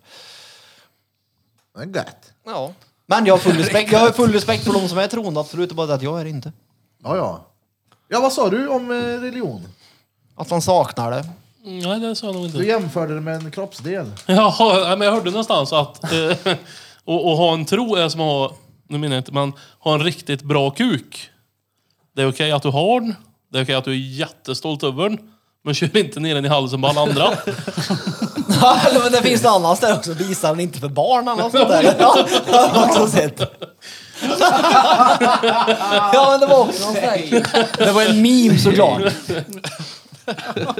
Det är gött. Ja. Men jag har full respekt, jag har full respekt för de som är troende, absolut. Det är bara det att jag är det inte. Ja, ja. Ja, vad sa du om eh, religion? Att man saknar det. Nej, det sa jag nog Du inte. jämförde det med en kroppsdel. Jaha, nej, men jag hörde någonstans att eh, och, och ha en tro är som att ha, nu menar jag inte, men ha en riktigt bra kuk. Det är okej att du har den. Det är okej att du är jättestolt över den. Men kör inte ner den i halsen på alla andra. Ja, men det finns något annat där också. Visa den inte för barn eller något sånt där. Ja, det har jag också sett. Ja, men det var också någon sån där. Det var en meme såklart.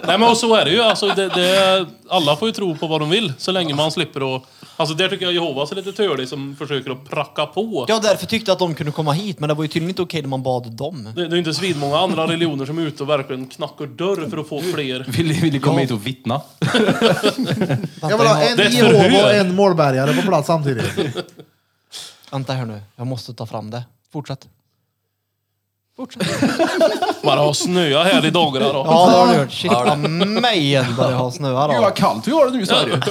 Nej men och så är det ju. Alltså, det, det, alla får ju tro på vad de vill så länge man slipper att... Alltså där tycker jag Jehovas är lite tölig som försöker att pracka på. Jag därför tyckte att de kunde komma hit, men det var ju tydligen inte okej när man bad dem. Det, det är ju inte svinmånga andra religioner som är ute och verkligen knackar dörr för att få fler. Vill, vill du komma hit och vittna? Jag vill ha en Det är ett IHV och förhör. en målbärgare på plats samtidigt. Vänta här nu, jag måste ta fram det. Fortsätt. Bara ha snöa här i dagarna då. Ja, det har du hört. Shit vad mejen vad det har snöat Gud vad då. kallt vi har det nu i Sverige.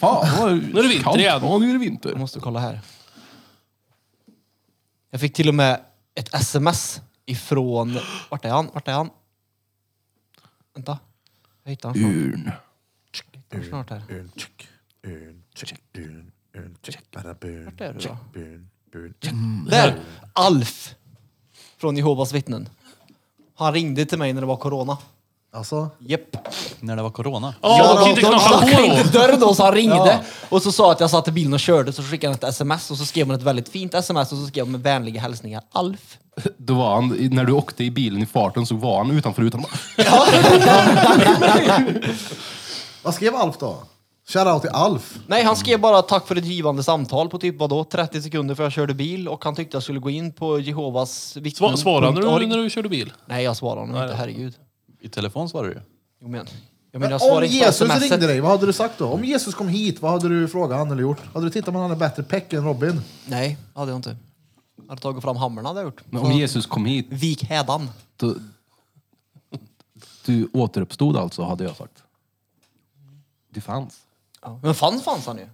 Fan, vad Nu är det vinter kallt. igen. Ja, nu är det Jag vinter. måste kolla här. Jag fick till och med ett sms ifrån... Vart är han? Vart är han? Vänta. Jag hittar han snart. Urn. Jag hittar han snart här. Bön, check. Bön, check. Bön, bön, check. Bara bön, Vart är du check. Mm. då? Bön, bön, Där! Alf! Från Jehovas vittnen. Han ringde till mig när det var corona. Alltså, Japp. När det var corona. Ja, man kan inte de knacka knackade på inte då. dörren då, så han ringde. Och så sa att jag satt i bilen och körde, så skickade han ett sms och så skrev han ett väldigt fint sms och så skrev han med vänliga hälsningar Alf. Då var han, när du åkte i bilen i farten så var han utanför utan. vad skrev Alf då? Shoutout till Alf. Nej, han skrev bara tack för ett givande samtal på typ vadå, 30 sekunder för jag körde bil och han tyckte jag skulle gå in på Jehovas Sva- vittnen. Svarade punkt Mm. du org. när du körde bil? Nej, jag svarade honom inte, herregud. I telefon svarade du ju. Jo, men, jag menar, jag Om svarade inte på Jesus SMS-et. ringde dig, vad hade du sagt då? Om Jesus kom hit, vad hade du frågat han eller gjort? Hade du tittat om han hade bättre peck än Robin? Nej, hade jag inte. Jag hade tagit fram hammaren hade jag gjort. Men om Jesus kom hit, Vik hädan. då, du återuppstod alltså, hade jag sagt. Du fanns. Men fanns fanns han ju.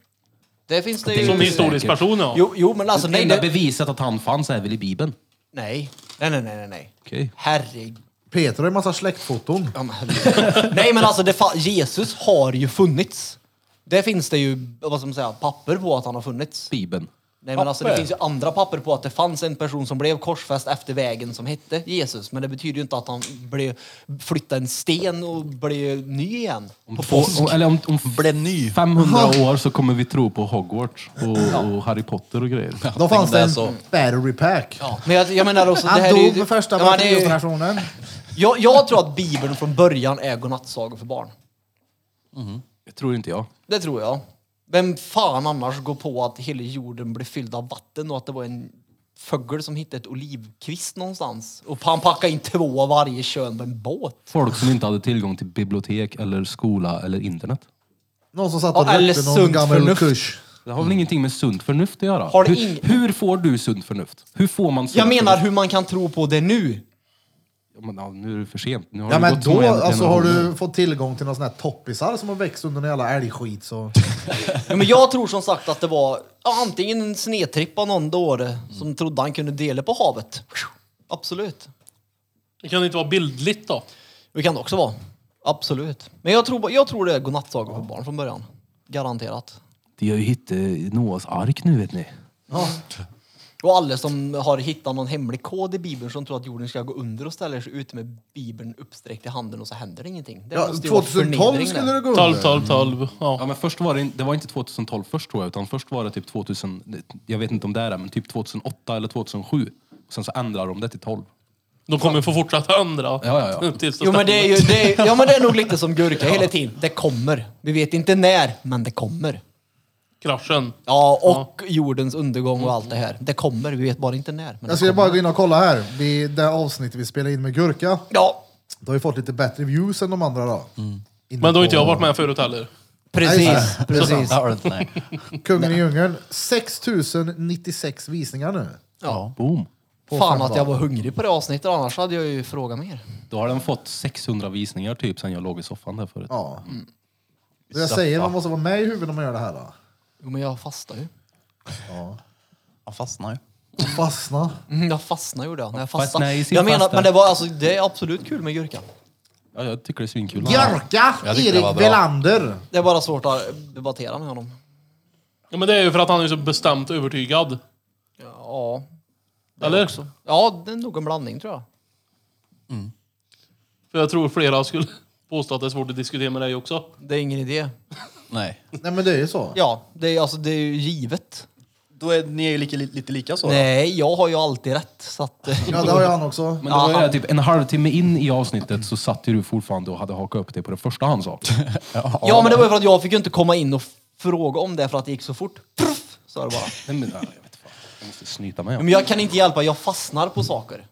Det finns det ju. Som historisk säkert. person ja. Jo, jo men alltså det nej, enda det, beviset att han fanns är väl i Bibeln? nej. Nej, nej, nej, nej, nej. Okej. Herregud. Peter har ju massa släktfoton. Ja, men herregud. nej, men alltså det fa- Jesus har ju funnits. Det finns det ju, vad ska man säga, papper på att han har funnits. Bibeln. Nej, men alltså det finns ju andra papper på att det fanns en person som blev korsfäst efter vägen som hette Jesus. Men det betyder ju inte att han blev, flyttade en sten och blev ny igen. På Två- påsk. om- eller om, om Blev ny. 500 år så kommer vi tro på Hogwarts och, och Harry Potter och grejer. Då fanns det det en så. battery pack. Men jag, jag menar också, det Han här är dog ju... med första Ja, men det är ju- batterioperationen. Jag, jag tror att Bibeln från början är godnattsagor för barn. Det tror inte jag. Det tror jag. Vem fan annars går på att hela jorden blev fylld av vatten och att det var en fågel som hittade ett olivkvist någonstans? Och han packade in två av varje kön på en båt. Folk som inte hade tillgång till bibliotek eller skola eller internet. Någon som satt Ja, och eller rökte någon sunt gammal förnuft. kurs. Det har väl ingenting med sunt förnuft att göra? Har det hur, ing- hur får du sunt förnuft? Hur får man sunt Jag menar förnuft? hur man kan tro på det nu. Ja, men, ja, nu är det för sent. Nu har Ja det men gått så då en alltså, har generation. du fått tillgång till någon sån här toppisar som har växt under en jävla älgskit så... Ja, men jag tror som sagt att det var ja, antingen en snedtripp av någon dåre som trodde han kunde dela på havet. Absolut. Det kan inte vara bildligt då. Det kan det också vara. Absolut. Men jag tror, jag tror det är godnattsagor för barn från början. Garanterat. De har ju hittat Noas ark nu vet ni. Och alla som har hittat någon hemlig kod i Bibeln som tror att jorden ska gå under och ställer sig ut med Bibeln uppsträckt i handen och så händer det ingenting. Det Ja, måste ju vara 2012 förnedring skulle där. det gå 12, under. 12, 12. Ja, Mm. Ja. men först var det, in- det var inte 2012 först tror jag, utan först var det typ 2000, jag vet inte om det är det, men typ 2008 eller 2007. Sen så ändrar de det till 12. De kommer få fortsätta ändra. ja, ja. Tills det Jo men det är stämmer. ju, det är, ja men det är nog lite som gurka hela tiden. Det kommer. Vi vet inte när, men det kommer. Kraschen. Ja, och jordens undergång och allt det här. Det kommer, vi vet bara inte när. Men Alltså, det Jag ska kommer. bara gå in och kolla här. Vi, det avsnittet vi spelade in med Gurka, Ja, då har vi fått lite bättre views än de andra då. Inne Men då har inte jag på- varit med förut heller. Nej, precis. just precis. Det har du inte, nej. Kungen i djungeln, 6096 visningar nu. Ja. Boom! Fan att jag var hungrig på det avsnittet, annars hade jag ju frågat mer. Då har den fått 600 visningar typ sen jag låg i soffan där förut. Ja. Mm. Så jag säger, man måste vara med i huvudet när man gör det här då. Jo men jag fastar ju. Han fastnar ju. Fastna. Mm, jag fastnade gjorde jag. När jag Fastnade fastnade. i sin jag menar, fasta. men det, var, alltså, det är absolut kul med gurka. Ja, jag tycker det är svinkul. Gurka! Jag tyckte det var Erik bra. Velander. Det är bara svårt att debattera med honom. Ja, men det är ju för att han är så bestämt övertygad. Ja, Eller? ja det är nog en blandning tror jag. För jag tror flera skulle påstå att det är svårt att diskutera med dig också. Det är ingen idé. Nej. Nej men det är ju så. Ja, det är, alltså, det är ju givet. Då är ni är ju lika, lite lika så. Nej, jag har ju alltid rätt. Så att, Ja det har ju han också. Men det var ju Ja, det, typ en halvtimme in i avsnittet så satt ju du fortfarande och hade hakat upp dig på det första han sa. ja, men det var ju för att jag fick ju inte komma in och fråga om det för att det gick så fort. Pruff, sa det bara. Nej, men, ja, jag vet fan. Jag måste snyta mig. Men jag kan inte hjälpa, jag fastnar på saker.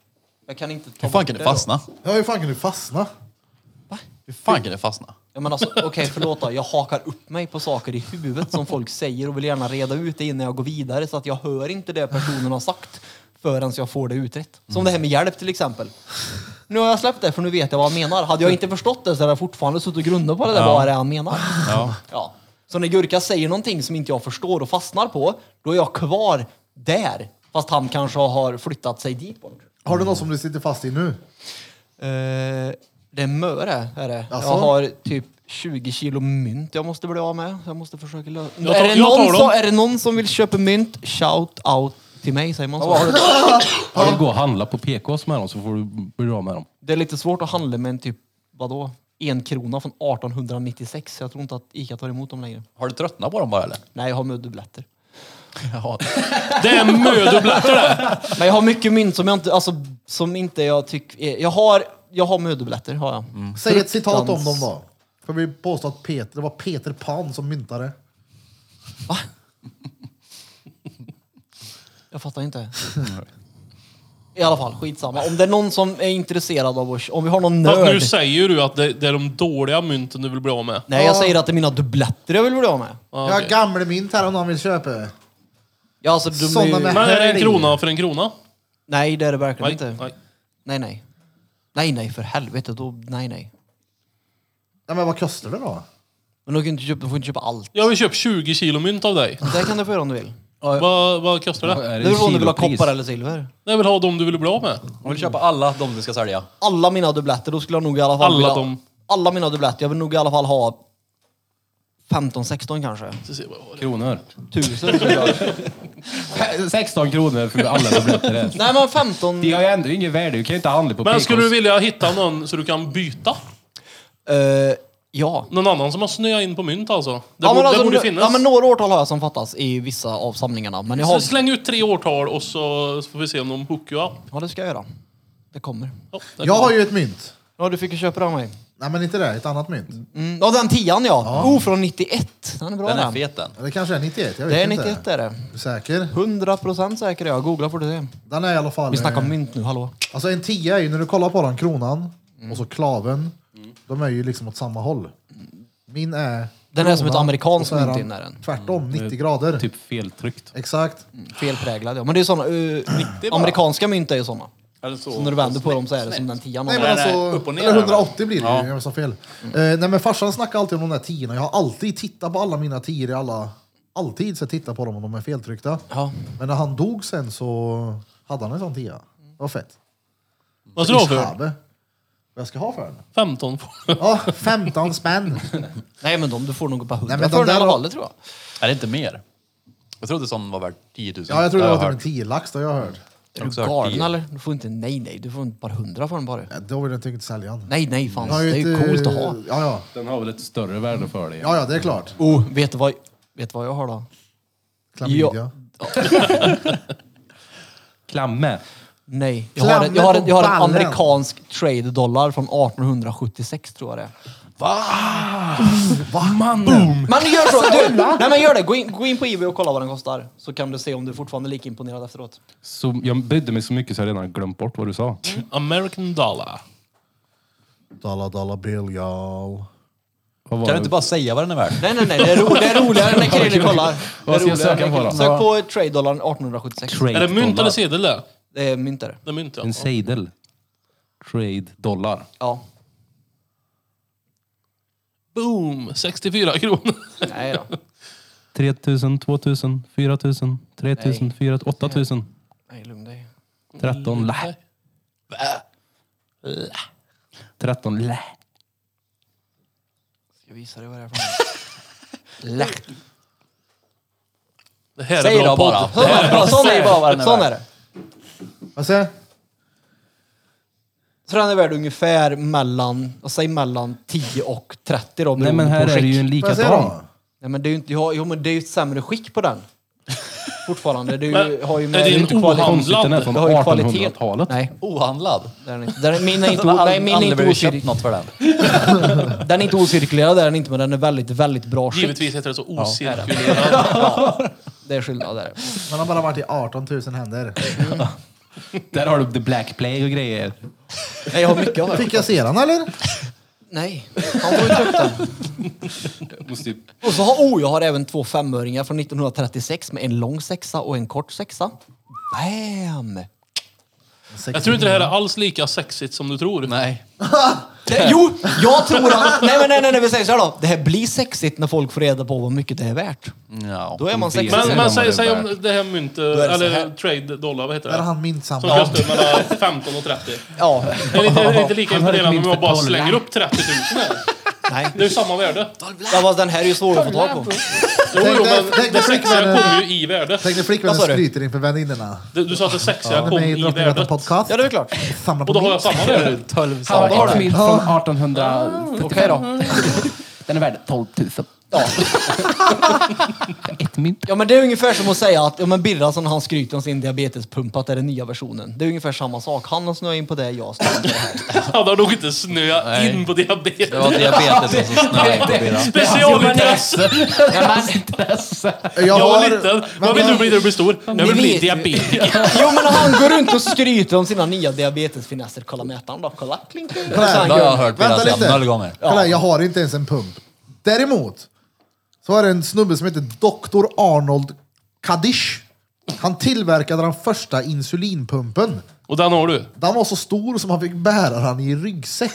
Jag kan inte ta Hur fan bort kan det då. fastna? Ja hur fan kan du fastna? Hur fan kan det fastna? Ja, men alltså, Okej, förlåt då. Jag hakar upp mig på saker i huvudet som folk säger och vill gärna reda ut det innan jag går vidare så att jag hör inte det personen har sagt. förrän jag får det utrett. Som det här med hjälp till exempel. Nu har jag släppt det för nu vet jag vad han menar. Hade jag inte förstått det så hade jag fortfarande suttit och grundat på det där, Ja. vad är det han menar? Ja. Ja. Så när Gurka säger någonting som inte jag förstår och fastnar på, då är jag kvar där. Fast han kanske har flyttat sig dit bort. Har du något som du sitter fast i nu? Eh, det är Möre, är det. Alltså? Jag har typ 20 kilo mynt jag måste bli av med. Jag måste försöka lösa... Jag tar- Är, det jag tar någon dem. som- är det någon som vill köpa mynt, shout out till mig, säger man så? Har du gå och handla på PKs med dem så får du bli av med dem. Det är lite svårt att handla med en typ, vadå? En krona från 1896. Jag tror inte att Ica tar emot dem längre. Har du tröttnat på dem bara eller? Nej, jag har möddubbletter. Det är mödobletter det! Men jag har mycket mynt som jag inte, alltså, som inte jag tycker... är- Jag har, jag har möddubbletter, har jag. Säg ett citat om Fruktans- dem då. För vi påstår att Peter, det var Peter Pan som myntade. Jag fattar inte. I alla fall, skitsamma. Om det är någon som är intresserad av oss, om vi har någon Fast nu nörd. säger ju du att det, det är de dåliga mynten du vill bli av med. Nej, jag säger att det är mina dubbletter jag vill bli av med. Ja, Jag har okej. gamle mynt här om någon vill köpa. Ja, alltså, de är Såna ju... med- Men är det Här är en krona för en krona? Nej, det är det verkligen Nej, inte. nej. nej, nej. Nej, nej, för helvete. Då, nej, nej. Ja, men vad kostar det då? Men du, kan inte köpa, du får inte köpa allt. Jag vill köpa 20 kilo mynt av dig. Det kan du få göra om du vill. Vad, vad kostar det? Det beror på om du vill ha koppar eller silver. Jag vill ha dem du vill bli av med. Jag vill köpa alla de du ska sälja. Alla mina dubbletter, då skulle jag nog i alla fall Alla vilja, de- alla mina dubbletter, jag vill nog i alla fall ha 15-16 kanske. Så ser vi vad det är. Kronor. Tusen skulle jag. 16 kronor för alla dubbletter där. Nej men 15... De har ju ändå inget värde, du kan ju inte handla på Men PKs. skulle du vilja hitta någon så du kan byta? Eh, ja. Någon annan som har snöat in på mynt alltså? Det, ja, borde, men alltså, det borde nu- finnas. Ja, men några årtal har jag som fattas i vissa av samlingarna. Men jag har... Så Släng ut tre årtal och så så får vi se om de hookar you up. Ja, det ska jag göra. Det kommer. Ja, där Jag kommer har ju ett mynt. Ja, du fick ju köpa det av mig. Nej men inte det, ett annat mynt. Mm. Ja, den tian ja. Oh, från 91. Den är bra Den den. är fet den. Eller kanske är 91, jag vet det är inte. 91 är det. Är du säker? 100% säker är jag. Googla får du se. Den är i alla fall... Vi snackar eh, om mynt nu, hallå. Alltså en tia är ju, när du kollar på den, kronan Mm. och så klaven. De är ju liksom åt samma håll. Min är... Den är som ett kronan, amerikanskt och så är Mm. mynt Mm. den in är den. Tvärtom, 90 grader. Typ feltryckt. Exakt. Felpräglad ja. Men det är såna... eh, amerikanska mynt är ju såna. Så när du vänder på dem så är det som den tian. Nej, har. men nej, alltså, upp och ner eller där, 180 blir det ju, jag sa fel. Eh, nej men farsan snackar alltid om de där tiorna. Jag har alltid tittat på alla mina tior i alla... Alltid så tittar på dem om de är feltryckta. Ja. Men när han dog sen så hade han en sån tia. Det var fett. det. Vad ska du ha för? Ishabe. Vad jag ska ha för den? 15? Ja, 15 spänn. Nej men de, du får nog bara 100 Nej, men de för den i där alla har- fall, det tror jag. Är det inte mer? Jag trodde sån var värd 10 000. Ja, jag tror det har var typ en hört. 10 lax, det har jag hört. Jag har Är också du hört galen 10. eller? Du får inte... Nej, nej. Du får inte bara 100 för den bara. Nej, Då vill jag inte sälja den. Nej, nej fan. Jag har Det är ju ett, eh, coolt att ha. Ja, ja. Den har väl ett större värde för dig? Ja, ja, det är klart. Oh, vet du vad, vet du vad jag har då? Klamydia. Ja. Klamme. Nej. Jag har, en- jag har, en- jag har en Klammen och ballen. amerikansk trade-dollar från 1876 tror jag det är. Va? Mannen! Men gör så! Du, nej men gör det! Gå in, gå in på Ebay och kolla vad den kostar. Så kan du se om du fortfarande är lika imponerad efteråt. Så jag brydde mig så mycket så jag redan glömt bort vad du sa. American dollar. Dollar, dollar bill, y'all. Vad var Kan du det? inte bara säga vad den är värd? Nej nej nej, det är, ro, det är roligare när Krille kollar. Det är Vad ska jag söka roligare på när- då? Sök på trade-dollarn 1876. Trade Är det mynt dollar. eller sedel det? Det är mynt är det. Det är mynt ja. En sedel. Trade dollar. Ja. Boom! 64 kronor. Nej då. 3000, 2000, 4000, 3000, 4000, 8000, Nej, lugn dig. 13 lä. 13 lä. Ska jag visa dig vad det är för något? Lätt. Det här Säg är bra då podd. bara. Sån är bara vad den är Sån är det. Vad säger jag? Så den är värd ungefär mellan, vad säg mellan 10 och 30 då, Nej men beroende här på är det skick. ju en Vad säger jag likadan. då? Nej men det är ju inte, ja, jo men det är ju ett sämre skick på den. Fortfarande. Det är ju, Men, har ju är med... det Det är en inte kvali- Ohandlad. konstigt, den är från det har ju kvalitet. 1800-talet. Nej, Ohandlad. det är den inte. Den är, min är inte, Jag har nej, min är aldrig inte blivit köpt ocirkulerad. något för den. Den är inte ocirkulerad, är den inte, men den är väldigt, väldigt bra skick. Givetvis heter det så ocirkulerad. Det är skillnad där. Man har bara varit i 18 000 händer. Där har du the black plague och grejer. Nej, jag har mycket av det. Fick jag se den eller? Nej, han får inte upp den. Måste ju- Och så har, oh, jag har även två femöringar från 1936 med en lång sexa och en kort sexa. Damn! Jag tror inte det här är alls lika sexigt som du tror. Nej. Det, jo, jag tror att... Nej, men nej, nej, nej, vi säger så här då. Det här blir sexigt när folk får reda på vad mycket det är värt. Ja. Då är man Vet sexig. inte Men, vad men säg, det säg bär. om det här mynt, är det så eller här. trade dollar, vad heter Där är det? han minsann. Som kostar mellan 15 och 30. Ja, Det är inte, det är inte lika Han har ett imponerande om mynt jag för bara dollar. slänger upp 30 000 här. nej. Det är ju samma värde. Ja, fast den här är ju svår att få tag på. Jo, Tänk jo, dig- tänk men dig det sexiga flickvännen- kommer ju i värde. Tänk när Vad flickvännen sa du? skryter inför väninnorna. Du, du sa att det sexiga Han är kom med i i Drottninggatan värde. podcast. Ja, det är väl klart. Samlar på Och då har jag mynt. samma värde. 12 Han starka. har en mynt från 1845. Okej då. Den är värd 12 000. Ett mynt. Ja, men det är ungefär som att säga att ja, men Birrason han skryter om sin diabetespump, att det är den nya versionen. Det är ungefär samma sak. Han har snöat in på det, jag snöar in på det här. Han har nog inte snöat Nej. in på diabetes. Det var diabetesen som snöade in på bilen. Specialintresse! Jag Jag var har- liten. men Vad vill du jag- bli när du blir stor? Jag Ni vill bli vet ju. diabetiker. Jo, men han går runt och skryter om sina nya diabetesfinesser. Kolla mätaren då. Kolla, kling, kling. Och sen Det har gör- jag hört Vänta Birras säga noll lite. gånger. Kolla, jag har inte ens en pump. Däremot så var det en snubbe som hette Dr. Arnold Kadish. Han tillverkade den första insulinpumpen. Och den har du. Den var så stor som han fick bära den i ryggsäck.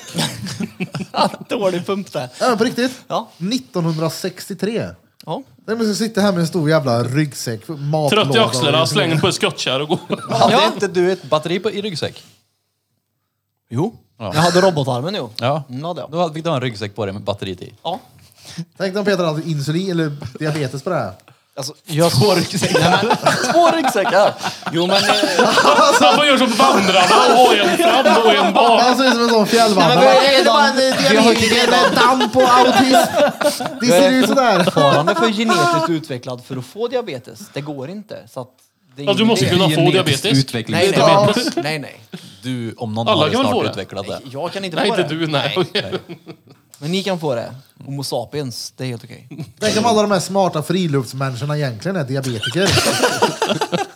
Dålig pump där. Ja, på riktigt. Ja. 1963. Ja. Nej, men så sitter jag här med en stor jävla ryggsäck. matlåda Trött i och- axlarna, släng den på en skottkärra och gå. Hade inte du ett batteri på, i ryggsäck? Jo. Jag hade robotarmen jo. Ja. Mm, hade jag. Då fick du ha en ryggsäck på dig med batteriet i. Ja. Tänk om Peter hade insulin eller diabetes på det här. Alltså, jag... Två ryggsäckar. Två ryggsäckar. Jo men... eh, Han bara gör som vandrarna och har en fram och en bak. Han ser ut som en sån fjällvandrare. Nej, men vi har- Det är bara en diabetiker med damp och autism. Det ser ut sådär. Fortfarande för genetiskt utvecklad för att få diabetes. Det går inte. Så att det är Ja, Alltså, du ingen måste idé. kunna få Genetisk diabetes. Utveckling. Nej, nej. nej, nej. Du, om någon, Alla har ju kan väl få snart det? utvecklat det. Jag kan inte Nej, få inte det. du. Nej. Men ni kan få det. Homo sapiens, det är helt okej. Tänk om alla de här smarta friluftsmänniskorna egentligen är diabetiker.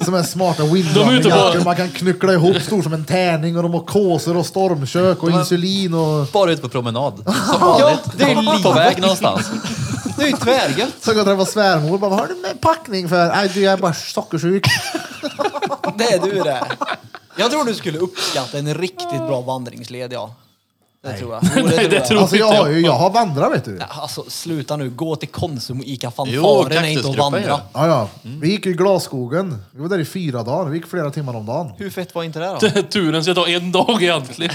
Som är smarta windrunningjackor på- man kan knyckla ihop stor som en tärning och de har kåsor och stormkök och insulin och... Bara ut på promenad. Som Ja, vanligt. det är På- På livet. väg någonstans. Det är ju tvärgött. Så går jag träffa svärmor bara, vad har du med packning för? Nej du, jag är bara sockersjuk. Det är du det. Jag tror du skulle uppskatta en riktigt bra vandringsled, ja. Det tror jag. Jo, det Nej, det tror jag. tror Alltså jag inte har ju, jag. jag har vandrat vet du. Alltså sluta nu, gå till Konsum och Ica Jo, Fanfaren är inte att kaktusgruppen, vandra. ja. Ja, ja. Vi gick ju i glasskogen. Vi var där i fyra dagar. Vi gick flera timmar om dagen. Hur fett var inte det då? Turen ska ta en dag egentligen.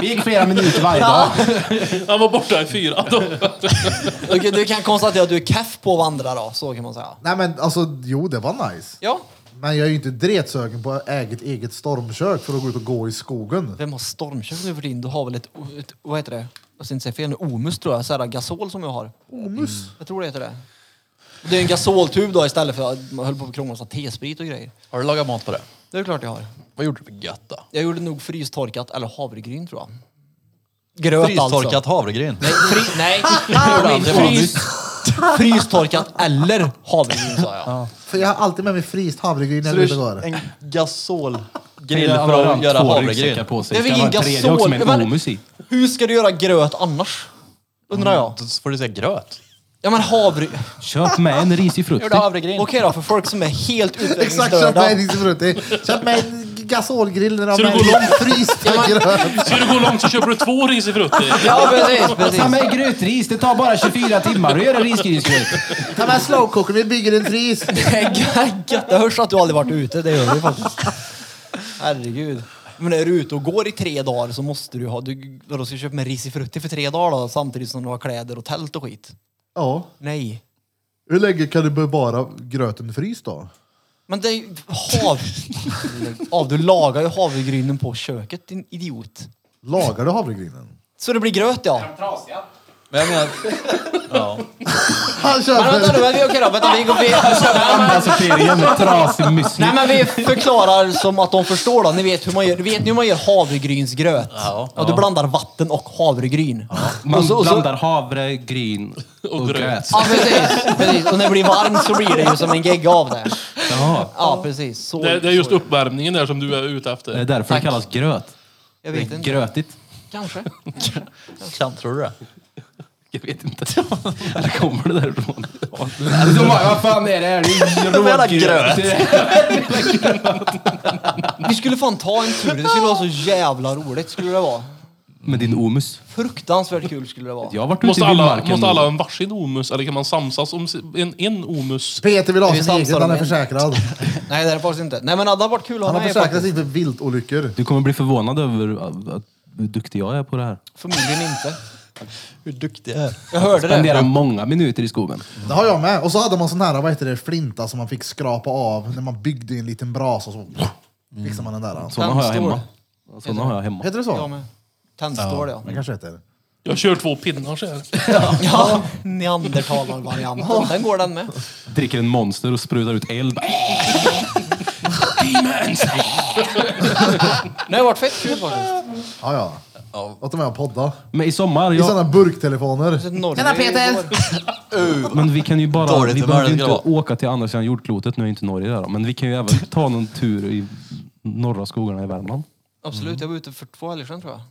Vi gick flera minuter varje dag. Han var borta i fyra dagar. Okej, du kan konstatera att du är keff på att vandra då, så kan man säga. Nej men alltså, jo det var nice. Ja. Men jag är ju inte dretsögen på eget, eget stormkök för att gå ut och gå i skogen. Vem har stormkök nu för din? Du har väl ett, ett vad heter det? Jag ska inte säga fel nu, Omus tror jag, sådär gasol som jag har. Omus. Jag tror det heter det. Det är en gasoltub då istället för att man höll på att krångla och sa T-sprit och grejer. Har du lagat mat på det? Det är klart jag har. Vad gjorde du för gött då? Jag gjorde nog frystorkat eller havregryn tror jag. Gröt Frystorkat alltså. havregryn. Fri, nej, Det var nyss. frystorkat eller havregryn sa jag. För jag har alltid med mig fryst havregryn när jag är ute och går. En gasolgrill Han har för att haft göra två havregryn. ryggsäckar på sig. Det är väl Ska ingen vara en tredje också med gasol. en omus i. Hur ska du göra gröt annars? Undrar jag. Då får du säga gröt. Ja men havregryn. Köp med en risig frukt. Gjorde havregryn. Okej då, för folk som är helt Exakt, köp utvecklingsstörda. mig en Isifrutti. Köp mig en gasolgrill när de Ska du gå har frysta gröt. Ska du gå långt så köper du två Risi Frutti. Ja precis, precis. Ta med grytris, det tar bara 24 timmar att göra risgrynsgryt. Ta med slowcookern, vi bygger en fris. Gött, det hörs att du aldrig varit ute, det gör vi faktiskt. Herregud. Men är du ute och går i tre dagar så måste du ha, du, vadå ska du köpa med risifrutti för tre dagar då samtidigt som du har kläder och tält och skit? Ja. Nej. Hur länge kan du bevara gröten fryst då? Men det är ju hav... Lägg av, du lagar ju havregrynen på köket din idiot. Lagar du havregrynen? Så det blir gröt ja. Men jag menar, Han Men vänta nu, köper... men vi- okej då, vänta vi går vi... Alltså ferien med trasig müsli. Nej men vi förklarar som att de förstår då. Ni vet hur man gör, vet ni hur man gör havregrynsgröt? Ja, du blandar vatten och havregryn. Man och så, och så, blandar havre, gryn och gröt. gröt. Ja precis, precis. Och när det blir varmt så blir det ju som en gegga av det. Jaha. Ja precis. Så, Det, det är just så- uppvärmningen där som du är ute Det är efter. därför Tack. det kallas gröt. Jag Det vet är inte. grötigt. Kanske. kan, tror du det? Jag vet inte. Eller kommer det därifrån? De bara, vad fan är det här? Det är ju Jävla rådgröt." gröt. Vi skulle fan ta en tur. Det skulle vara så jävla roligt skulle det vara. Med din omus. Fruktansvärt kul skulle det vara. Jag har varit ute Måste i alla, vildmarken. måste alla och- ha en varsin omus eller kan man samsas om si- en, en omus? Peter vill ha Vi sin samsar egen, om han är en. försäkrad. Nej det är det faktiskt inte. Nej men det hade varit kul att Han ha har med försäkrat faktiskt. sig för viltolyckor. Du kommer bli förvånad över att- att- hur duktig jag är på det här. Förmodligen inte. Hur duktig jag är. Jag hörde det. Spenderar många minuter i skogen. Det har jag med. Och så hade man sån här, vad heter det, flinta som man fick skrapa av när man byggde en liten brasa. Så fixade man den där. alltså. Sådana har jag Tändstål. hemma. Sådana har jag hemma. Heter det så? Jag med. Tändstål ja. Det kanske heter. Jag kör två pinnar så här. Ja, neandertalarvarianten. Den går den med. Dricker en monster och sprutar ut eld. Det har varit fett kul faktiskt. Ja, ja. Alltså- Låt dem med och podda. Men i sommar, I ja, sådana burktelefoner. Tjena Peter! men vi kan ju bara, Dåligt vi humör behöver ju det inte ska åka till andra sidan jordklotet, nu är inte Norge där då, men vi kan ju även ta någon tur i norra skogarna i Värmland. Absolut, jag var ute för två helger sedan tror jag.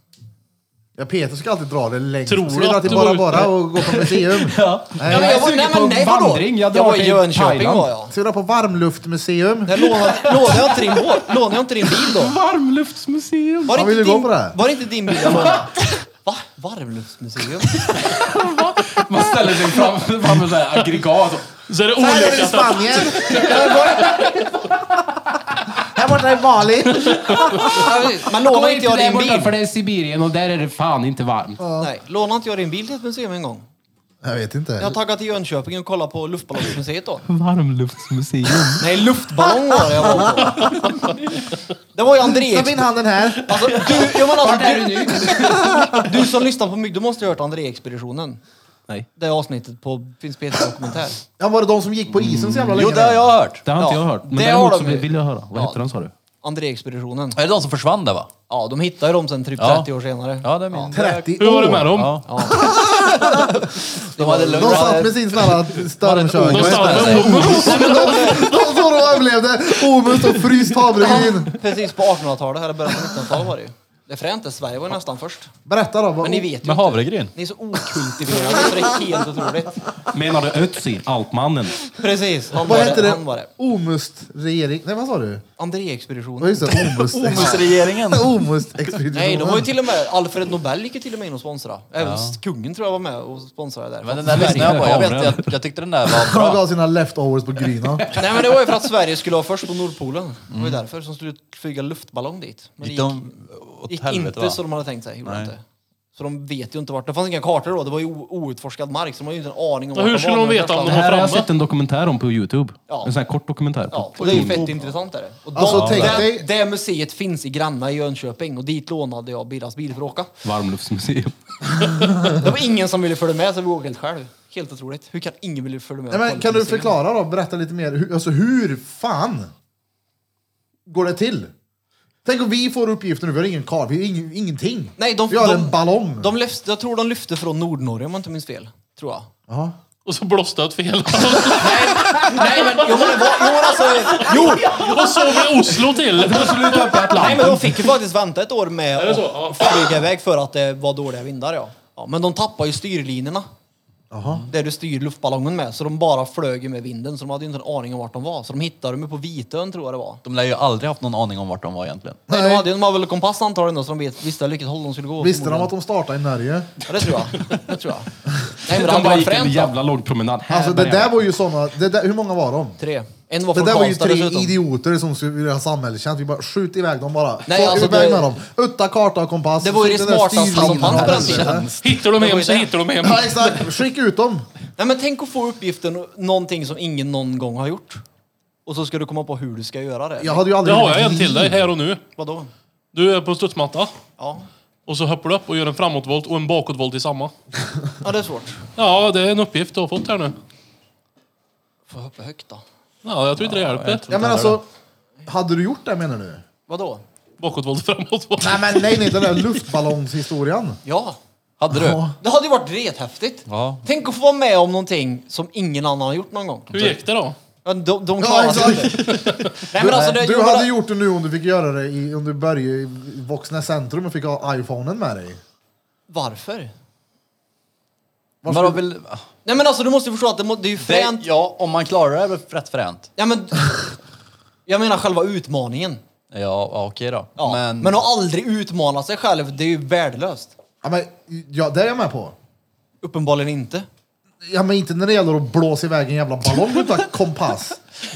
Ja, Peter ska alltid dra det längst. Tror Ska du vi dra att till du var Bara Bara ute? och gå på museum? Ja, men Nej. jag var, nej, på men en nej, vadå? vandring. Jag Jag, drar var i till Jönköping Thailand. var jag. Ska vi dra på varmluftmuseum? Där lånade, lånade jag inte din båt? Lånade jag inte din bil då? Varmluftsmuseum! Var Vad det vill inte du din, gå på det? Var det inte din bil jag lånade? Va? Varmluftsmuseum? Man ställer sig framför fram sådär aggregat. Så är det Här är det i olika. så- Spanien! Här borta i Bali! Men lånade inte jag din bil? det är Sibirien och där är det fan inte varmt. Nej, lånade inte jag din bil till ett museum en gång? Jag vet Jag inte. taggade till Jönköping och kollade på luftballongsmuseet då. Varmluftsmuseum. Nej, luftballong var det jag var på. Det var ju André Stopp in handen här. Alltså, du, jag menar, alltså, du, du som lyssnar på mig, du måste ha hört André-expeditionen. Nej. Det avsnittet på finns p dokumentär Ja, var det de som gick på isen så jävla länge? Jo, det har jag hört. Det har inte Ja, jag hört. Men det däremot har så de ju. vill jag höra. Vad Ja. heter den sa du? André-expeditionen. Är det de som försvann där va? Ja, de hittade ju dem sen typ Ja. 30 år senare. Ja, det är min. 30 Hur var det år. med dem? Ja. Det var det De satt lugnt. med sin sån här stormkök. De De stannade med omus. stod och överlevde. Omus och fryst havregryn. Precis på 1800-talet, eller början på 1900-talet var det ju. Det är fränt, det. Sverige var ju nästan först. Berätta då. Men ni vet ju inte. Med havregryn? Ni är så okultiverade så det är helt otroligt. Menar du Ötzi, Altmannen? Precis, han Vad var hette det. Han var det? det. Omust regering? Nej, vad sa du? Ja, André-expeditionen. just det. Omust. Omusregeringen. Omust expeditionen. Nej, de var ju till och med, Alfred Nobel gick ju till och med in och sponsrade. Även kungen tror jag var med och sponsrade där. Men den där lyssnade jag på. Jag, vet, jag, jag tyckte den där var De bra. gav sina leftovers på gryna. Nej men det var ju för att Sverige skulle vara först på Nordpolen. Det var ju därför som skulle flyga luftballong dit. Men det gick, Gick de åt gick helvete inte va? som de hade tänkt sig. Gjorde det Nej. inte. Så de vet ju inte vart. Det fanns inga kartor då. Det var ju o- outforskad mark så de har ju inte en aning om Ja, vart hur skulle var de när veta första om de Det landet. var här har jag framme. sett en dokumentär om på Youtube. Ja. En sån här kort dokumentär. Ja, På, och på det är ju Youtube. fett intressant är det. Och de, Alltså, tänk det, dig- det museet finns i Granna i Jönköping och dit lånade jag Birras bil för att åka. Varmluftsmuseum. Det var ingen som ville följa med så vi åkte helt själv. Helt otroligt. Hur kan ingen vilja följa med? Nej, på men ett kan du museum? förklara då? Berätta lite mer. Hur, alltså hur fan går det till? Tänk om vi får uppgifter nu. Vi har ingen karl. Vi har ing, ingenting. Nej, de, vi har de, en ballong. De lyfte, jag tror de lyfte från Nordnorge om jag inte minns fel. Tror jag. Ja. Och så blåste jag ett fel. Nej men, jo, men det var, jo, men alltså, jo, Och så blev Oslo till. nej, men de fick ju faktiskt vänta ett år med det så? Ja. att flyga iväg för att det var dåliga vindar. Ja. Ja, men de tappade ju styrlinorna. Där du styr luftballongen med. Så de bara flög ju med vinden. Så de hade ju inte en aning om vart de var. Så de hittade dem ju på Vitön tror jag det var. De lär ju aldrig haft någon aning om vart de var egentligen. Nej. de hade ju de hade väl en kompass antagligen då, så de vet, visste vilket håll de skulle gå. Visste de förmodligen. att de startade i Norge? Ja, det tror jag. Det tror jag. Nej men det De hade bara typ Typ varit gick en fränt. då. jävla lång promenad. Här Alltså det börjar där jag. var ju såna... Det där, hur många var de? Tre. En var Det från där var ju Karlstad tre dessutom. idioter som skulle vilja ha samhällstjänst. Vi bara skjut iväg dem bara. Nej, Nej, alltså, iväg det- med dem. Utta karta och kompass. Det var ju Skjut det den där smartaste som styrlinan fanns på den av tiden. helvete. Hittar de Det var hem ju så det. hittar de hem. Ja exakt, skicka ut dem. Nej men tänk att få uppgiften någonting som ingen någon gång har gjort. Och så ska du komma på hur du ska göra det. Jag hade ju Det aldrig... har jag en till dig här och nu. Vadå? Du är på studsmatta. Ja. Och så hoppar du upp och gör en framåtvolt och en bakåtvolt i samma. ja, det är svårt. Ja, det är en uppgift du har fått här nu. Får hoppa högt då. Ja, jag tror inte det hjälper. Ja men alltså, hade du gjort det menar du? Vadå? Bakåtvolt, framåtvolt. Nej men nej, nej den där luftballongshistorien. Ja. Hade du? Ja. Det hade ju varit rethäftigt. Ja. Tänk att få vara med om någonting som ingen annan har gjort någon gång. Hur gick det då? Ja, De, de Ja, klarar sig exakt. inte. Nej men alltså det du jag hade bara- gjort det nu om du fick göra det i, om du började i Voxnäs centrum och fick ha iPhonen med dig. Varför? Men då vill... Nej men alltså du måste förstå att det, må, det är ju det, fränt. ja, om man klarar det är det rätt fränt. Ja, men, jag menar själva utmaningen. Ja, ja, okej då. Ja. Men... Men, att aldrig utmana sig själv, det är ju värdelöst. Ja, men, ja, det är jag med på. Uppenbarligen inte. Ja, men inte när det gäller att blåsa iväg en jävla ballong utan kompass.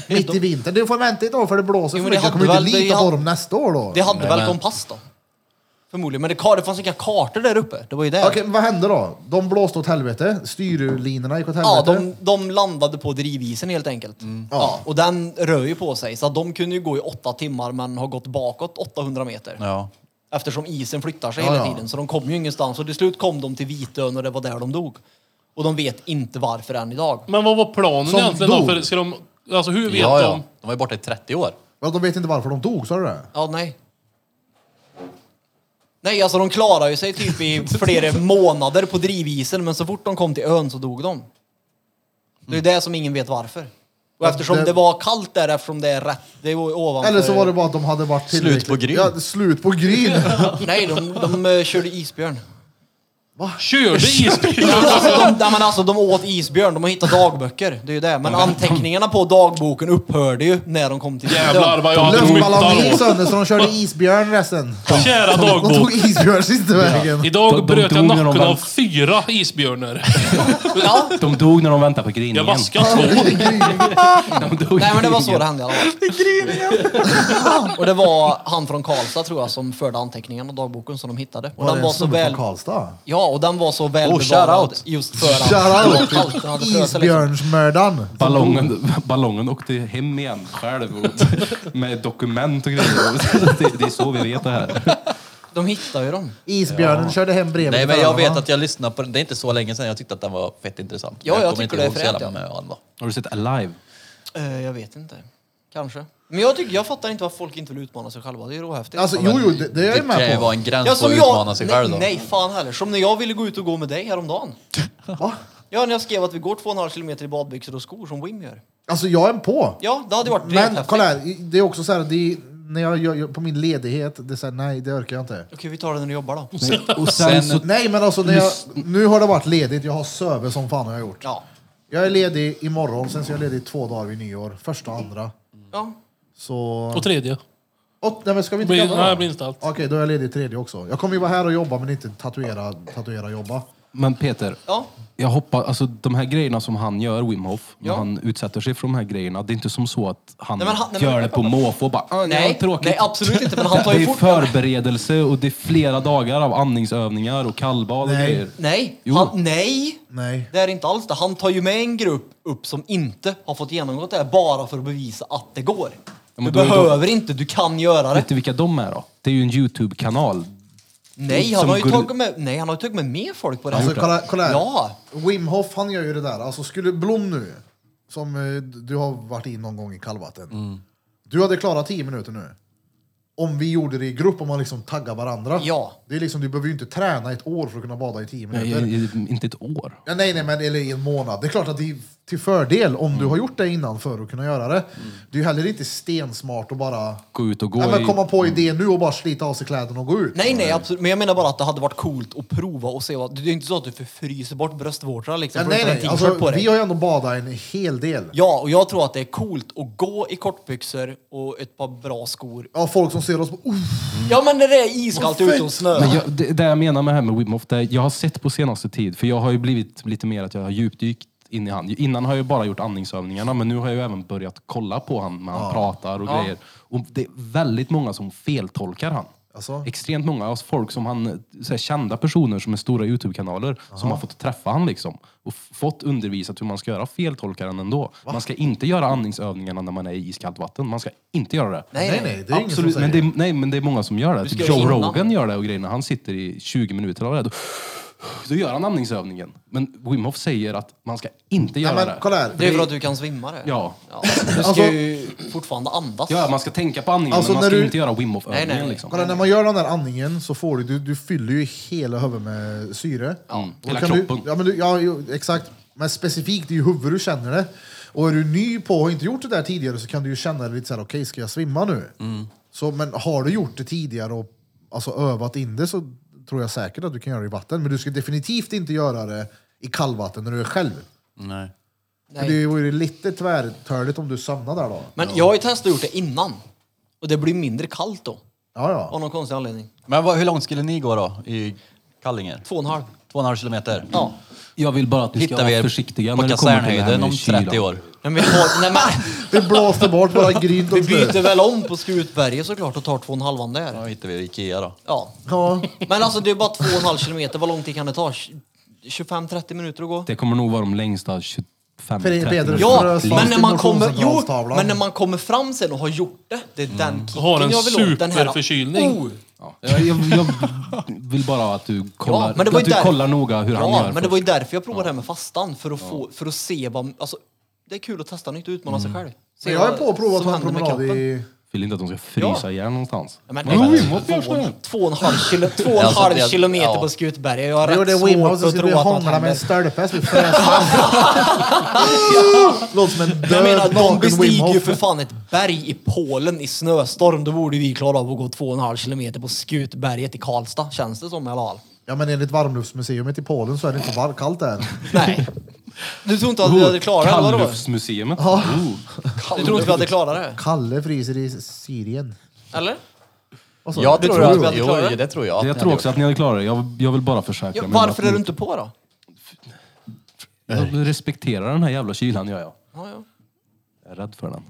Mitt i vintern. Du får vänta ett år för det blåser Jo, för men det mycket. Jag hade kommer inte väl- det lita hade- på dem nästa år då. Det hade Nej, väl men- kompass då? Förmodligen. Men det, ka- det fanns inga kartor där uppe. Det var ju det. Okej, men vad hände då? De blåste åt helvete. Styrlinorna gick åt Ja, helvete. de, de landade på drivisen helt enkelt. Mm. Ja. och den rör ju på sig. Så att de kunde ju gå i åtta timmar men har gått bakåt 800 meter. ja. Eftersom isen flyttar sig Ja, hela ja. tiden. Så de kom ju ingenstans. Och till slut kom de till Vitön och det var där de dog. Och de vet inte varför än idag. Men vad var planen Som egentligen då? dog. För ska de, alltså hur vet ja, ja. de? De var ju borta i 30 år. Ja, de vet inte varför de dog, sa du det? Ja, nej. Nej, alltså de klarar ju sig typ i flera månader på drivisen. Men så fort de kom till ön så dog de. Det är det som ingen vet varför. Och eftersom det, det- var kallt där, eftersom det är rätt, det var ovanför. Eller så var det bara att de hade varit tillräckligt... på gryn. Ja, slut på gryn. Nej, de, de eh, körde isbjörn. Körde isbjörn? Alltså, de, nej, men alltså, de åt isbjörn, de har hittat dagböcker. Det är ju det. Men anteckningarna på dagboken upphörde ju när de kom till Jävlar vad jag hade Luftballongen gick mycket sönder så de körde isbjörn resten. Kära De dagbok. tog isbjörn sista vägen. De- Idag de bröt jag dog när de nacken väl- av fyra isbjörnar. Ja, De dog när de väntade på grinningen. Jag vaskade två. De dog nej i men det var så gryningen. det hände i alla fall. Och det var han från Karlstad tror jag som förde anteckningarna och dagboken som de hittade. Och Var den det en var så snubbe väl... från Oh, Karlstad? Ja, och den var så shout välbevarad out. just för att Shoutout halterna hade till frösat, liksom. isbjörnsmördaren. Ballongen, ballongen åkte hem igen själv och- med dokument och grejer. Det, det är så vi vet det här. De hittade ju dem. Isbjörnen körde hem bredvid Nej men jag vet föräldrarna. att jag lyssnade på den, det är inte så länge sedan jag tyckte att den var fett intressant. Ja, jag kommer tycker inte det är ihåg så fränt, jävla mycket om den då. Har du sett Alive? Eh, jag vet inte. Kanske. Men jag, tycker, jag fattar inte varför folk inte vill utmana sig själva. Det är ju råhäftigt. Alltså, jo, jo, det, det är jag ju Det kan ju med vara på. en gräns Ja, på att som utmana jag, sig nej, själv då. nej fan heller. Som när jag ville gå ut och gå med dig häromdagen. Va? Ja, när jag skrev att vi går 2,5 kilometer i badbyxor och skor som Wim gör. Alltså jag är en på. Ja, det hade ju varit Men rent kolla häftigt. här, det är också så här, det är, när jag gör på min ledighet, det är så här, nej det orkar jag inte. Okej, vi tar det när du jobbar då. Och sen så, Nej men alltså, när jag, nu har det varit ledigt, jag har sövit som fan har jag gjort. Ja. Jag är ledig imorgon, sen så är jag ledig två dagar vid nyår. Första och andra. ja. Så... Och tredje. Åt, nej men ska vi inte Blir- jobba då? nej, det blir inte allt. Okej, då är jag ledig tredje också. Jag kommer ju vara här och jobba men inte tatuera, tatuera jobba. men Peter, Ja. jag hoppas, alltså de här grejerna som han gör, Wim Hof, när Ja. han utsätter sig för de här grejerna, det är inte som så att han, Nej, men han- nej, men- gör det på måfå och bara "Ah, nej, Nej, vad tråkigt. nej, absolut inte, men han tar ju Det är fort- förberedelse och det är flera dagar av andningsövningar och kallbad och Nej. grejer. Nej. Jo. Han, nej. Nej. Det är inte alls det. Han tar ju med en grupp upp som inte har fått genomgått det här bara för att bevisa att det går. men Du då är det- behöver inte, du kan göra det. Vet du vilka de är då? Det är ju en YouTube-kanal. Nej, han som har ju går- tagit med, nej, han har ju tagit med mer folk på det här. Alltså kolla, kolla här. Ja. Wim Hof han gör ju det där. Alltså skulle Blom nu, som eh, du har varit in någon gång i kallvatten. Mm. Du hade klarat 10 minuter nu. Om vi gjorde det i grupp, om man liksom taggar varandra. Ja. Det är liksom, du behöver ju inte träna ett år för att kunna bada i 10 Nej, minuter. Nej, Eh, inte ett år. ja, nej, nej, men eller i en månad. Det är klart att det är till fördel om Mm. du har gjort det innan för att kunna göra det. Det är ju heller inte stensmart att bara Gå ut och gå ja, men i... Mm. komma på idén nu och bara slita av sig kläderna och gå ut. Nej, nej, absolut. Men jag menar bara att det hade varit coolt att prova och se vad... Det är ju inte så att du förfryser bort bröstvårtorna liksom. Ja, för nej, att du nej. har en t-shirt Alltså, på dig. vi har ju ändå badat en hel del. Ja, och jag tror att det är coolt att gå i kortbyxor och ett par bra skor. Ja, folk som ser oss på... Oh, Ja, men när det är iskallt ute och snö. Men jag, det, det jag menar med det här med Wim Hof, det jag har sett på senaste tid, för jag har ju blivit lite mer att jag har djupdykt in i han. Innan har jag ju bara gjort andningsövningarna, men nu har jag ju även börjat kolla på han när han pratar och grejer. Och det är väldigt många som feltolkar han. Alltså? Extremt många. Alltså folk som han, så här, kända personer som är stora Youtube-kanaler, som har fått träffa han liksom. Och f- fått undervisat hur man ska göra feltolkar han ändå. Man ska inte göra andningsövningarna när man är i iskallt vatten. Man ska inte göra det. nej, nej, det är ingen som Absolut, säger. men det, är, nej, men det är många som gör det. ska Typ göra Joe innan. Rogan gör det och grejerna. Han sitter i 20 minuter och är rädd. Då gör han andningsövningen. Men Wim Hof säger att man ska inte göra Nej, men det. kolla här. Det är för att du kan svimma det. Ja. Du ska Alltså- ju fortfarande andas. Ja, man ska tänka på andningen, Alltså, men man när ska du- inte göra Wim Nej, nej, Hof-övningen. nej. Liksom. Kolla, när man gör den där andningen så får du, du, du fyller ju hela huvudet med syre. Mm. Då Hela kan du, kroppen. ja, men du, ja, jo, exakt. Men specifikt, det är ju huvudet du känner det. Och är du ny på och inte gjort det där tidigare så kan du ju känna det lite så här, okej, ska jag svimma nu? Så, men har du gjort det tidigare och alltså, övat in det så tror jag säkert att du kan göra det i vatten. Men du ska definitivt inte göra det i kallvatten när du är själv. Nej. För Det vore ju lite tvärtörligt om du samlar där då. Men jag har ju testat och gjort det innan. Och det blir mindre kallt då. Ja, ja. Av någon konstig anledning. Men vad, hur långt skulle ni gå då i Kallinge? Två och en halv. Två och en halv kilometer? Ja. Jag vill bara att ni ska Hittar vi vara er försiktiga på när det kommer till det här kasernhöjden med om 30 kylan. år. Men vi, tar, nej, men, Det blåste bort våra gryn vi och snö. byter väl om på Skutberget såklart och tar två och en halvan Då där. hittar vi Ikea då. Ja. Ja. Men alltså det är bara två och en halv kilometer. Vad lång tid kan det ta? 25-30 minuter att gå? Det kommer nog vara de längsta 25 Fredrik 30 Pedersen. minuterna. Ja, men när, man kommer, jo, Motioncentralstavlan. men när man kommer fram sen och har gjort det, det är Mm. den kicken Har en jag vill åt. Den här, superförkylning. Oh, Ja, Jag, jag, jag vill bara att du kollar, men det var att ju du där- kollar noga hur han ja, gör. men det först. var ju därför jag provade det här med fastan. För att, få, för att se vad... Alltså, det är kul att testa nytt och utmana Mm. sig själv. Se Men jag har ju vad på att prova att som ta en händer med promenad kroppen. i... Vill inte att de ska frysa Ja. ihjäl någonstans. Ja, Men, Men nej, Wim, vad två, görs det? två och en halv, kilo, två och en Alltså, halv det- kilometer ja. på Skutberg. Jag har Vi rätt gjorde svårt Wim och så att skulle vi tro att något hångla med en händer. stöldpäls. Vi frös fast. Låter som en Jag menar, död de naken Wim bestiger ju Hof. för fan ett berg i Polen i snöstorm. Då borde vi klara av att gå två och en halv kilometer på Skutberget i Karlstad, känns det som i alla fall. Ja men enligt varmluftsmuseet i Polen så är det inte var- kallt där. Nej. Du tror inte att vi hade klarat det? vadå? Kalluftsmuseet. Oh. Du tror inte vi hade klarat det? Kalle fryser i Syrien. Eller? Och så- Jag Det tror att, hade jo, klarat det? det tror jag. att Jag ni tror hade också att ni hade klarat det. Jag, jag vill bara försäkra Ja, mig. om varför att ni- är du inte på då? Jag respekterar den här jävla kylan, gör jag. Ja, ja. Jag är rädd för den.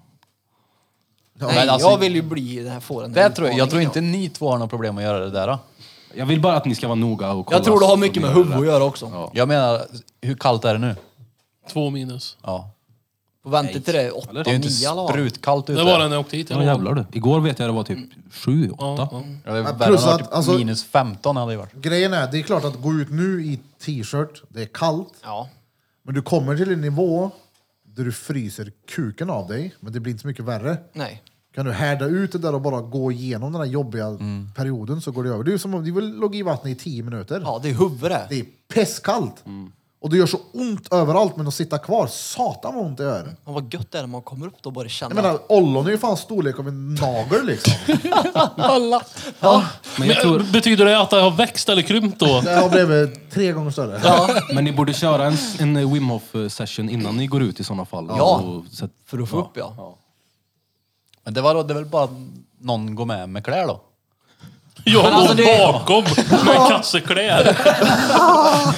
Nej, men alltså- jag vill ju bli den här fåren. Det tror jag, jag tror inte ni två har något problem att göra det där. Då. Jag vill bara att ni ska vara noga och kolla. Jag tror det har mycket så ni med gör huvud att rätt. göra också. Ja. Jag menar, hur kallt är det nu? Två minus. Ja. Och vänta till det är åtta, Det är ju nio inte i alla fall. sprutkallt ute. Det var den när jag åkte hit. Ja, jävlar du. Igår vet jag det var typ sju, åtta. Ja, det var Ja, värre, plus det var att, typ alltså- minus 15 hade det varit. Grejen är, det är klart att gå ut nu i t-shirt, det är kallt. Ja. Men du kommer till en nivå där du fryser kuken av dig, men det blir inte så mycket värre. Nej. Kan du härda ut det där och bara gå igenom den här jobbiga perioden så går det över. Det är ju som om du vill låg i vattnet i tio minuter. Mm. Ja, det är huvudet det. Det är pestkallt. Och det gör så ont överallt, men att sitta kvar, satan vad ont det gör. Men vad gött det är när man kommer upp då och bara Jag känner. menar, ollon är ju fan storlek av en nagel liksom. Alla. Ja. Men, Men, jag tror, Betyder det att det har växt eller krympt då? Det har blivit tre gånger större. men ni borde köra en, en eh, Wim Hof session innan ni går ut i sådana fall. Ja. Och så att- För att få upp ja. Men det var, då- det var väl bara att någon går med med kläder då? Jag Men alltså, går det- bakom med en kasse kläder.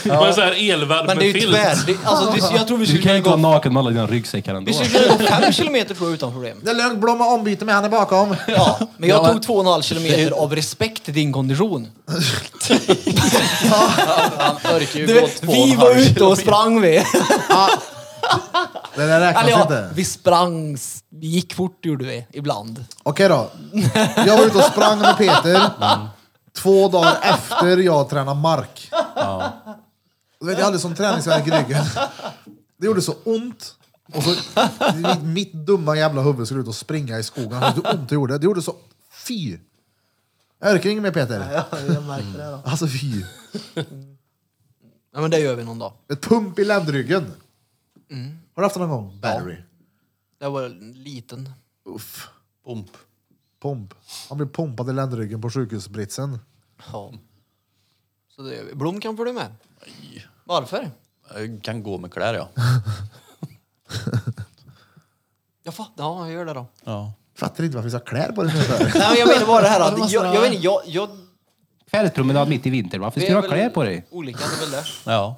Med en sån här Men det är ju elvärmefilt. tvär... Det, alltså, det, jag tror vi Du kan skulle kunna ju inte vara gå... naken med alla dina ryggsäckar ändå. Vi skulle kunna gå fem kilometer tror jag utan problem. Det är lugnt, Blomma ombyte med, han är bakom. Ja, men jag Ja, men- tog två och en halv kilometer av respekt till din kondition. Han orkar ju gå Du, två och en vi halv var ute och kilometer. sprang vi. Det där räknas Eller ja, inte. vi sprang, s- vi gick fort gjorde vi ibland. Okej då. Jag var ute och sprang med Peter två dagar efter jag tränade mark. Du vet, jag hade sån träningsvärk i ryggen. Det gjorde så ont. Och så, mitt, mitt dumma jävla huvud skulle ut och springa i skogen. Alltså, hur ont det gjorde. Det gjorde så... Fy! Jag orkar inget mer Peter. Alltså fy. Ja, men det gör vi någon dag. Ett pump i ländryggen. Har du haft det någon gång? Barry. Jag var liten. Uff. Pump. Pump. Han blev pumpad i ländryggen på sjukhusbritsen. Ja. Så det gör vi. Blom kan följa med. Varför? Jag Kan gå med kläder ja. Jag fattar, ja jag gör det då. ja. Fattar inte varför vi ska ha kläder på dig nu. för. Nej men jag menar bara det här att jag, jag vet inte, jag... jag Färdspromenad mitt i vinter. Varför vi ska du är ha väl kläder på dig? Olika, det är väl det. ja.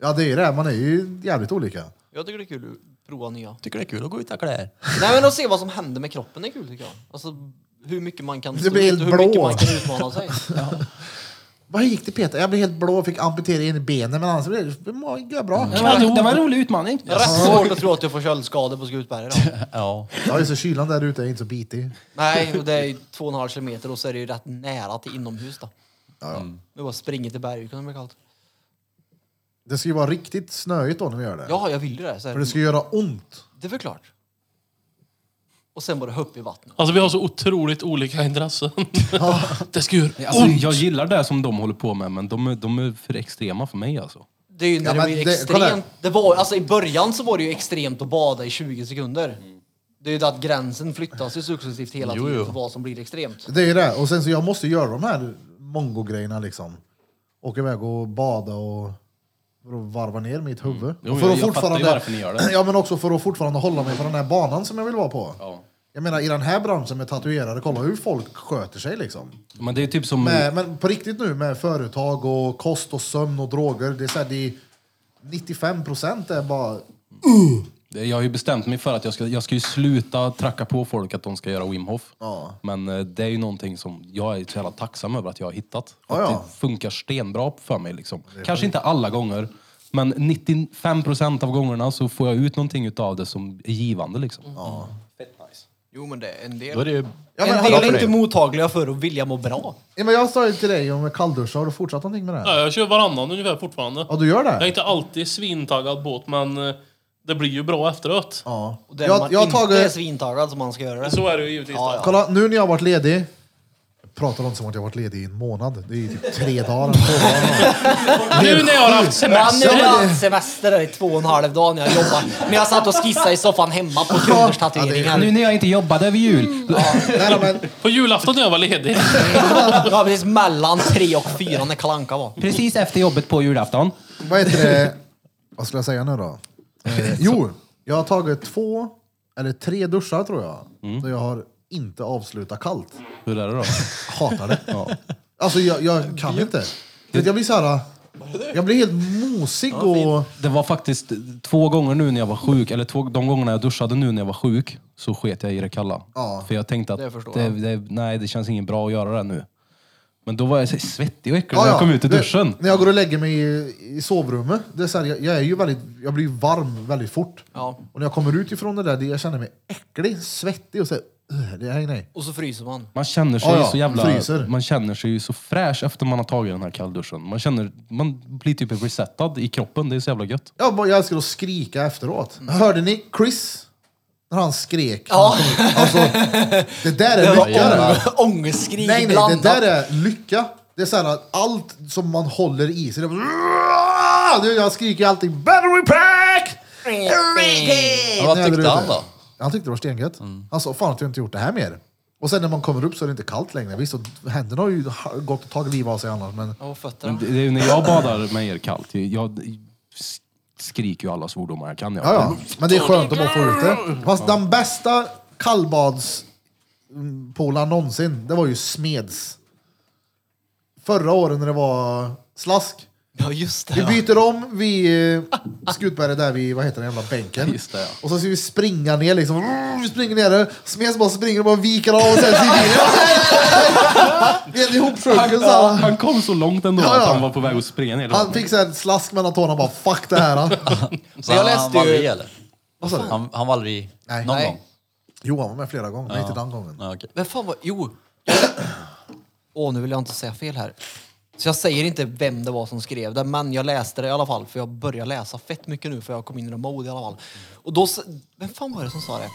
Ja, det är ju det. Man är ju jävligt olika. Jag tycker det är kul att prova nya. Tycker det är kul att gå utan kläder. Nej men att se vad som händer med kroppen är kul tycker jag. Alltså hur mycket man kan Det stå blir ut helt och hur mycket blå. man kan utmana sig. Vad gick det Peter? Jag blev helt blå och fick amputera in benen, men annars blev det mår bra. Det var, det var en rolig utmaning. Alltså, Rätt svårt att tro att jag får köldskador på Skutberget då. Ja. Ja, just det. Kylan där ute är inte så bitig. Nej, och det är ju två och en halv kilometer och så är det ju rätt nära till inomhus då. Nu bara springer till berget, kan det bli kallt. Det ska ju vara riktigt snöigt då när vi gör det. Ja, jag vill ju det. Så här, För det ska ju göra ont. Det är väl klart. Och sen bara upp i vattnet. Alltså vi har så otroligt olika intressen. Det ska göra Alltså, ont. jag gillar det som de håller på med, men de är, de är för extrema för mig alltså. Det är ju när Ja, det men blir det- kolla här. extremt. Det var, alltså, I början så var det ju extremt att bada i 20 sekunder. Det är ju det att gränsen flyttas ju successivt hela Jo, tiden jo. för vad som blir extremt. Det är ju det. Och sen så jag måste göra de här mongo-grejerna liksom. Åka iväg och bada och... För att varva ner mitt huvud. Mm. Jo, Och för jag- att jag fattar ju fortfarande- varför ni gör det. Ja, men också för att fortfarande hålla mig på den här banan som jag vill vara på. Ja. Jag menar, i den här branschen med tatuerare, kolla hur folk sköter sig liksom. Men det är ju typ som... Med, men på riktigt nu med företag och kost och sömn och droger. Det är så här, det är 95 procent är bara... Det- Jag har ju bestämt mig för att jag ska, jag ska ju sluta tracka på folk att de ska göra Wim Hof. Ja. Men eh, det är ju någonting som jag är så jävla tacksam över att jag har hittat. Ja, att ja. Det funkar stenbra för mig. Liksom. Kanske inte alla gånger, men 95 procent av gångerna så får jag ut någonting utav det som är givande. Liksom. Jo men det är en del. Då är det ju... Ja, men, en hallå, del är inte mottagliga för att vilja må bra. ja, men jag sa ju till dig om kalldusch, har du fortsatt någonting med det? Här? Ja, jag kör varannan ungefär fortfarande. Ja, du gör Jag är det? inte alltid svintaggad båt, men eh, det blir ju bra efteråt. Ja. Och där Jag, man jag har inte är tagit... svintaggad som man ska göra det. Så är det ju givetvis. Ja, då. ja. Kolla, nu när jag har varit ledig. Jag pratar om som att jag har varit ledig i en månad. Det är ju typ tre dagar. två dagar. Nu när jag har haft Ja, nu semester. har jag haft semester där i två och en halv dag när jag jobbar. Men jag satt och skissade i soffan hemma på kunders Ja, tatueringar. Nu när jag inte jobbade över jul. Nej, men, På julafton när jag var ledig. Det var precis mellan tre och fyra när Kalanka var. Precis efter jobbet på julafton. vad heter det? Vad skulle jag säga nu då? Eh, jo, jag har tagit två eller tre duschar tror jag. Mm. Så jag har inte avslutat kallt. Hur är det då? hatar det. Alltså jag, jag kan inte. För att Jag blir så här. Jag blir helt mosig och... Det var faktiskt två gånger nu när jag var sjuk, eller två, de gångerna jag duschade nu när jag var sjuk, så sket jag i det kalla. Ja, För jag tänkte att det förstår det, jag. det, nej, det känns ingen bra att göra det nu. Men då var jag så svettig och äcklig Ja, när ja. jag kom ut ur Det- duschen. När jag går och lägger mig i, i sovrummet, det är så här, jag, jag, är ju väldigt, jag blir ju varm väldigt fort. Ja. Och när jag kommer ut ifrån det där, det, jag känner mig äcklig, svettig och så här, "Ugh, det här, nej. Och så fryser man. Man känner sig Ja, ju ja. så jävla... Fryser. Man känner sig ju så fräsch efter man har tagit den här kallduschen. Man, känner, man blir typ resetad i kroppen, det är så jävla gött. Jag, bara, jag älskar att skrika efteråt. Hörde ni Chris? När han skrek. Mm. Ja. Alltså, det där är Det var lycka. det. ång- ångestskrik Nej, nej, det blandat. där är lycka. Det är så här att allt som man håller i sig, det är bara, Du, Jag skriker alltid battery pack! Ja, vad När jag tyckte var han ute. då? Mm. Han tyckte det var stengött. Han sa, fan att jag inte gjort det här mer. Och sen när man kommer upp så är det inte kallt längre. Visst, och händerna har ju ha- gått och tagit liv av sig annars, men Och Men fötterna. det, det är ju när jag badar med er kallt, jag s- skriker ju alla svordomar jag kan. Jag. ja, ja. Men det är skönt att bara få ut det. Fast den bästa kallbadspolaren någonsin, det var ju Smeds. Förra året när det var slask. Ja, just det. Vi ja. byter om vid eh, Skutberget där vid, vad heter den jävla bänken? Just det, ja. Och så ska vi springa ner liksom. Mm, Vi springer ner där. Smes bara springer och bara viker av och sen ser vi Vi är ihopsjunken så Han, här. han kom så långt ändå Ja, ja. att han var på väg att springa ner. Han fick så här ett slask mellan tårna och bara fuck det här. Så jag han, läste han var ju- aldrig i, eller? Vad sa du? Han, han var aldrig i Nej. någon Nej. gång? Johan var med flera gånger, men inte den gången. Ja, okej. Vem fan var... Jo! Åh, nu vill jag inte säga fel här. Så jag säger inte vem det var som skrev det, men jag läste det i alla fall. För jag börjar läsa fett mycket nu, för jag kom in i det mode i alla fall. Och då... s- Vem fan var det som sa det?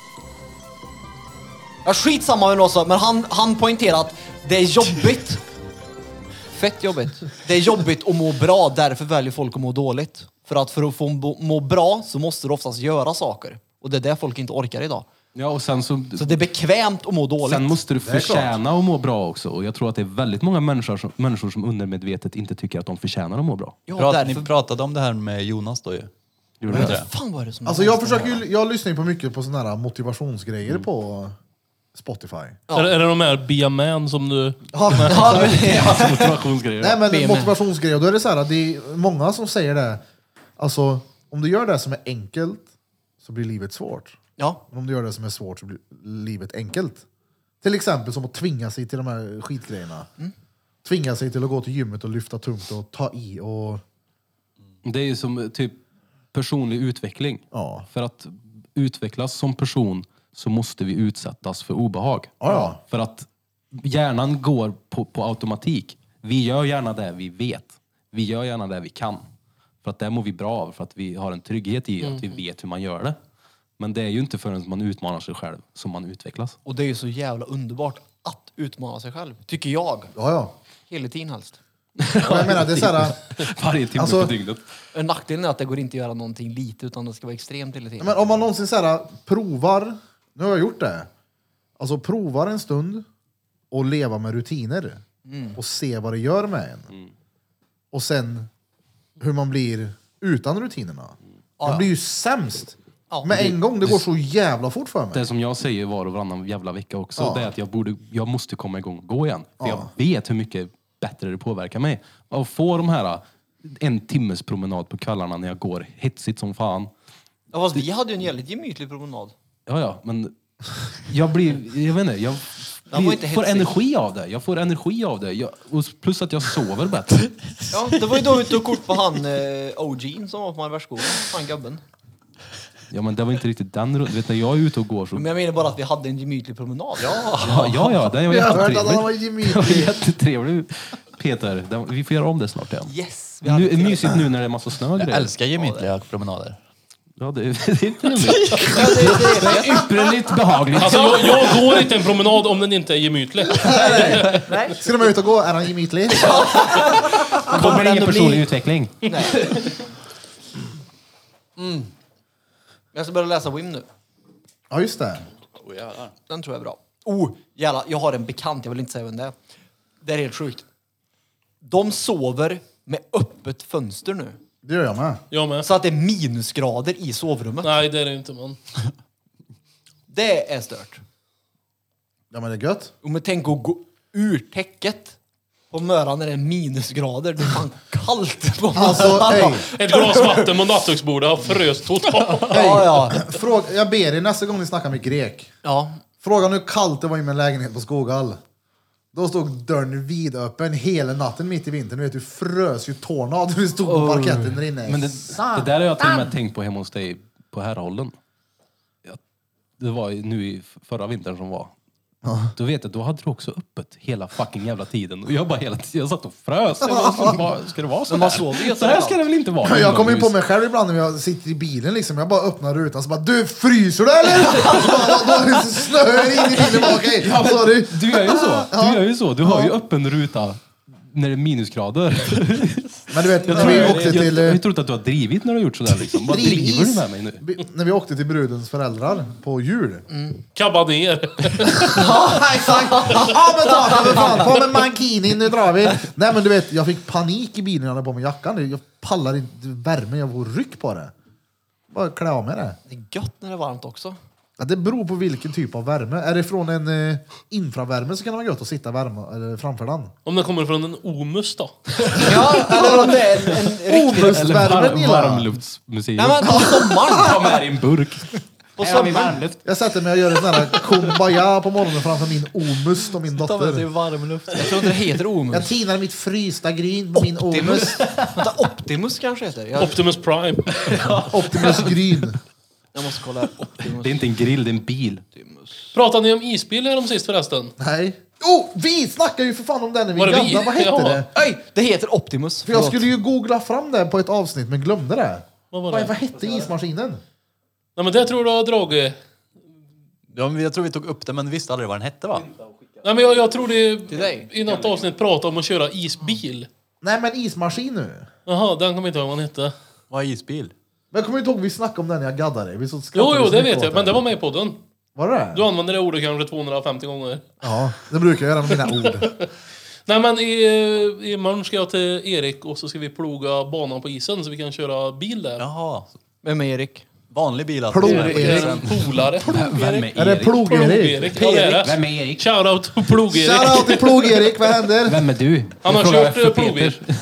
Ja, skitsamma vem det var som sa, men han, han poängterade att det är jobbigt. Fett jobbigt. Det är jobbigt att må bra, därför väljer folk att må dåligt. För att för att få må- må bra så måste du oftast göra saker. Och det är det folk inte orkar idag. Ja, och sen så, Så det är bekvämt att må dåligt. sen måste du är klart. förtjäna att må bra också. Och jag tror att det är väldigt många människor som, människor som undermedvetet inte tycker att de förtjänar att må bra. Ja, Prat, därför... Ni pratade om det här med Jonas då ju. Gjorde Vet det? du det? fan var det som Alltså jag försöker ju, jag lyssnar ju på mycket på sådana här motivationsgrejer Mm. på Spotify. Är, är det de här Be a man som du... Ja, men- Motivationsgrejer. Nej men BMI. motivationsgrejer, då är det så här att det är många som säger det. Alltså, om du gör det som är enkelt så blir livet svårt. ja. Men om du gör det som är svårt så blir livet enkelt. Till exempel som att tvinga sig till de här skitgrejerna. Tvinga sig till att gå till gymmet och lyfta tungt och ta i och... Det är ju som eh, typ personlig utveckling. Ja. För att utvecklas som person så måste vi utsättas för obehag. Ja, ja. För att hjärnan går på, på automatik. Vi gör gärna det vi vet. Vi gör gärna det vi kan. För att det mår vi bra av, för att vi har en trygghet i att vi vet hur man gör det. Men det är ju inte förrän man utmanar sig själv som man utvecklas. Och det är ju så jävla underbart att utmana sig själv. Tycker jag. Ja, ja. Hela tiden helst. Men jag menar, det är så här... Varje timme Alltså- på dygnet. En nackdelen är att det går inte att göra någonting lite utan det ska vara extremt hela tiden. Men om man någonsin så här, äh, provar, nu har jag gjort det, alltså provar en stund och leva med rutiner Mm. och se vad det gör med en. Och sen hur man blir utan rutinerna. Mm. Ja, Jag ja. blir ju sämst Ja, med det- en gång. Det går så jävla fort för mig. Det som jag säger var och varannan jävla vecka också, Ja. det är att jag, borde, jag måste komma igång och gå igen. För jag vet hur mycket bättre det påverkar mig. Att få de här en timmes promenad på kvällarna när jag går hetsigt som fan. Ja, fast vi hade ju en jävligt gemytlig promenad. Ja, ja, men jag blir, jag vet inte, jag Den var inte får hetsig. energi av det. Jag får energi av det. Jag, och plus att jag sover bättre. Ja, det var ju då vi tog kort på han eh, OG'n som var på Marbergsskolan. Han gubben. Ja, men det var inte riktigt den rundan. Du vet, när jag är ute och går så... Men jag menar bara att vi hade en gemytlig promenad. Ja. Ja, ja, ja den var Jag har hört att han var jättetrevlig. Den var gemytlig. jättetrevlig. Peter, den, vi får göra om det snart igen. Yes! Vi hade Nu, tre. mysigt nu när det är massa snö och Jag grejer. älskar gemytliga promenader. Ja, det, det är trevligt. Ja, det, det, Det är ypperligt behagligt. Alltså jag, jag går inte en promenad om den inte är gemytlig. Ska de ut och gå? Är han gemytlig? Alltså, Kommer det ingen ändå bli- personlig utveckling? Jag ska börja läsa Wim nu. Ja, just det. Den tror jag är bra. Oh, jävlar, jag har en bekant, jag vill inte säga vem det är. Det är helt sjukt. De sover med öppet fönster nu. Det gör jag med. Jag med. Så Alltså att det är minusgrader i sovrummet. Nej det är det inte man. Det är stört. Ja, men det är gött. Och men tänk att gå ur täcket på morgonen när det är minusgrader. Det är fan kallt. på Alltså, morgonen. ey. Ett glas vatten på nattduksbordet har frös totalt. Ja, ja. Fråga, jag ber er nästa gång ni snackar med grek. ja. Frågan hur kallt det var i min lägenhet på Skoghall. Då stod dörren vidöppen hela natten mitt i vintern. Du vet, du frös ju tårna av när du stod på parketten där inne. Men det, det där har jag till och med tänkt på hemma hos dig på Herrhollen. Ja, Det var ju nu i f- förra vintern som var. Då vet jag, då hade du också öppet hela fucking jävla tiden. Och jag bara hela tiden, jag satt och frös. Jag bara, så- vad- Ska det vara så Men man här? sover ju Så här överallt. ska det väl inte vara? Men jag kommer ju på inomhus. mig själv ibland när jag sitter i bilen liksom. Jag bara öppnar rutan så bara Du fryser du eller? Så bara, Då är det snö in i bilen. Bara, Okej, Ja, men sorry. Du gör ju så. Du gör ju så. Du har ju öppen ruta när det är minusgrader. Men du vet, Jag när tror, vi jag, åkte jag, till... eh, jag tror inte att du har drivit när du har gjort sådär liksom. Vad driver du Drivis. med mig nu? bi- När vi åkte till brudens föräldrar på jul. Kabba ner. Ja, exakt! Ja, men ta för fan! På med mankini, nu drar vi! Nej men du vet, jag fick panik i bilen när jag hade på mig jackan. Jag pallar inte värmen, jag får ryck på det. Bara klä av mig det. Det är gött när det är varmt också. Ja, det beror på vilken typ av värme. Är det från en eh, infravärme så kan det vara gött att sitta värma, eller framför den. Om den kommer från en omus då. Ja, eller om det är en, en riktig... Eller var, Obustvärmen gillar jag. varmluftsmuseum. Nej, men på sommaren! Ta med dig en burk. På sommaren. Jag sätter mig och gör en sån här kumbaya på morgonen framför min omust och min Ta med dig dotter. varmluft. Jag tror inte det heter Omus. Jag tinar mitt frysta gryn på min omust. Vänta, Optimus kanske heter. Jag, Optimus Prime. Optimus gryn. jag måste kolla här. Optimus. Det är inte en grill, det är en bil. Pratade ni om isbil här om sist förresten? Nej. Oh, vi snackar ju för fan om den när vi Var var det vi? gamla. Vad hette Ja. det? Oj, det heter Optimus. För jag Förlåt. skulle ju googla fram det på ett avsnitt men glömde det. Vad var Vad, det? vad hette ismaskinen? Nej men det tror du har dragit. Ja, men jag tror vi tog upp det, men vi visste aldrig vad den hette va? Nej men jag, jag tror dig. det i något avsnitt pratade om att köra isbil. Nej men ismaskin nu. Jaha, den kommer inte ihåg vad den hette. Vad är isbil? Men jag kommer inte ihåg vi snackade om den när jag gaddade dig. Vi så skrattade Jo, jo så det mycket vet åt jag. Men det var med i podden. Var det Du använder det ordet kanske 250 gånger. Ja, det brukar jag göra med mina ord. Nej men i, imorgon ska jag till Erik och så ska vi ploga banan på isen så vi kan köra bil där. Jaha. Vem är Erik? Vanlig bil alltså. Plog-Erik. Det är en polare. Vem är Är det Erik? Plog-Erik? Plog-Erik. Ja, det är det. Vem är Erik? Shoutout Plog-Erik. Shoutout till Plog-Erik, vad händer? Vem är du? Han har Jag frågar kört efter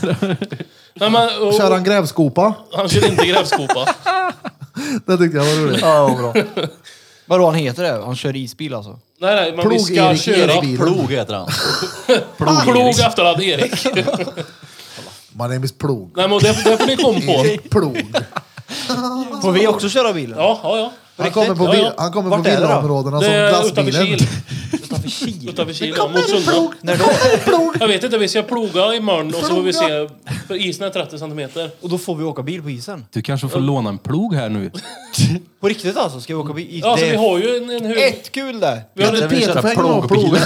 eh, plogbil. Nej, men, och, Kör han grävskopa? han kör inte grävskopa. Det tyckte jag var roligt. Ja, bra. Vadå han heter det? Han kör isbil alltså? Nej, nej, men vi ska Plog-Erik, köra Erik-bil. Plog heter han. plog efter att Erik. My name is Plog. nej, men det, det får ni komma på. Erik Plog. Får vi också köra bilen? Ja, ja, ja. Han kommer på, Ja, vi, ja. han kommer på Vart är det då? villaområdena Det som är utanför glassbilen. Kil. Utanför Kil. Utanför Kil, ja, mot Sunda. När då? Jag vet inte, vi ska ploga imorgon och så får vi se. För isen är 30 centimeter. Och då får vi åka bil på isen? Du kanske får låna en plog här nu. På riktigt alltså? Ska vi åka bil? Ja, så det vi är har ju en, en hög... ett kul det! Vi har en, Peter får hänga med och ploga.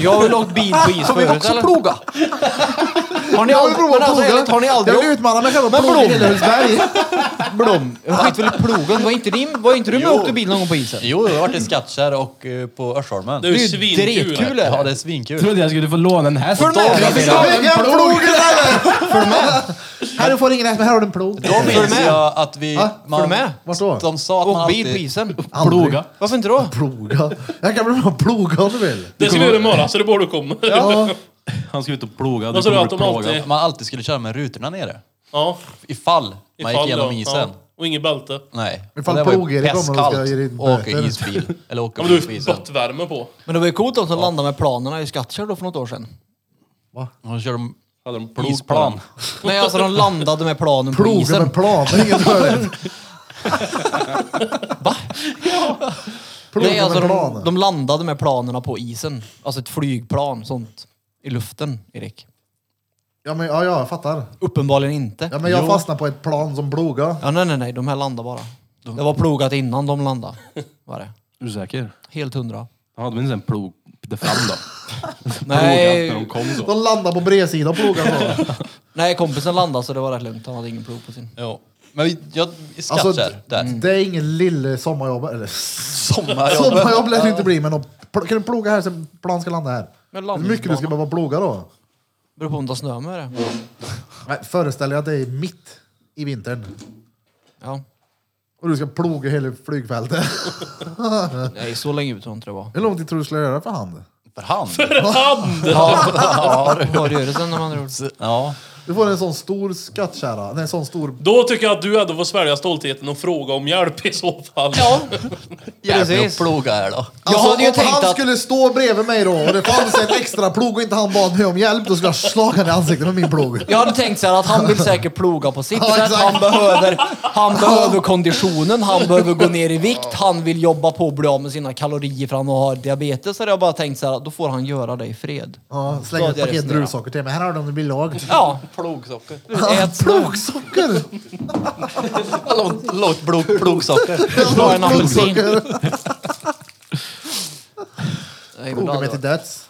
Jag har väl åkt bil på is Får vi förut också eller? ploga? Har ni Jag vill aldrig... prova Men alltså ploga. ärligt, har ni aldrig Jag vill åkt utmana mig själv och ploga i Hillebergsberg. Blom? Skit väl i plogen. Var inte, din, var inte du med och åkte bil någon gång på isen? Jo, jag har varit i Skattkärr och eh, på Örsholmen. det är ju Det är ju svinkul. dretkul. Ja, det är svinkul. trodde jag skulle få låna en häst. För mig? Vilken plog är det här? För du med? Här du får ingen rätt, men här har du en plog. Då minns jag att vi... Va? man- du med? Vart då? De sa att man Och bil på alltid... isen. Aldrig. Ploga. Varför inte då? Ploga. Jag kan väl bara ploga om du vill. Det ska vi göra imorgon, så det borde komma. Ja. Han ska ut och ploga. Vad sa du, att de alltid... Man alltid skulle köra med rutorna nere. Ja, Ifall man gick ifall igenom då. isen. Ja. Och inget bälte. Nej. Ifall Och det var ju Pog-Erik kommer och ska pestkallt ge dig att åka böter. isbil. Eller åka Ja, men du på har ju isen. spottvärme på. Men det var ju coolt de som landade med planerna i Skattkärr då för något år sedan. Och så körde de Hade de plog på isplan. den. Nej, alltså de landade med planen på Ploga isen. med plan, det är inget dåligt. Ploga Nej, alltså med de, plan. de landade med planerna på isen. Alltså ett flygplan, sånt. I luften, Erik. Ja, men, ja, ja, jag fattar. Uppenbarligen inte. Ja, men jag Jo. fastnade på ett plan som ploga. Ja, nej, nej, nej. De här landar bara. Det var plogat innan de landade. Var det. Är du säker? Helt hundra. Han hade väl en sån här plog där fram då? Plogat Nej, när de kom då. De landade på bredsidan och plogade så. nej, kompisen landade så det var rätt lugnt. Han hade ingen plog på sin. Jo. Men vi, jag Alltså, skattar där. Det är ingen lille sommarjobb. Eller Sommarjobbet. sommarjobb lär det inte bli, men de, pl- kan du ploga här så plan ska landa här? Men Hur mycket du ska landningsbana. behöva ploga då? Beror på om det har snö med det. Nej, föreställ dig att det är mitt i vintern Ja. och du ska ploga hela flygfältet. Nej, så länge ut tror jag inte det var. Hur lång tid tror du skulle göra för hand? För hand. Rörelsen om andra ord. Ja. Du får en sån stor skattkärra. Nej, en sån stor... Då tycker jag att du ändå får svälja stoltheten och fråga om hjälp i så fall. Ja. Jävlar Precis. att ploga här då. Jag hade ju om tänkt han att- skulle stå bredvid mig då och det fanns ett extra plog och inte han bad mig om hjälp, då skulle jag slaga honom i ansiktet med min plog. Jag hade tänkt så här att han vill säkert ploga på sitt Ja, sätt. exakt. Han behöver, han behöver konditionen, han behöver gå ner i vikt, han vill jobba på och bli av med sina kalorier för han har diabetes. Så hade jag bara tänkt så här, då får han göra det i fred. Ja, slänga ett Då hade jag paket resonerat. druvsocker till mig. Här har du om du blir låg. Ja, Plogsocker. ät snö. Plogsocker! Långt, långt plog, plogsocker. Dra en apelsin. Plogar mig till döds.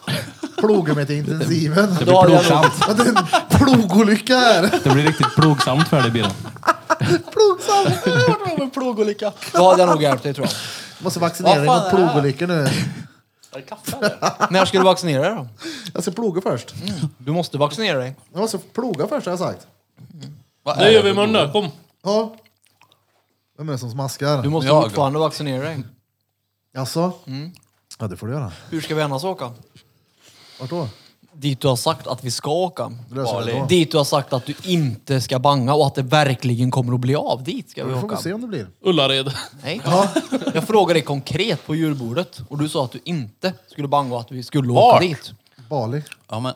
Plogar mig till intensiven. Det Då blir hade jag plogsamt. Det är en plogolycka här. Det blir riktigt plogsamt för dig Birre. Plogsamt. Men Plogolycka. Då hade jag nog hjälpt dig tror Måste vaccinera dig Vad mot fan är det här? plogolyckor nu. Är det kaffe eller? jag. När ska du vaccinera dig då? Jag ska ploga först. Du måste vaccinera dig. Jag måste ploga först har jag sagt. Vad Det är gör vi imorgon då, kom. Ja. Vem är det som smaskar? Du måste Jag. fortfarande vaccinera dig. Jaså? Ja, det får du göra. Hur ska vi annars åka? Vart då? Dit du har sagt att vi ska åka. Det löser vi då. Dit du har sagt att du inte ska banga och att det verkligen kommer att bli av. Dit ska vi Då får vi åka. se om det blir. Ullared. Nej. Jag frågade dig konkret på julbordet och du sa att du inte skulle banga och att vi skulle åka Vart? dit. Bali. Ja, men,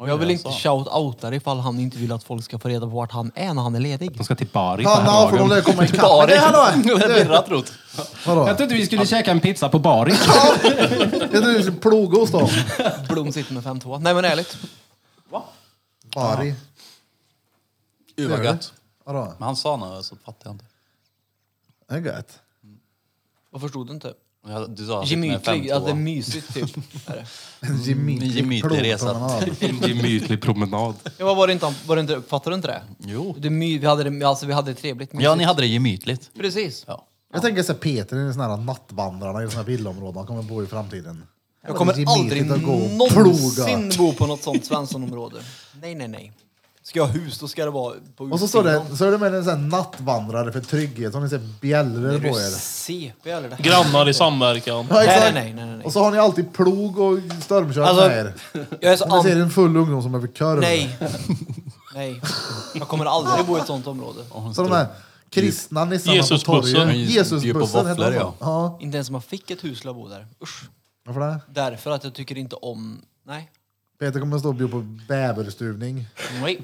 Och jag vill inte shout-outa dig ifall han inte vill att folk ska få reda på vart han är när han är ledig. De ska till Bari på Hanna får de härdagen. lär komma ikapp. Men Det här då? Birra trott. Vadå? Jag trodde vi skulle käka en pizza på Bari. Jag trodde du skulle ploga hos dem. Blom sitter med 5-2. Nej men ärligt. Bari. Gud vad gött. Vadå? Men han sa något så fattade jag inte. Det är gött. Jag förstod inte. Men jag- Du sa att han sitter med Gemytlig, att det är 5-2. mysigt typ. Är det. En Mm, gemytlig gemytlig resa. plogpromenad. En gemytlig promenad. Ja, vad var det inte, han- var det inte, fattar du inte det? Jo. Det, är my- vi, hade det alltså, vi hade det trevligt. Ja, ni mysigt. hade det gemytligt. Precis. Ja. Jag tänker så här, Peter är en sån här nattvandrarna i de här villaområdena han kommer bo i framtiden. Jag kommer aldrig Gemytligt att gå och någonsin bo på något sånt Svenssonområde. Nej, nej, nej. Ska jag ha hus, då ska det vara på Och så står det, så är det med en sån här nattvandrare för trygghet, som ni ser bjällror Är på du er. CP eller? Det här? Grannar i samverkan. Ja, Nej, exakt. nej, nej, nej, nej. Och så har ni alltid plog och stormkör Alltså, med er. Jag är så Om ni ser an... en full ungdom som behöver korv. Nej. Nej. Jag kommer aldrig bo i ett sånt område. Så de här kristna nissarna på Jesusbussen. torgen. Ja, Jesusbussen bjuder på heter de våfflor, så. Ja. Inte ens om jag fick ett hus skulle jag bo där. Usch. Varför det? Därför att jag tycker inte om... Nej. Peter kommer att stå och bjuda på bäverstuvning. Nej.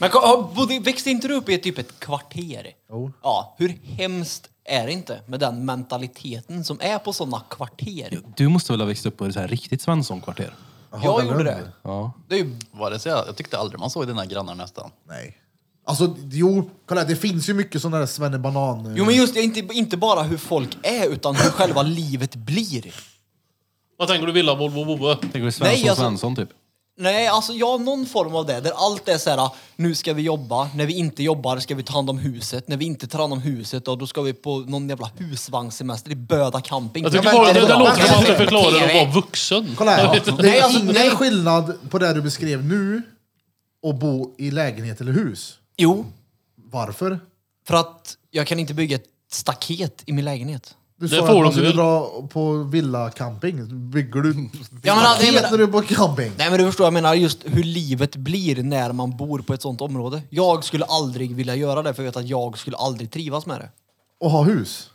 Men ko- har- bodde- växte inte du upp i typ ett kvarter? Jo. Ja, hur hemskt är det inte med den mentaliteten som är på såna kvarter? Du måste väl ha växt upp på ett så här riktigt Svensson-kvarter? Jag Hagalund. gjorde det. Ja. Det är ju Var det så jag, jag tyckte aldrig man såg dina grannar nästan. Nej. Alltså, jo, kolla här, det finns ju mycket sådana där svennebanan... Jo men just det, inte, inte bara hur folk är utan hur själva livet blir. Vad tänker du villa, Volvo, Vovve? Tänker du Svensson, Nej, alltså- Svensson typ? Nej, alltså ja, någon form av det där allt är så här, nu ska vi jobba, när vi inte jobbar ska vi ta hand om huset, när vi inte tar hand om huset då, då ska vi på någon jävla husvagnssemester i Böda camping. Jag tycker Ja, men bara det Alltså, det, är det bra. låter som att du Men- förklarar att vara vuxen. Kolla här, det är Nej, alltså, ingen nej. skillnad på det du beskrev nu att bo i lägenhet eller hus. Jo, Varför? för att jag kan inte bygga ett staket i min lägenhet. Du Det sa får att de man skulle väl. dra på villacamping. Bygger du Ja, men, jag staket menar- när du är på camping? Nej men du förstår, jag menar just hur livet blir när man bor på ett sånt område. Jag skulle aldrig vilja göra det för jag vet att jag skulle aldrig trivas med det. Och ha hus?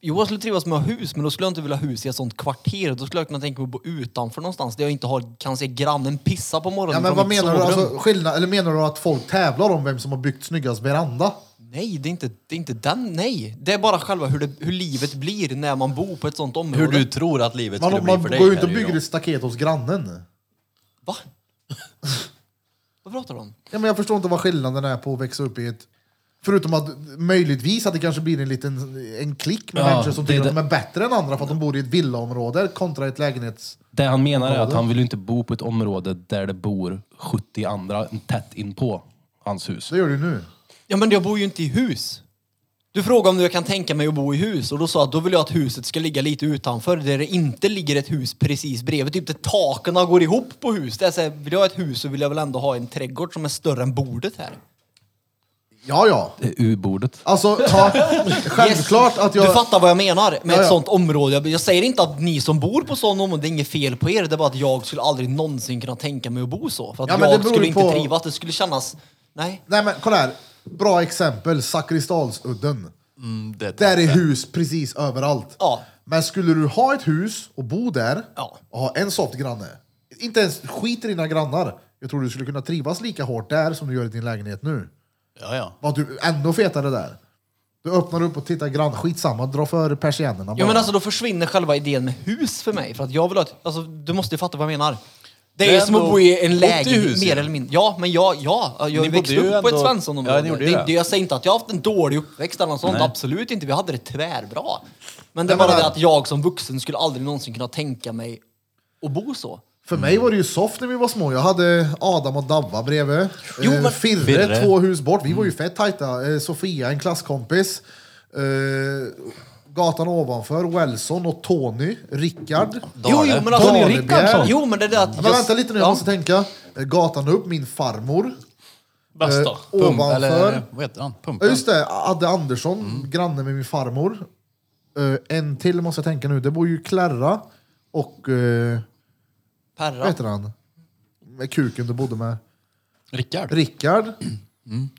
Jo, jag skulle trivas med att ha hus, men då skulle jag inte vilja ha hus i ett sånt kvarter. Då skulle jag kunna tänka mig att bo utanför någonstans där jag inte har, kan se grannen pissa på morgonen Ja, men från vad mitt menar du? sovrum. Alltså, skillnad, eller menar du att folk tävlar om vem som har byggt snyggast veranda? Nej, det är, inte, det är inte den. Nej, det är bara själva hur, det, hur livet blir när man bor på ett sånt område. Hur du tror att livet skulle Man, bli man för går dig. ju inte och här är bygger ju ett staket hos grannen. Va? vad pratar du om? Ja, men jag förstår inte vad skillnaden är på att växa upp i ett... Förutom att möjligtvis att det kanske blir en liten en klick med Ja, människor som det- tycker att det- de är bättre än andra för att de bor i ett villaområde kontra ett lägenhets... Det han menar är att han vill ju inte bo på ett område där det bor 70 andra tätt inpå hans hus. Det gör du nu. Ja, men jag bor ju inte i hus. Du frågade om jag kan tänka mig att bo i hus och då sa jag att då vill jag att huset ska ligga lite utanför där det inte ligger ett hus precis bredvid. Typ där taken går ihop på hus. Det är så här, vill jag ha ett hus så vill jag väl ändå ha en trädgård som är större än bordet här. Ja, ja. Det är U-bordet. Alltså, ja, självklart att jag... Du fattar vad jag menar med Ja, ett ja. sånt område. Jag, jag säger inte att ni som bor på sådana områden, det är inget fel på er. Det är bara att jag skulle aldrig någonsin kunna tänka mig att bo så. För att Ja, men det jag beror skulle ju inte på- trivas. Det skulle kännas... Nej. Nej men kolla här, bra exempel, Zakrisdalsudden. det- Där är hus precis överallt. Ja. Men skulle du ha ett hus och bo där Ja. och ha en soft granne, inte ens skit i dina grannar. Jag tror du skulle kunna trivas lika hårt där som du gör i din lägenhet nu. Ja, ja. Vad du ännu fetare där. Du öppnar upp och tittar grann, skitsamma, dra för persiennerna Ja, bara. men alltså då försvinner själva idén med hus för mig. För att jag vill ha ett, alltså, du måste ju fatta vad jag menar. Det är, Det är som att ändå- bo i en bodde i lägenhet hus, mer ja. eller mindre. Ja, men jag, ja, jag Ni växte bodde upp ju på ett ändå- Svenssonsområde. Ja, ni gjorde ju det, det. det, jag säger inte att jag har haft en dålig uppväxt eller något sånt. Absolut inte. Vi hade det tvärbra. Men det är Jag bara menar- det att jag som vuxen skulle aldrig någonsin kunna tänka mig att bo så. För mig var det ju soft när vi var små. Jag hade Adam och Davva bredvid. Jo, eh, men- Mm. Firre, Firre. två hus bort. Vi var ju fett tajta. Eh, Sofia, en klasskompis. Eh, gatan ovanför, Welson och Tony, Rickard. Jo, jo, men alltså, Dale Daniel Rickardsson. Bjerg. Jo, men det är det att... Men vänta lite nu, jag Ja. måste tänka. Eh, Gatan upp, min farmor. Eh, Bästa. Pump, ovanför. eller vad heter han? Ja, Pumpen? just det, Adde Andersson, granne med min farmor. Eh, en till måste jag tänka nu. Det bor ju Klara och... eh, vad Perra. heter han? Med kuken du bodde med. Rickard? Rickard.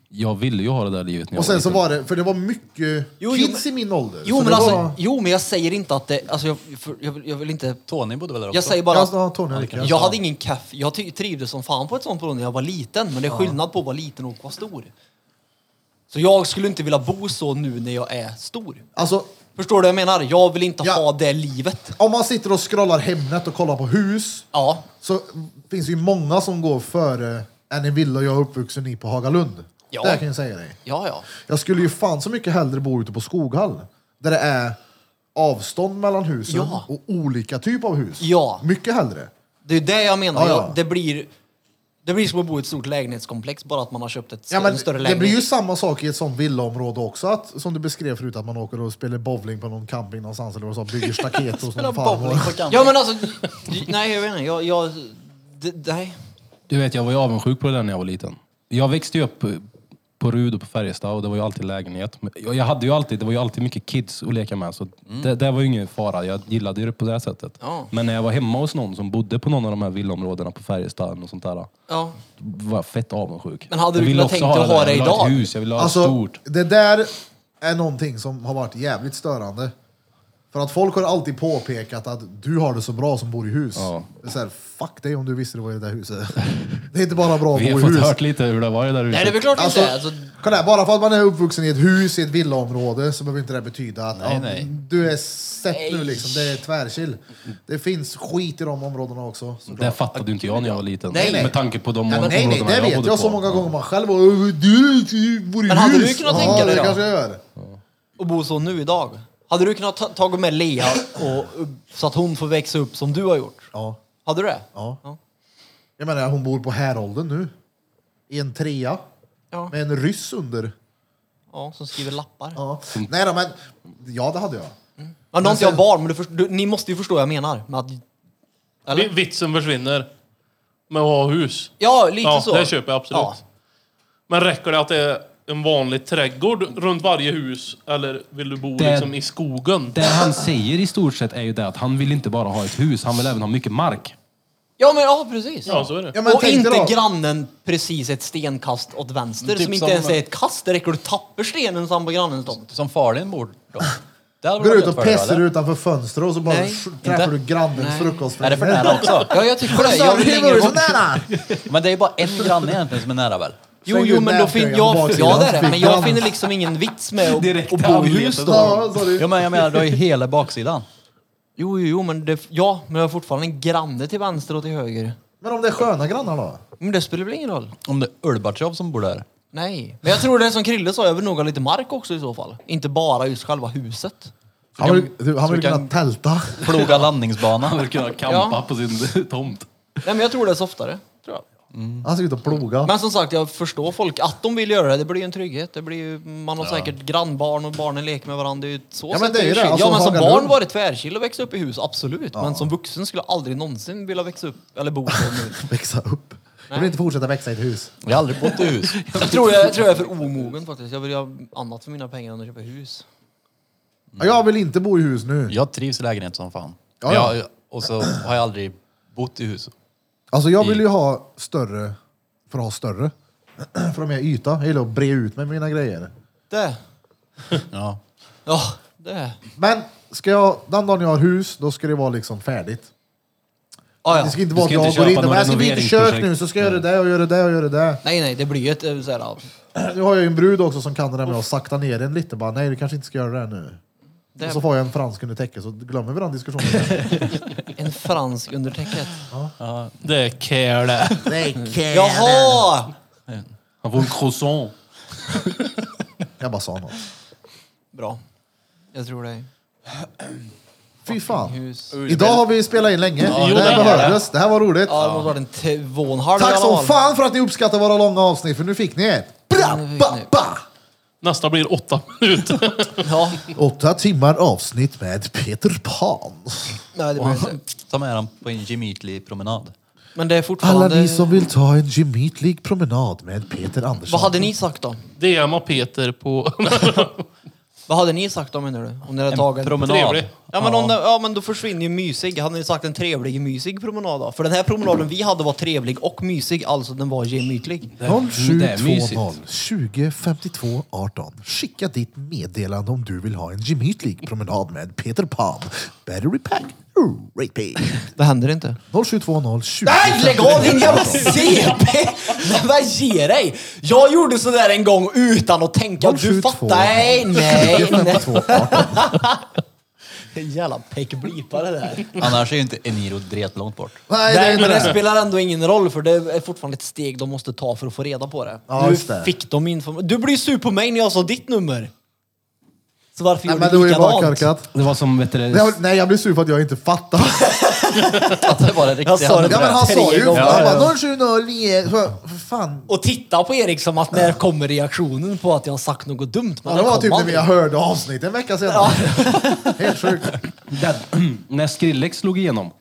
Jag ville ju ha det där livet när jag Och sen var så liten. var det, för det var mycket Jo, jo, kids men- i min ålder. Jo så men, det alltså, var, jo, men jag säger inte att det... Alltså, jag, för, jag, vill, jag vill inte... Tony bodde väl där också? Jag säger bara... Ja, alltså, Tony och Rickard. Jag hade ingen kaff. Jag ty- trivdes som fan på ett sånt boende när jag var liten. Men det är skillnad på att vara liten och att vara stor. Så jag skulle inte vilja bo så nu när jag är stor. alltså, Förstår du vad jag menar? Jag vill inte Ja. ha det livet. om man sitter och scrollar Hemnet och kollar på hus Ja. så finns det ju många som går före än en villa jag är uppvuxen i på Hagalund. Ja. Det kan jag säga dig. Ja, ja. Jag skulle ju fan så mycket hellre bo ute på Skoghall. Där det är avstånd mellan husen Ja. och olika typ av hus. Ja. Mycket hellre. Det är det jag menar. Ja, ja. Jag, det blir... Det blir som att bo i ett stort lägenhetskomplex, bara att man har köpt ett Ja, men en större det lägenhet. blir ju samma sak i ett sånt villaområde också, att, som du beskrev förut, att man åker och spelar bowling på någon camping någonstans eller vad du sa, bygger staket hos någon farmor. Ja men alltså, nej jag vet inte. Jag, jag, det, nej. Du vet, jag var ju avundsjuk på det där när jag var liten. Jag växte ju upp eh, på Rud och på Färjestad och det var ju alltid lägenhet. Men Jag jag hade ju alltid, det var ju alltid mycket kids att leka med så det, det var ju ingen fara. Jag gillade ju det på det här sättet. Ja. Men när jag var hemma hos någon som bodde på någon av de här villaområdena på Färjestad och sånt där, då Ja. var jag fett avundsjuk. Men hade du Jag ville kunnat också tänkt där. dig att ha det Jag ville ha ett idag? hus, jag ville ha Alltså, stort. det där är någonting som har varit jävligt störande. För att folk har alltid påpekat att du har det så bra som bor i hus. Ja. Det är så här, fuck dig om du visste det var i det där huset. Det är inte bara bra att Vi bo har i fått hus. hört lite hur det var i det där huset. Nej det är väl klart Alltså, inte. Alltså, kolla här, bara för att man är uppvuxen i ett hus i ett villaområde så behöver inte det betyda att ja, nej. du är sett nu liksom, det är tvärchill. Det finns skit i de områdena också. såklart. Det fattade ju inte jag när jag var liten. Nej, nej. Med tanke på de Ja, men områdena nej, nej, det jag vet bodde jag så på. många gånger man själv och, "Ö, du, du bor i Men hade hus. du kunnat ja, tänka dig det då? kanske jag gör. och bo så nu idag. Hade du kunnat ta tagit med Lea och, och, så att hon får växa upp som du har gjort? Ja. Hade du det? Ja. Jag menar, hon bor på Härolden nu. I en trea. Ja. Med en ryss under. Ja, som skriver lappar. Ja. Mm. Nej då, men ja, det hade jag. Men nu har Men inte jag sen- barn, men du först- du, ni måste ju förstå vad jag menar. Med att, Vi- Vitsen försvinner. med att ha hus. Ja, lite ja, så. Det köper jag absolut. Ja. Men räcker det att det är en vanlig trädgård runt varje hus? Eller vill du bo Det- liksom i skogen? Det han säger i stort sett är ju det att han vill inte bara ha ett hus, han vill även ha mycket mark. Ja, men ja, precis. Ja, så är det. Ja, men och tänk dig inte då. grannen precis ett stenkast åt vänster Typ som inte som- ens är ett kast. Det räcker att du tappar stenen som på grannens tomt. Som Falun bor då. Det hade Går varit ut och för dig, pessar eller? utanför fönstret och så bara Nej, sk- träffar inte. du grannens Är det för frukostfränge. nära också? Ja, jag tycker det. Så Jag vill hur var längre det så bort. nära? Men det är ju bara en granne egentligen som är nära väl? Jo, Släng jo, ut men då finner nättröjan på jag... baksidan, Ja, det är det. Men jag fickan. finner liksom ingen vits med att, Direkt att bo i avletet. hus då. Ja, sorry. Ja, men jag menar, du har ju hela baksidan. Jo, jo, jo, men det... Ja, men jag har fortfarande en granne till vänster och till höger. Men om det är sköna grannar då? Men det spelar väl ingen roll? Om det är Ulbatjov som bor där. Nej. Men jag tror det är som Krille sa, jag vill nog ha lite mark också i så fall. Inte bara just själva huset. Han vill, du, han vill kan- Mm. kunna tälta. Ploga landningsbana. Han vill kunna campa på sin tomt. Nej, men jag tror det är softare. Han ska ut och ploga. Men som sagt, jag förstår folk att de vill göra det. Det blir ju en trygghet. Det blir ju, man har säkert grannbarn och barnen leker med varandra. Det är ju så Ja, men sätt det är ju det. chill. Alltså, ja, men som Hagalund. barn var det tvärchill att växa upp i hus, absolut. Men som vuxen skulle jag aldrig någonsin vilja växa upp eller bo så nu. Växa upp. Jag vill inte fortsätta växa i ett hus. Jag har aldrig bott i hus. jag, tror jag, jag tror jag är för omogen faktiskt. Jag vill ha annat för mina pengar än att köpa hus. Ja, Jag vill inte bo i hus nu. Jag trivs i lägenhet som fan. Ja, ja. Jag, och så har jag aldrig bott i hus. Alltså jag vill ju ha större för att ha större. för att ha mer yta. Jag gillar att bre ut mig med mina grejer. Det. Ja. Ja, det. Men ska jag, den dagen jag har hus, då ska det vara liksom färdigt. Ah, Det ja. ska inte Du vara ska att jag inte går in köpa och bara, något jag ska bli ett kök renoveringsprojekt. nu så ska jag göra det och göra det och göra det. Nej, nej, det blir ju ett eh, så här, ja, Nu har jag ju en brud också som kan det där med att sakta ner en lite. Bara, nej, du kanske inte ska göra det här nu. det Och så är får jag en fransk under täcket så glömmer vi den diskussionen. en fransk under täcket. Det är care det. Jaha! Han får en croissant. jag bara sa något. Bra. Jag tror det. Fy fan. Hus. Idag har vi spelat in länge. jo, det det här är behövdes. Det här var roligt. Ja, det måste varit en två och en halv i Tack alla som fall. fan för att ni uppskattar våra långa avsnitt för nu fick ni ett. Bra, Nu fick ba, ni. ba. Nästa blir åtta minuter. Ja. Åtta timmar avsnitt med Peter Pan. Nej, det Och behöver inte. han tar med den på en gemytlig promenad. Men det är Alla fortfarande... ni som vill ta en gemytlig promenad med Peter Andersson. Vad hade ni sagt då? DMa Peter på... Vad hade ni sagt då menar du? Om ni hade tagit en Promenad. Trevlig. Ja men, om, det- ja men då försvinner ju mysig. Hade ni sagt en trevlig mysig promenad då? För den här promenaden vi hade var trevlig och mysig, alltså den var gemytlig. 0720 20 52 18. Skicka ditt meddelande om du vill ha en gemytlig promenad med Peter Pan. Battery pack. Ooh, Rapey. Det händer inte. 0720 20 Nej, lägg av 52 din jävla 18. CP! Nej, Vad ger dig? Jag gjorde sådär en gång utan att tänka. Du 072. fattar? Nej, nej, 20 nej. 52 18. Jävla peckblipare det där. Annars är ju inte Eniro dret långt bort. Nej, det är Nej, inte men det det. spelar ändå ingen roll för det är fortfarande ett steg de måste ta för att få reda på det. Ja, nu just det. fick de information. Du blir sur på mig när jag sa ditt nummer. Så varför Nej, gjorde men du är du ju bara likadant? korkat. Det var som, vet du, det- Nej, jag- Nej, jag blir sur för att jag inte fattar. Att det var det riktiga. Jag sa det. Ja, men han sa Tre ju... gånger. Han bara 0709... För fan. Och titta på Erik som att när kommer reaktionen på att jag har sagt något dumt? Men Ja, det var kom typ när aldrig. vi hörde avsnitt en vecka senare. Helt sjukt. när Skrillex slog igenom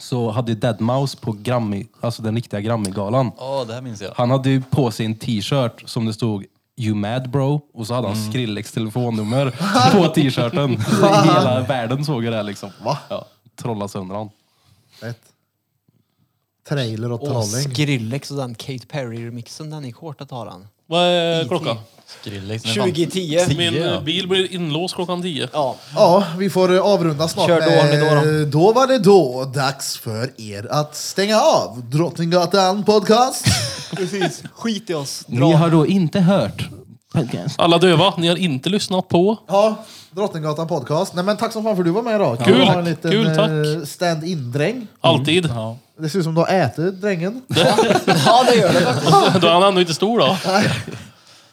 så hade ju Deadmau5 på Grammy, alltså den riktiga Grammy-galan. Ja, det här minns jag. Han hade ju på sig en t-shirt som det stod You mad bro? Och så hade han Mm. Skrillex telefonnummer på t-shirten. Hela världen såg ju det här, liksom. Va? Ja, trolla sönder han. Rätt. Trailer och Och trolling. Skrillex och den Katy Perry-remixen, den gick hårt att ha den. Vad är klockan? Skrillex. nu fan. 2010. Min Tio, ja. eh, bil blir inlåst klockan tio. Ja. Ja, vi får eh, avrunda snart. Kör då, med- då, då. då var det då dags för er att stänga av Drottninggatan podcast. Precis. Skit i oss. Ni har då inte hört podcast? Alla döva, ni har inte lyssnat på. Ja, Drottninggatan podcast. Nej men tack så fan för att du var med idag. Kul. att ha en liten Kul, tack. eh, stand-in-dräng. Alltid. Det ser ut som du har ätit drängen. Ja, det gör det faktiskt. Då är han ändå inte stor då.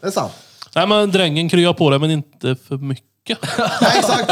Det är sant. Nej men drängen kryar på det men inte för mycket. Nej, exakt.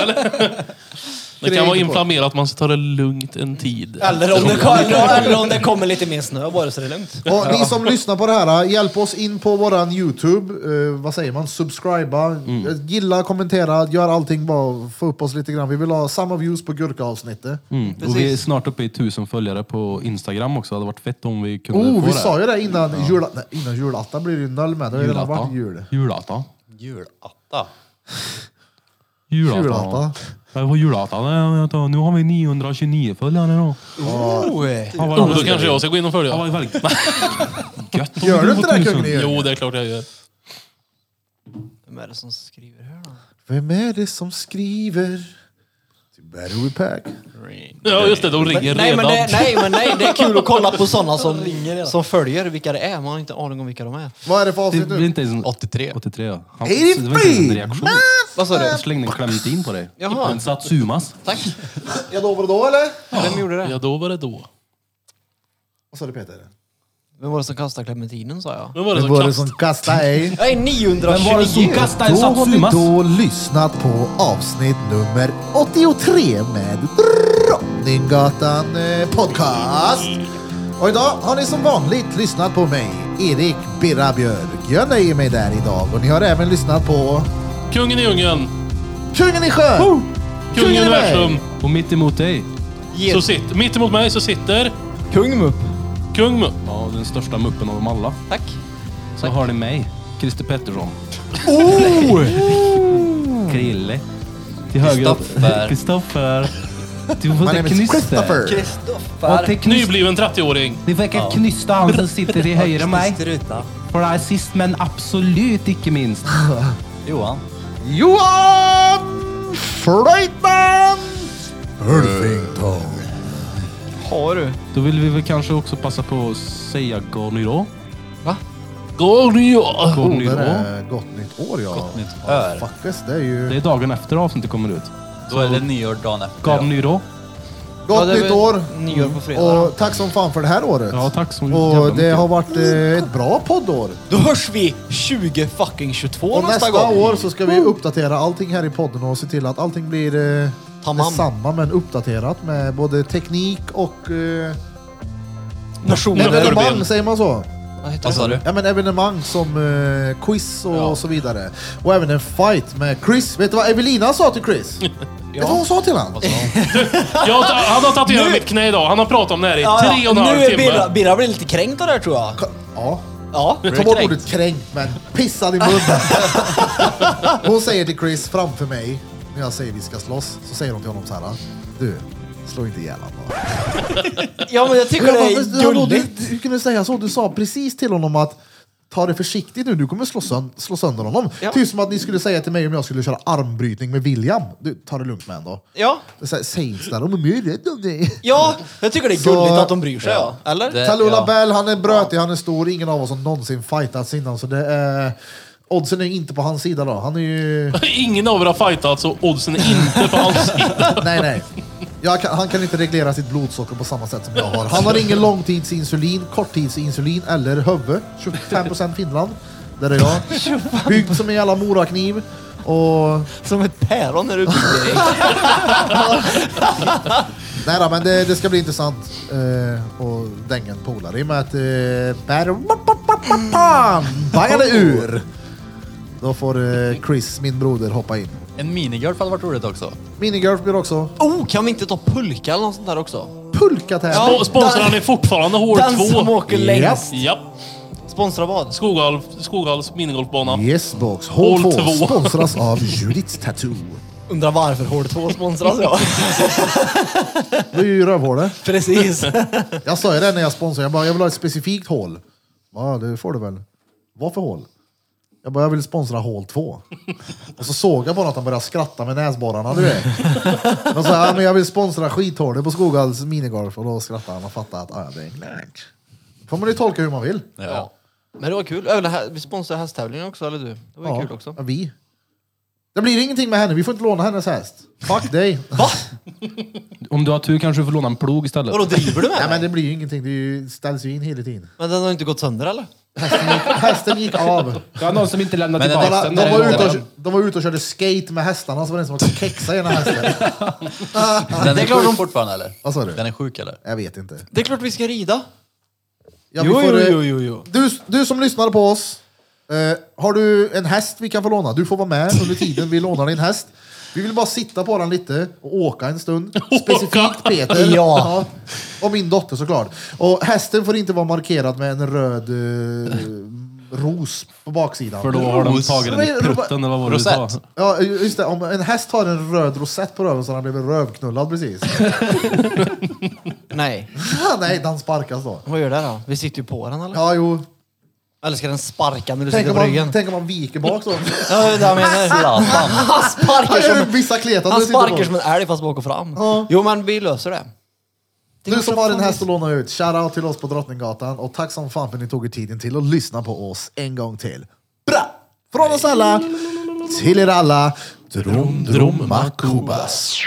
Det kan vara inflammerat, man ska ta det lugnt en tid. Eller om, det, kommer- eller om det kommer lite mer snö bara så är det lugnt. Och ni som lyssnar på det här, eh, hjälp oss in på våran Youtube. Eh, vad säger man? Subscriba, Eh, gilla, kommentera, gör allting. Bara få upp oss lite grann. Vi vill ha samma views på gurkaavsnittet. Mm. Och vi är snart uppe i tusen följare på Instagram också. Det hade varit fett om vi kunde Oh, få vi det. sa ju det innan, jula, nej, innan julafton blir det ju noll med. Det har ju redan varit jul. Julata. Julatta. Julata. Julata. Det var julata. Nej, vänta, Nu har vi 929 följare då. Han var, Oh, Då kanske jag ska gå in och Han var följa. ju väldigt gött. om Gör du var inte det, 1000. Kungen? Jo, det är klart jag gör. Vem är det som skriver här då? Vem är det som skriver? Typ till Battery Pack. Ja, just det. De ringer Nej men, redan. det, nej, men nej, det är kul att kolla på sådana som, som följer vilka det är. Man har inte aning om vilka de är. Vad är det för avsnitt Det blir nu? inte ens en 83. 83 ja. Han, 83! det var inte ens en reaktion. Vad sa du? Jag slängde en klämtin på dig. Jaha. En satsumas. Tack. Ja, då var det då eller? Vem gjorde det? Ja, då var det då. Vad sa du Peter? Vem var det som kastade clementinen sa jag? Vem var det Det som var det kastade? som kastade ej. Nej, Vem var det som 929! kastade Då en har vi satsumas? då lyssnat på avsnitt nummer 83 med Drottninggatan eh, Podcast. Och idag har ni som vanligt lyssnat på mig, Erik Birra Björk. Jag nöjer mig där idag och ni har även lyssnat på Kungen i djungeln. Kungen i sjön! Kungen i Kungen i universum. Och mitt emot dig. Så sitter, mitt emot mig så sitter Kung Mupp. kung Mu- Ja, den största muppen av dem alla. Tack. Så har ni mig, Christer Pettersson. Oh! Krille. Till Kristoffer. höger. Kristoffer. Du My får name säga is knyster. Christopher. Ja, det är knyst- Nybliven 30-åring. Ni verkar knysta han som sitter till höger om mig. Struta. För det är sist men absolut inte minst. Johan. Johan Flöjtman Ulfington. Har du? Då vill vi väl kanske också passa på att säga Gornyrå. Gorgia. Oh, det Gornyrå. är gott nytt år ja. Gott nytt år. Fuckes, det är ju... Det är dagen efter avsnittet kommer ut. Då är det nyår dagen efter. ja. Gornyrå. Gott Ja, det är nytt väl år! nyår på fredag. Och tack som fan för det här året. Ja, tack så jävla Och det mycket. har varit eh, ett bra poddår. Då hörs vi 20 fucking 22 Och nästa, nästa gång. år så ska vi uppdatera allting här i podden och se till att allting blir eh, Tamam. detsamma men uppdaterat med både teknik och eh, Nötterben. evenemang, säger man så? Vad heter Vad sa du? Ja men evenemang som eh, quiz och så vidare. Och även en fight med Chris. Vet du vad Evelina sa till Chris? Vet du vad hon sa till honom? Jag, har ta- han har tatuerat mitt knä idag. Han har pratat om det här i Ja, tre ja. och en Nu halv är Birra, timme. Birra blir lite kränkt av det här tror jag. Ja. Ja. Ta bort ordet kränkt men pissad i munnen. Hon säger till Chris framför mig, när jag säger vi ska slåss, så säger hon till honom så här. Du, slå inte ihjäl honom. Ja men jag tycker det Ja, men är hallå, du, gulligt. du, du kunde säga så. Du sa precis till honom att ta det försiktigt nu, du kommer slå, sönd slå sönder honom. Ja. Typ som att ni skulle säga till mig om jag skulle köra armbrytning med William. Du, ta det lugnt med ändå. Ja. Säg inte sådär, de är ju rädda om dig. Ja, jag tycker det är Så- gulligt att de bryr sig. Ja. Eller? Det- Talula Eh, ja. Bell, han är brötig, han är stor. Ingen av oss har någonsin fightats innan, så det är... Oddsen är inte på hans sida då. Han är ju... Ingen av er har fightat så oddsen är inte på hans sida. Nej, nej. Jag kan, han kan inte reglera sitt blodsocker på samma sätt som jag har. Han har ingen långtidsinsulin, korttidsinsulin eller huvud. 25% Finland. Där är jag. Byggd som en jävla morakniv. Och... Som ett päron när du blir Nej då, men det, det ska bli intressant. Eh, och dängen polare i och med att... Eh, bär- bangade ur! Då får eh, Chris, min broder, hoppa in. En minigolf hade varit roligt också. Minigirl blir också Oh, kan vi inte ta pulka eller något sånt där också? pulkat här. Ja. Sponsraren är fortfarande hål Den som 2. åker längst. Japp. Sponsra vad? Skoghall, Skoghalls minigolfbana. Yesbox Hål H2 två. sponsras av Judiths Tattoo. Undrar varför Hård 2 sponsras jag? Det är ju rövhålet. Precis. Jag sa ju det när jag sponsrade. Jag bara, jag vill ha ett specifikt hål. Ja, det får du väl. Vad för hål? Jag bara, jag vill sponsra hål två. Och så såg jag bara att han började skratta med näsborrarna, du vet. Och så, ja, men jag vill sponsra skithålet på Skoghalls minigolf. Och då skrattade han och fattade att, "Ah, ja, det är klart. får man ju tolka hur man vill. Ja. Men det var kul. Även här, vi sponsrar hästtävlingen också, eller du? Det var ju Ja, kul också. ja, vi. Det blir ingenting med henne, vi får inte låna hennes häst. Fuck dig. Om du har tur kanske du får låna en plog istället. Vadå, driver du med Nej men men, det blir ju ingenting, det är ju- ställs ju in hela tiden. men den har ju inte gått sönder eller? Hästen gick, hästen gick av. Det var någon som inte lämnade Men den tillbaka där- den. De var, ute den- och, de var ute och körde skate med hästarna, så var det en som åkte kexa i ena hästen. Den är sjuk fortfarande eller? Vad sa du? Den är sjuk eller? Jag vet inte. Det är klart vi ska rida. Ja, vi Jo, får, jo, eh, jo, jo, jo. Du, du som lyssnar på oss, eh, har du en häst vi kan få låna? Du får vara med under tiden vi lånar din häst. Vi vill bara sitta på den lite och åka en stund. Specifikt Peter. Ja. Och min dotter såklart. Och hästen får inte vara markerad med en röd eh, ros på baksidan. För då har de tagit den i Ros- prutten eller vad var det du sa? Rosett. Ja, just det. Om en häst har en röd rosett på röven så har han blev rövknullad precis. Nej. Ja, Nej, den sparkas då. Vad gör det då? Vi sitter ju på den eller? Ja, jo. Eller ska den sparka när du Tänk sitter om, på man, ryggen? tänk om man viker bak så. Ja, det är det jag Ah, menar. Han sparkar som en... Vissa kletar. Han du sitter på. Alltså, sparkar som en älg fast bak och fram. Ja. Jo men vi löser det. Det är Du som klart har en fan häst att låna ut, shoutout till oss på Drottninggatan och tack som fan för att ni tog er tiden till att lyssna på oss en gång till. Bra! Från oss alla, till er alla, Drom Droma Kubas.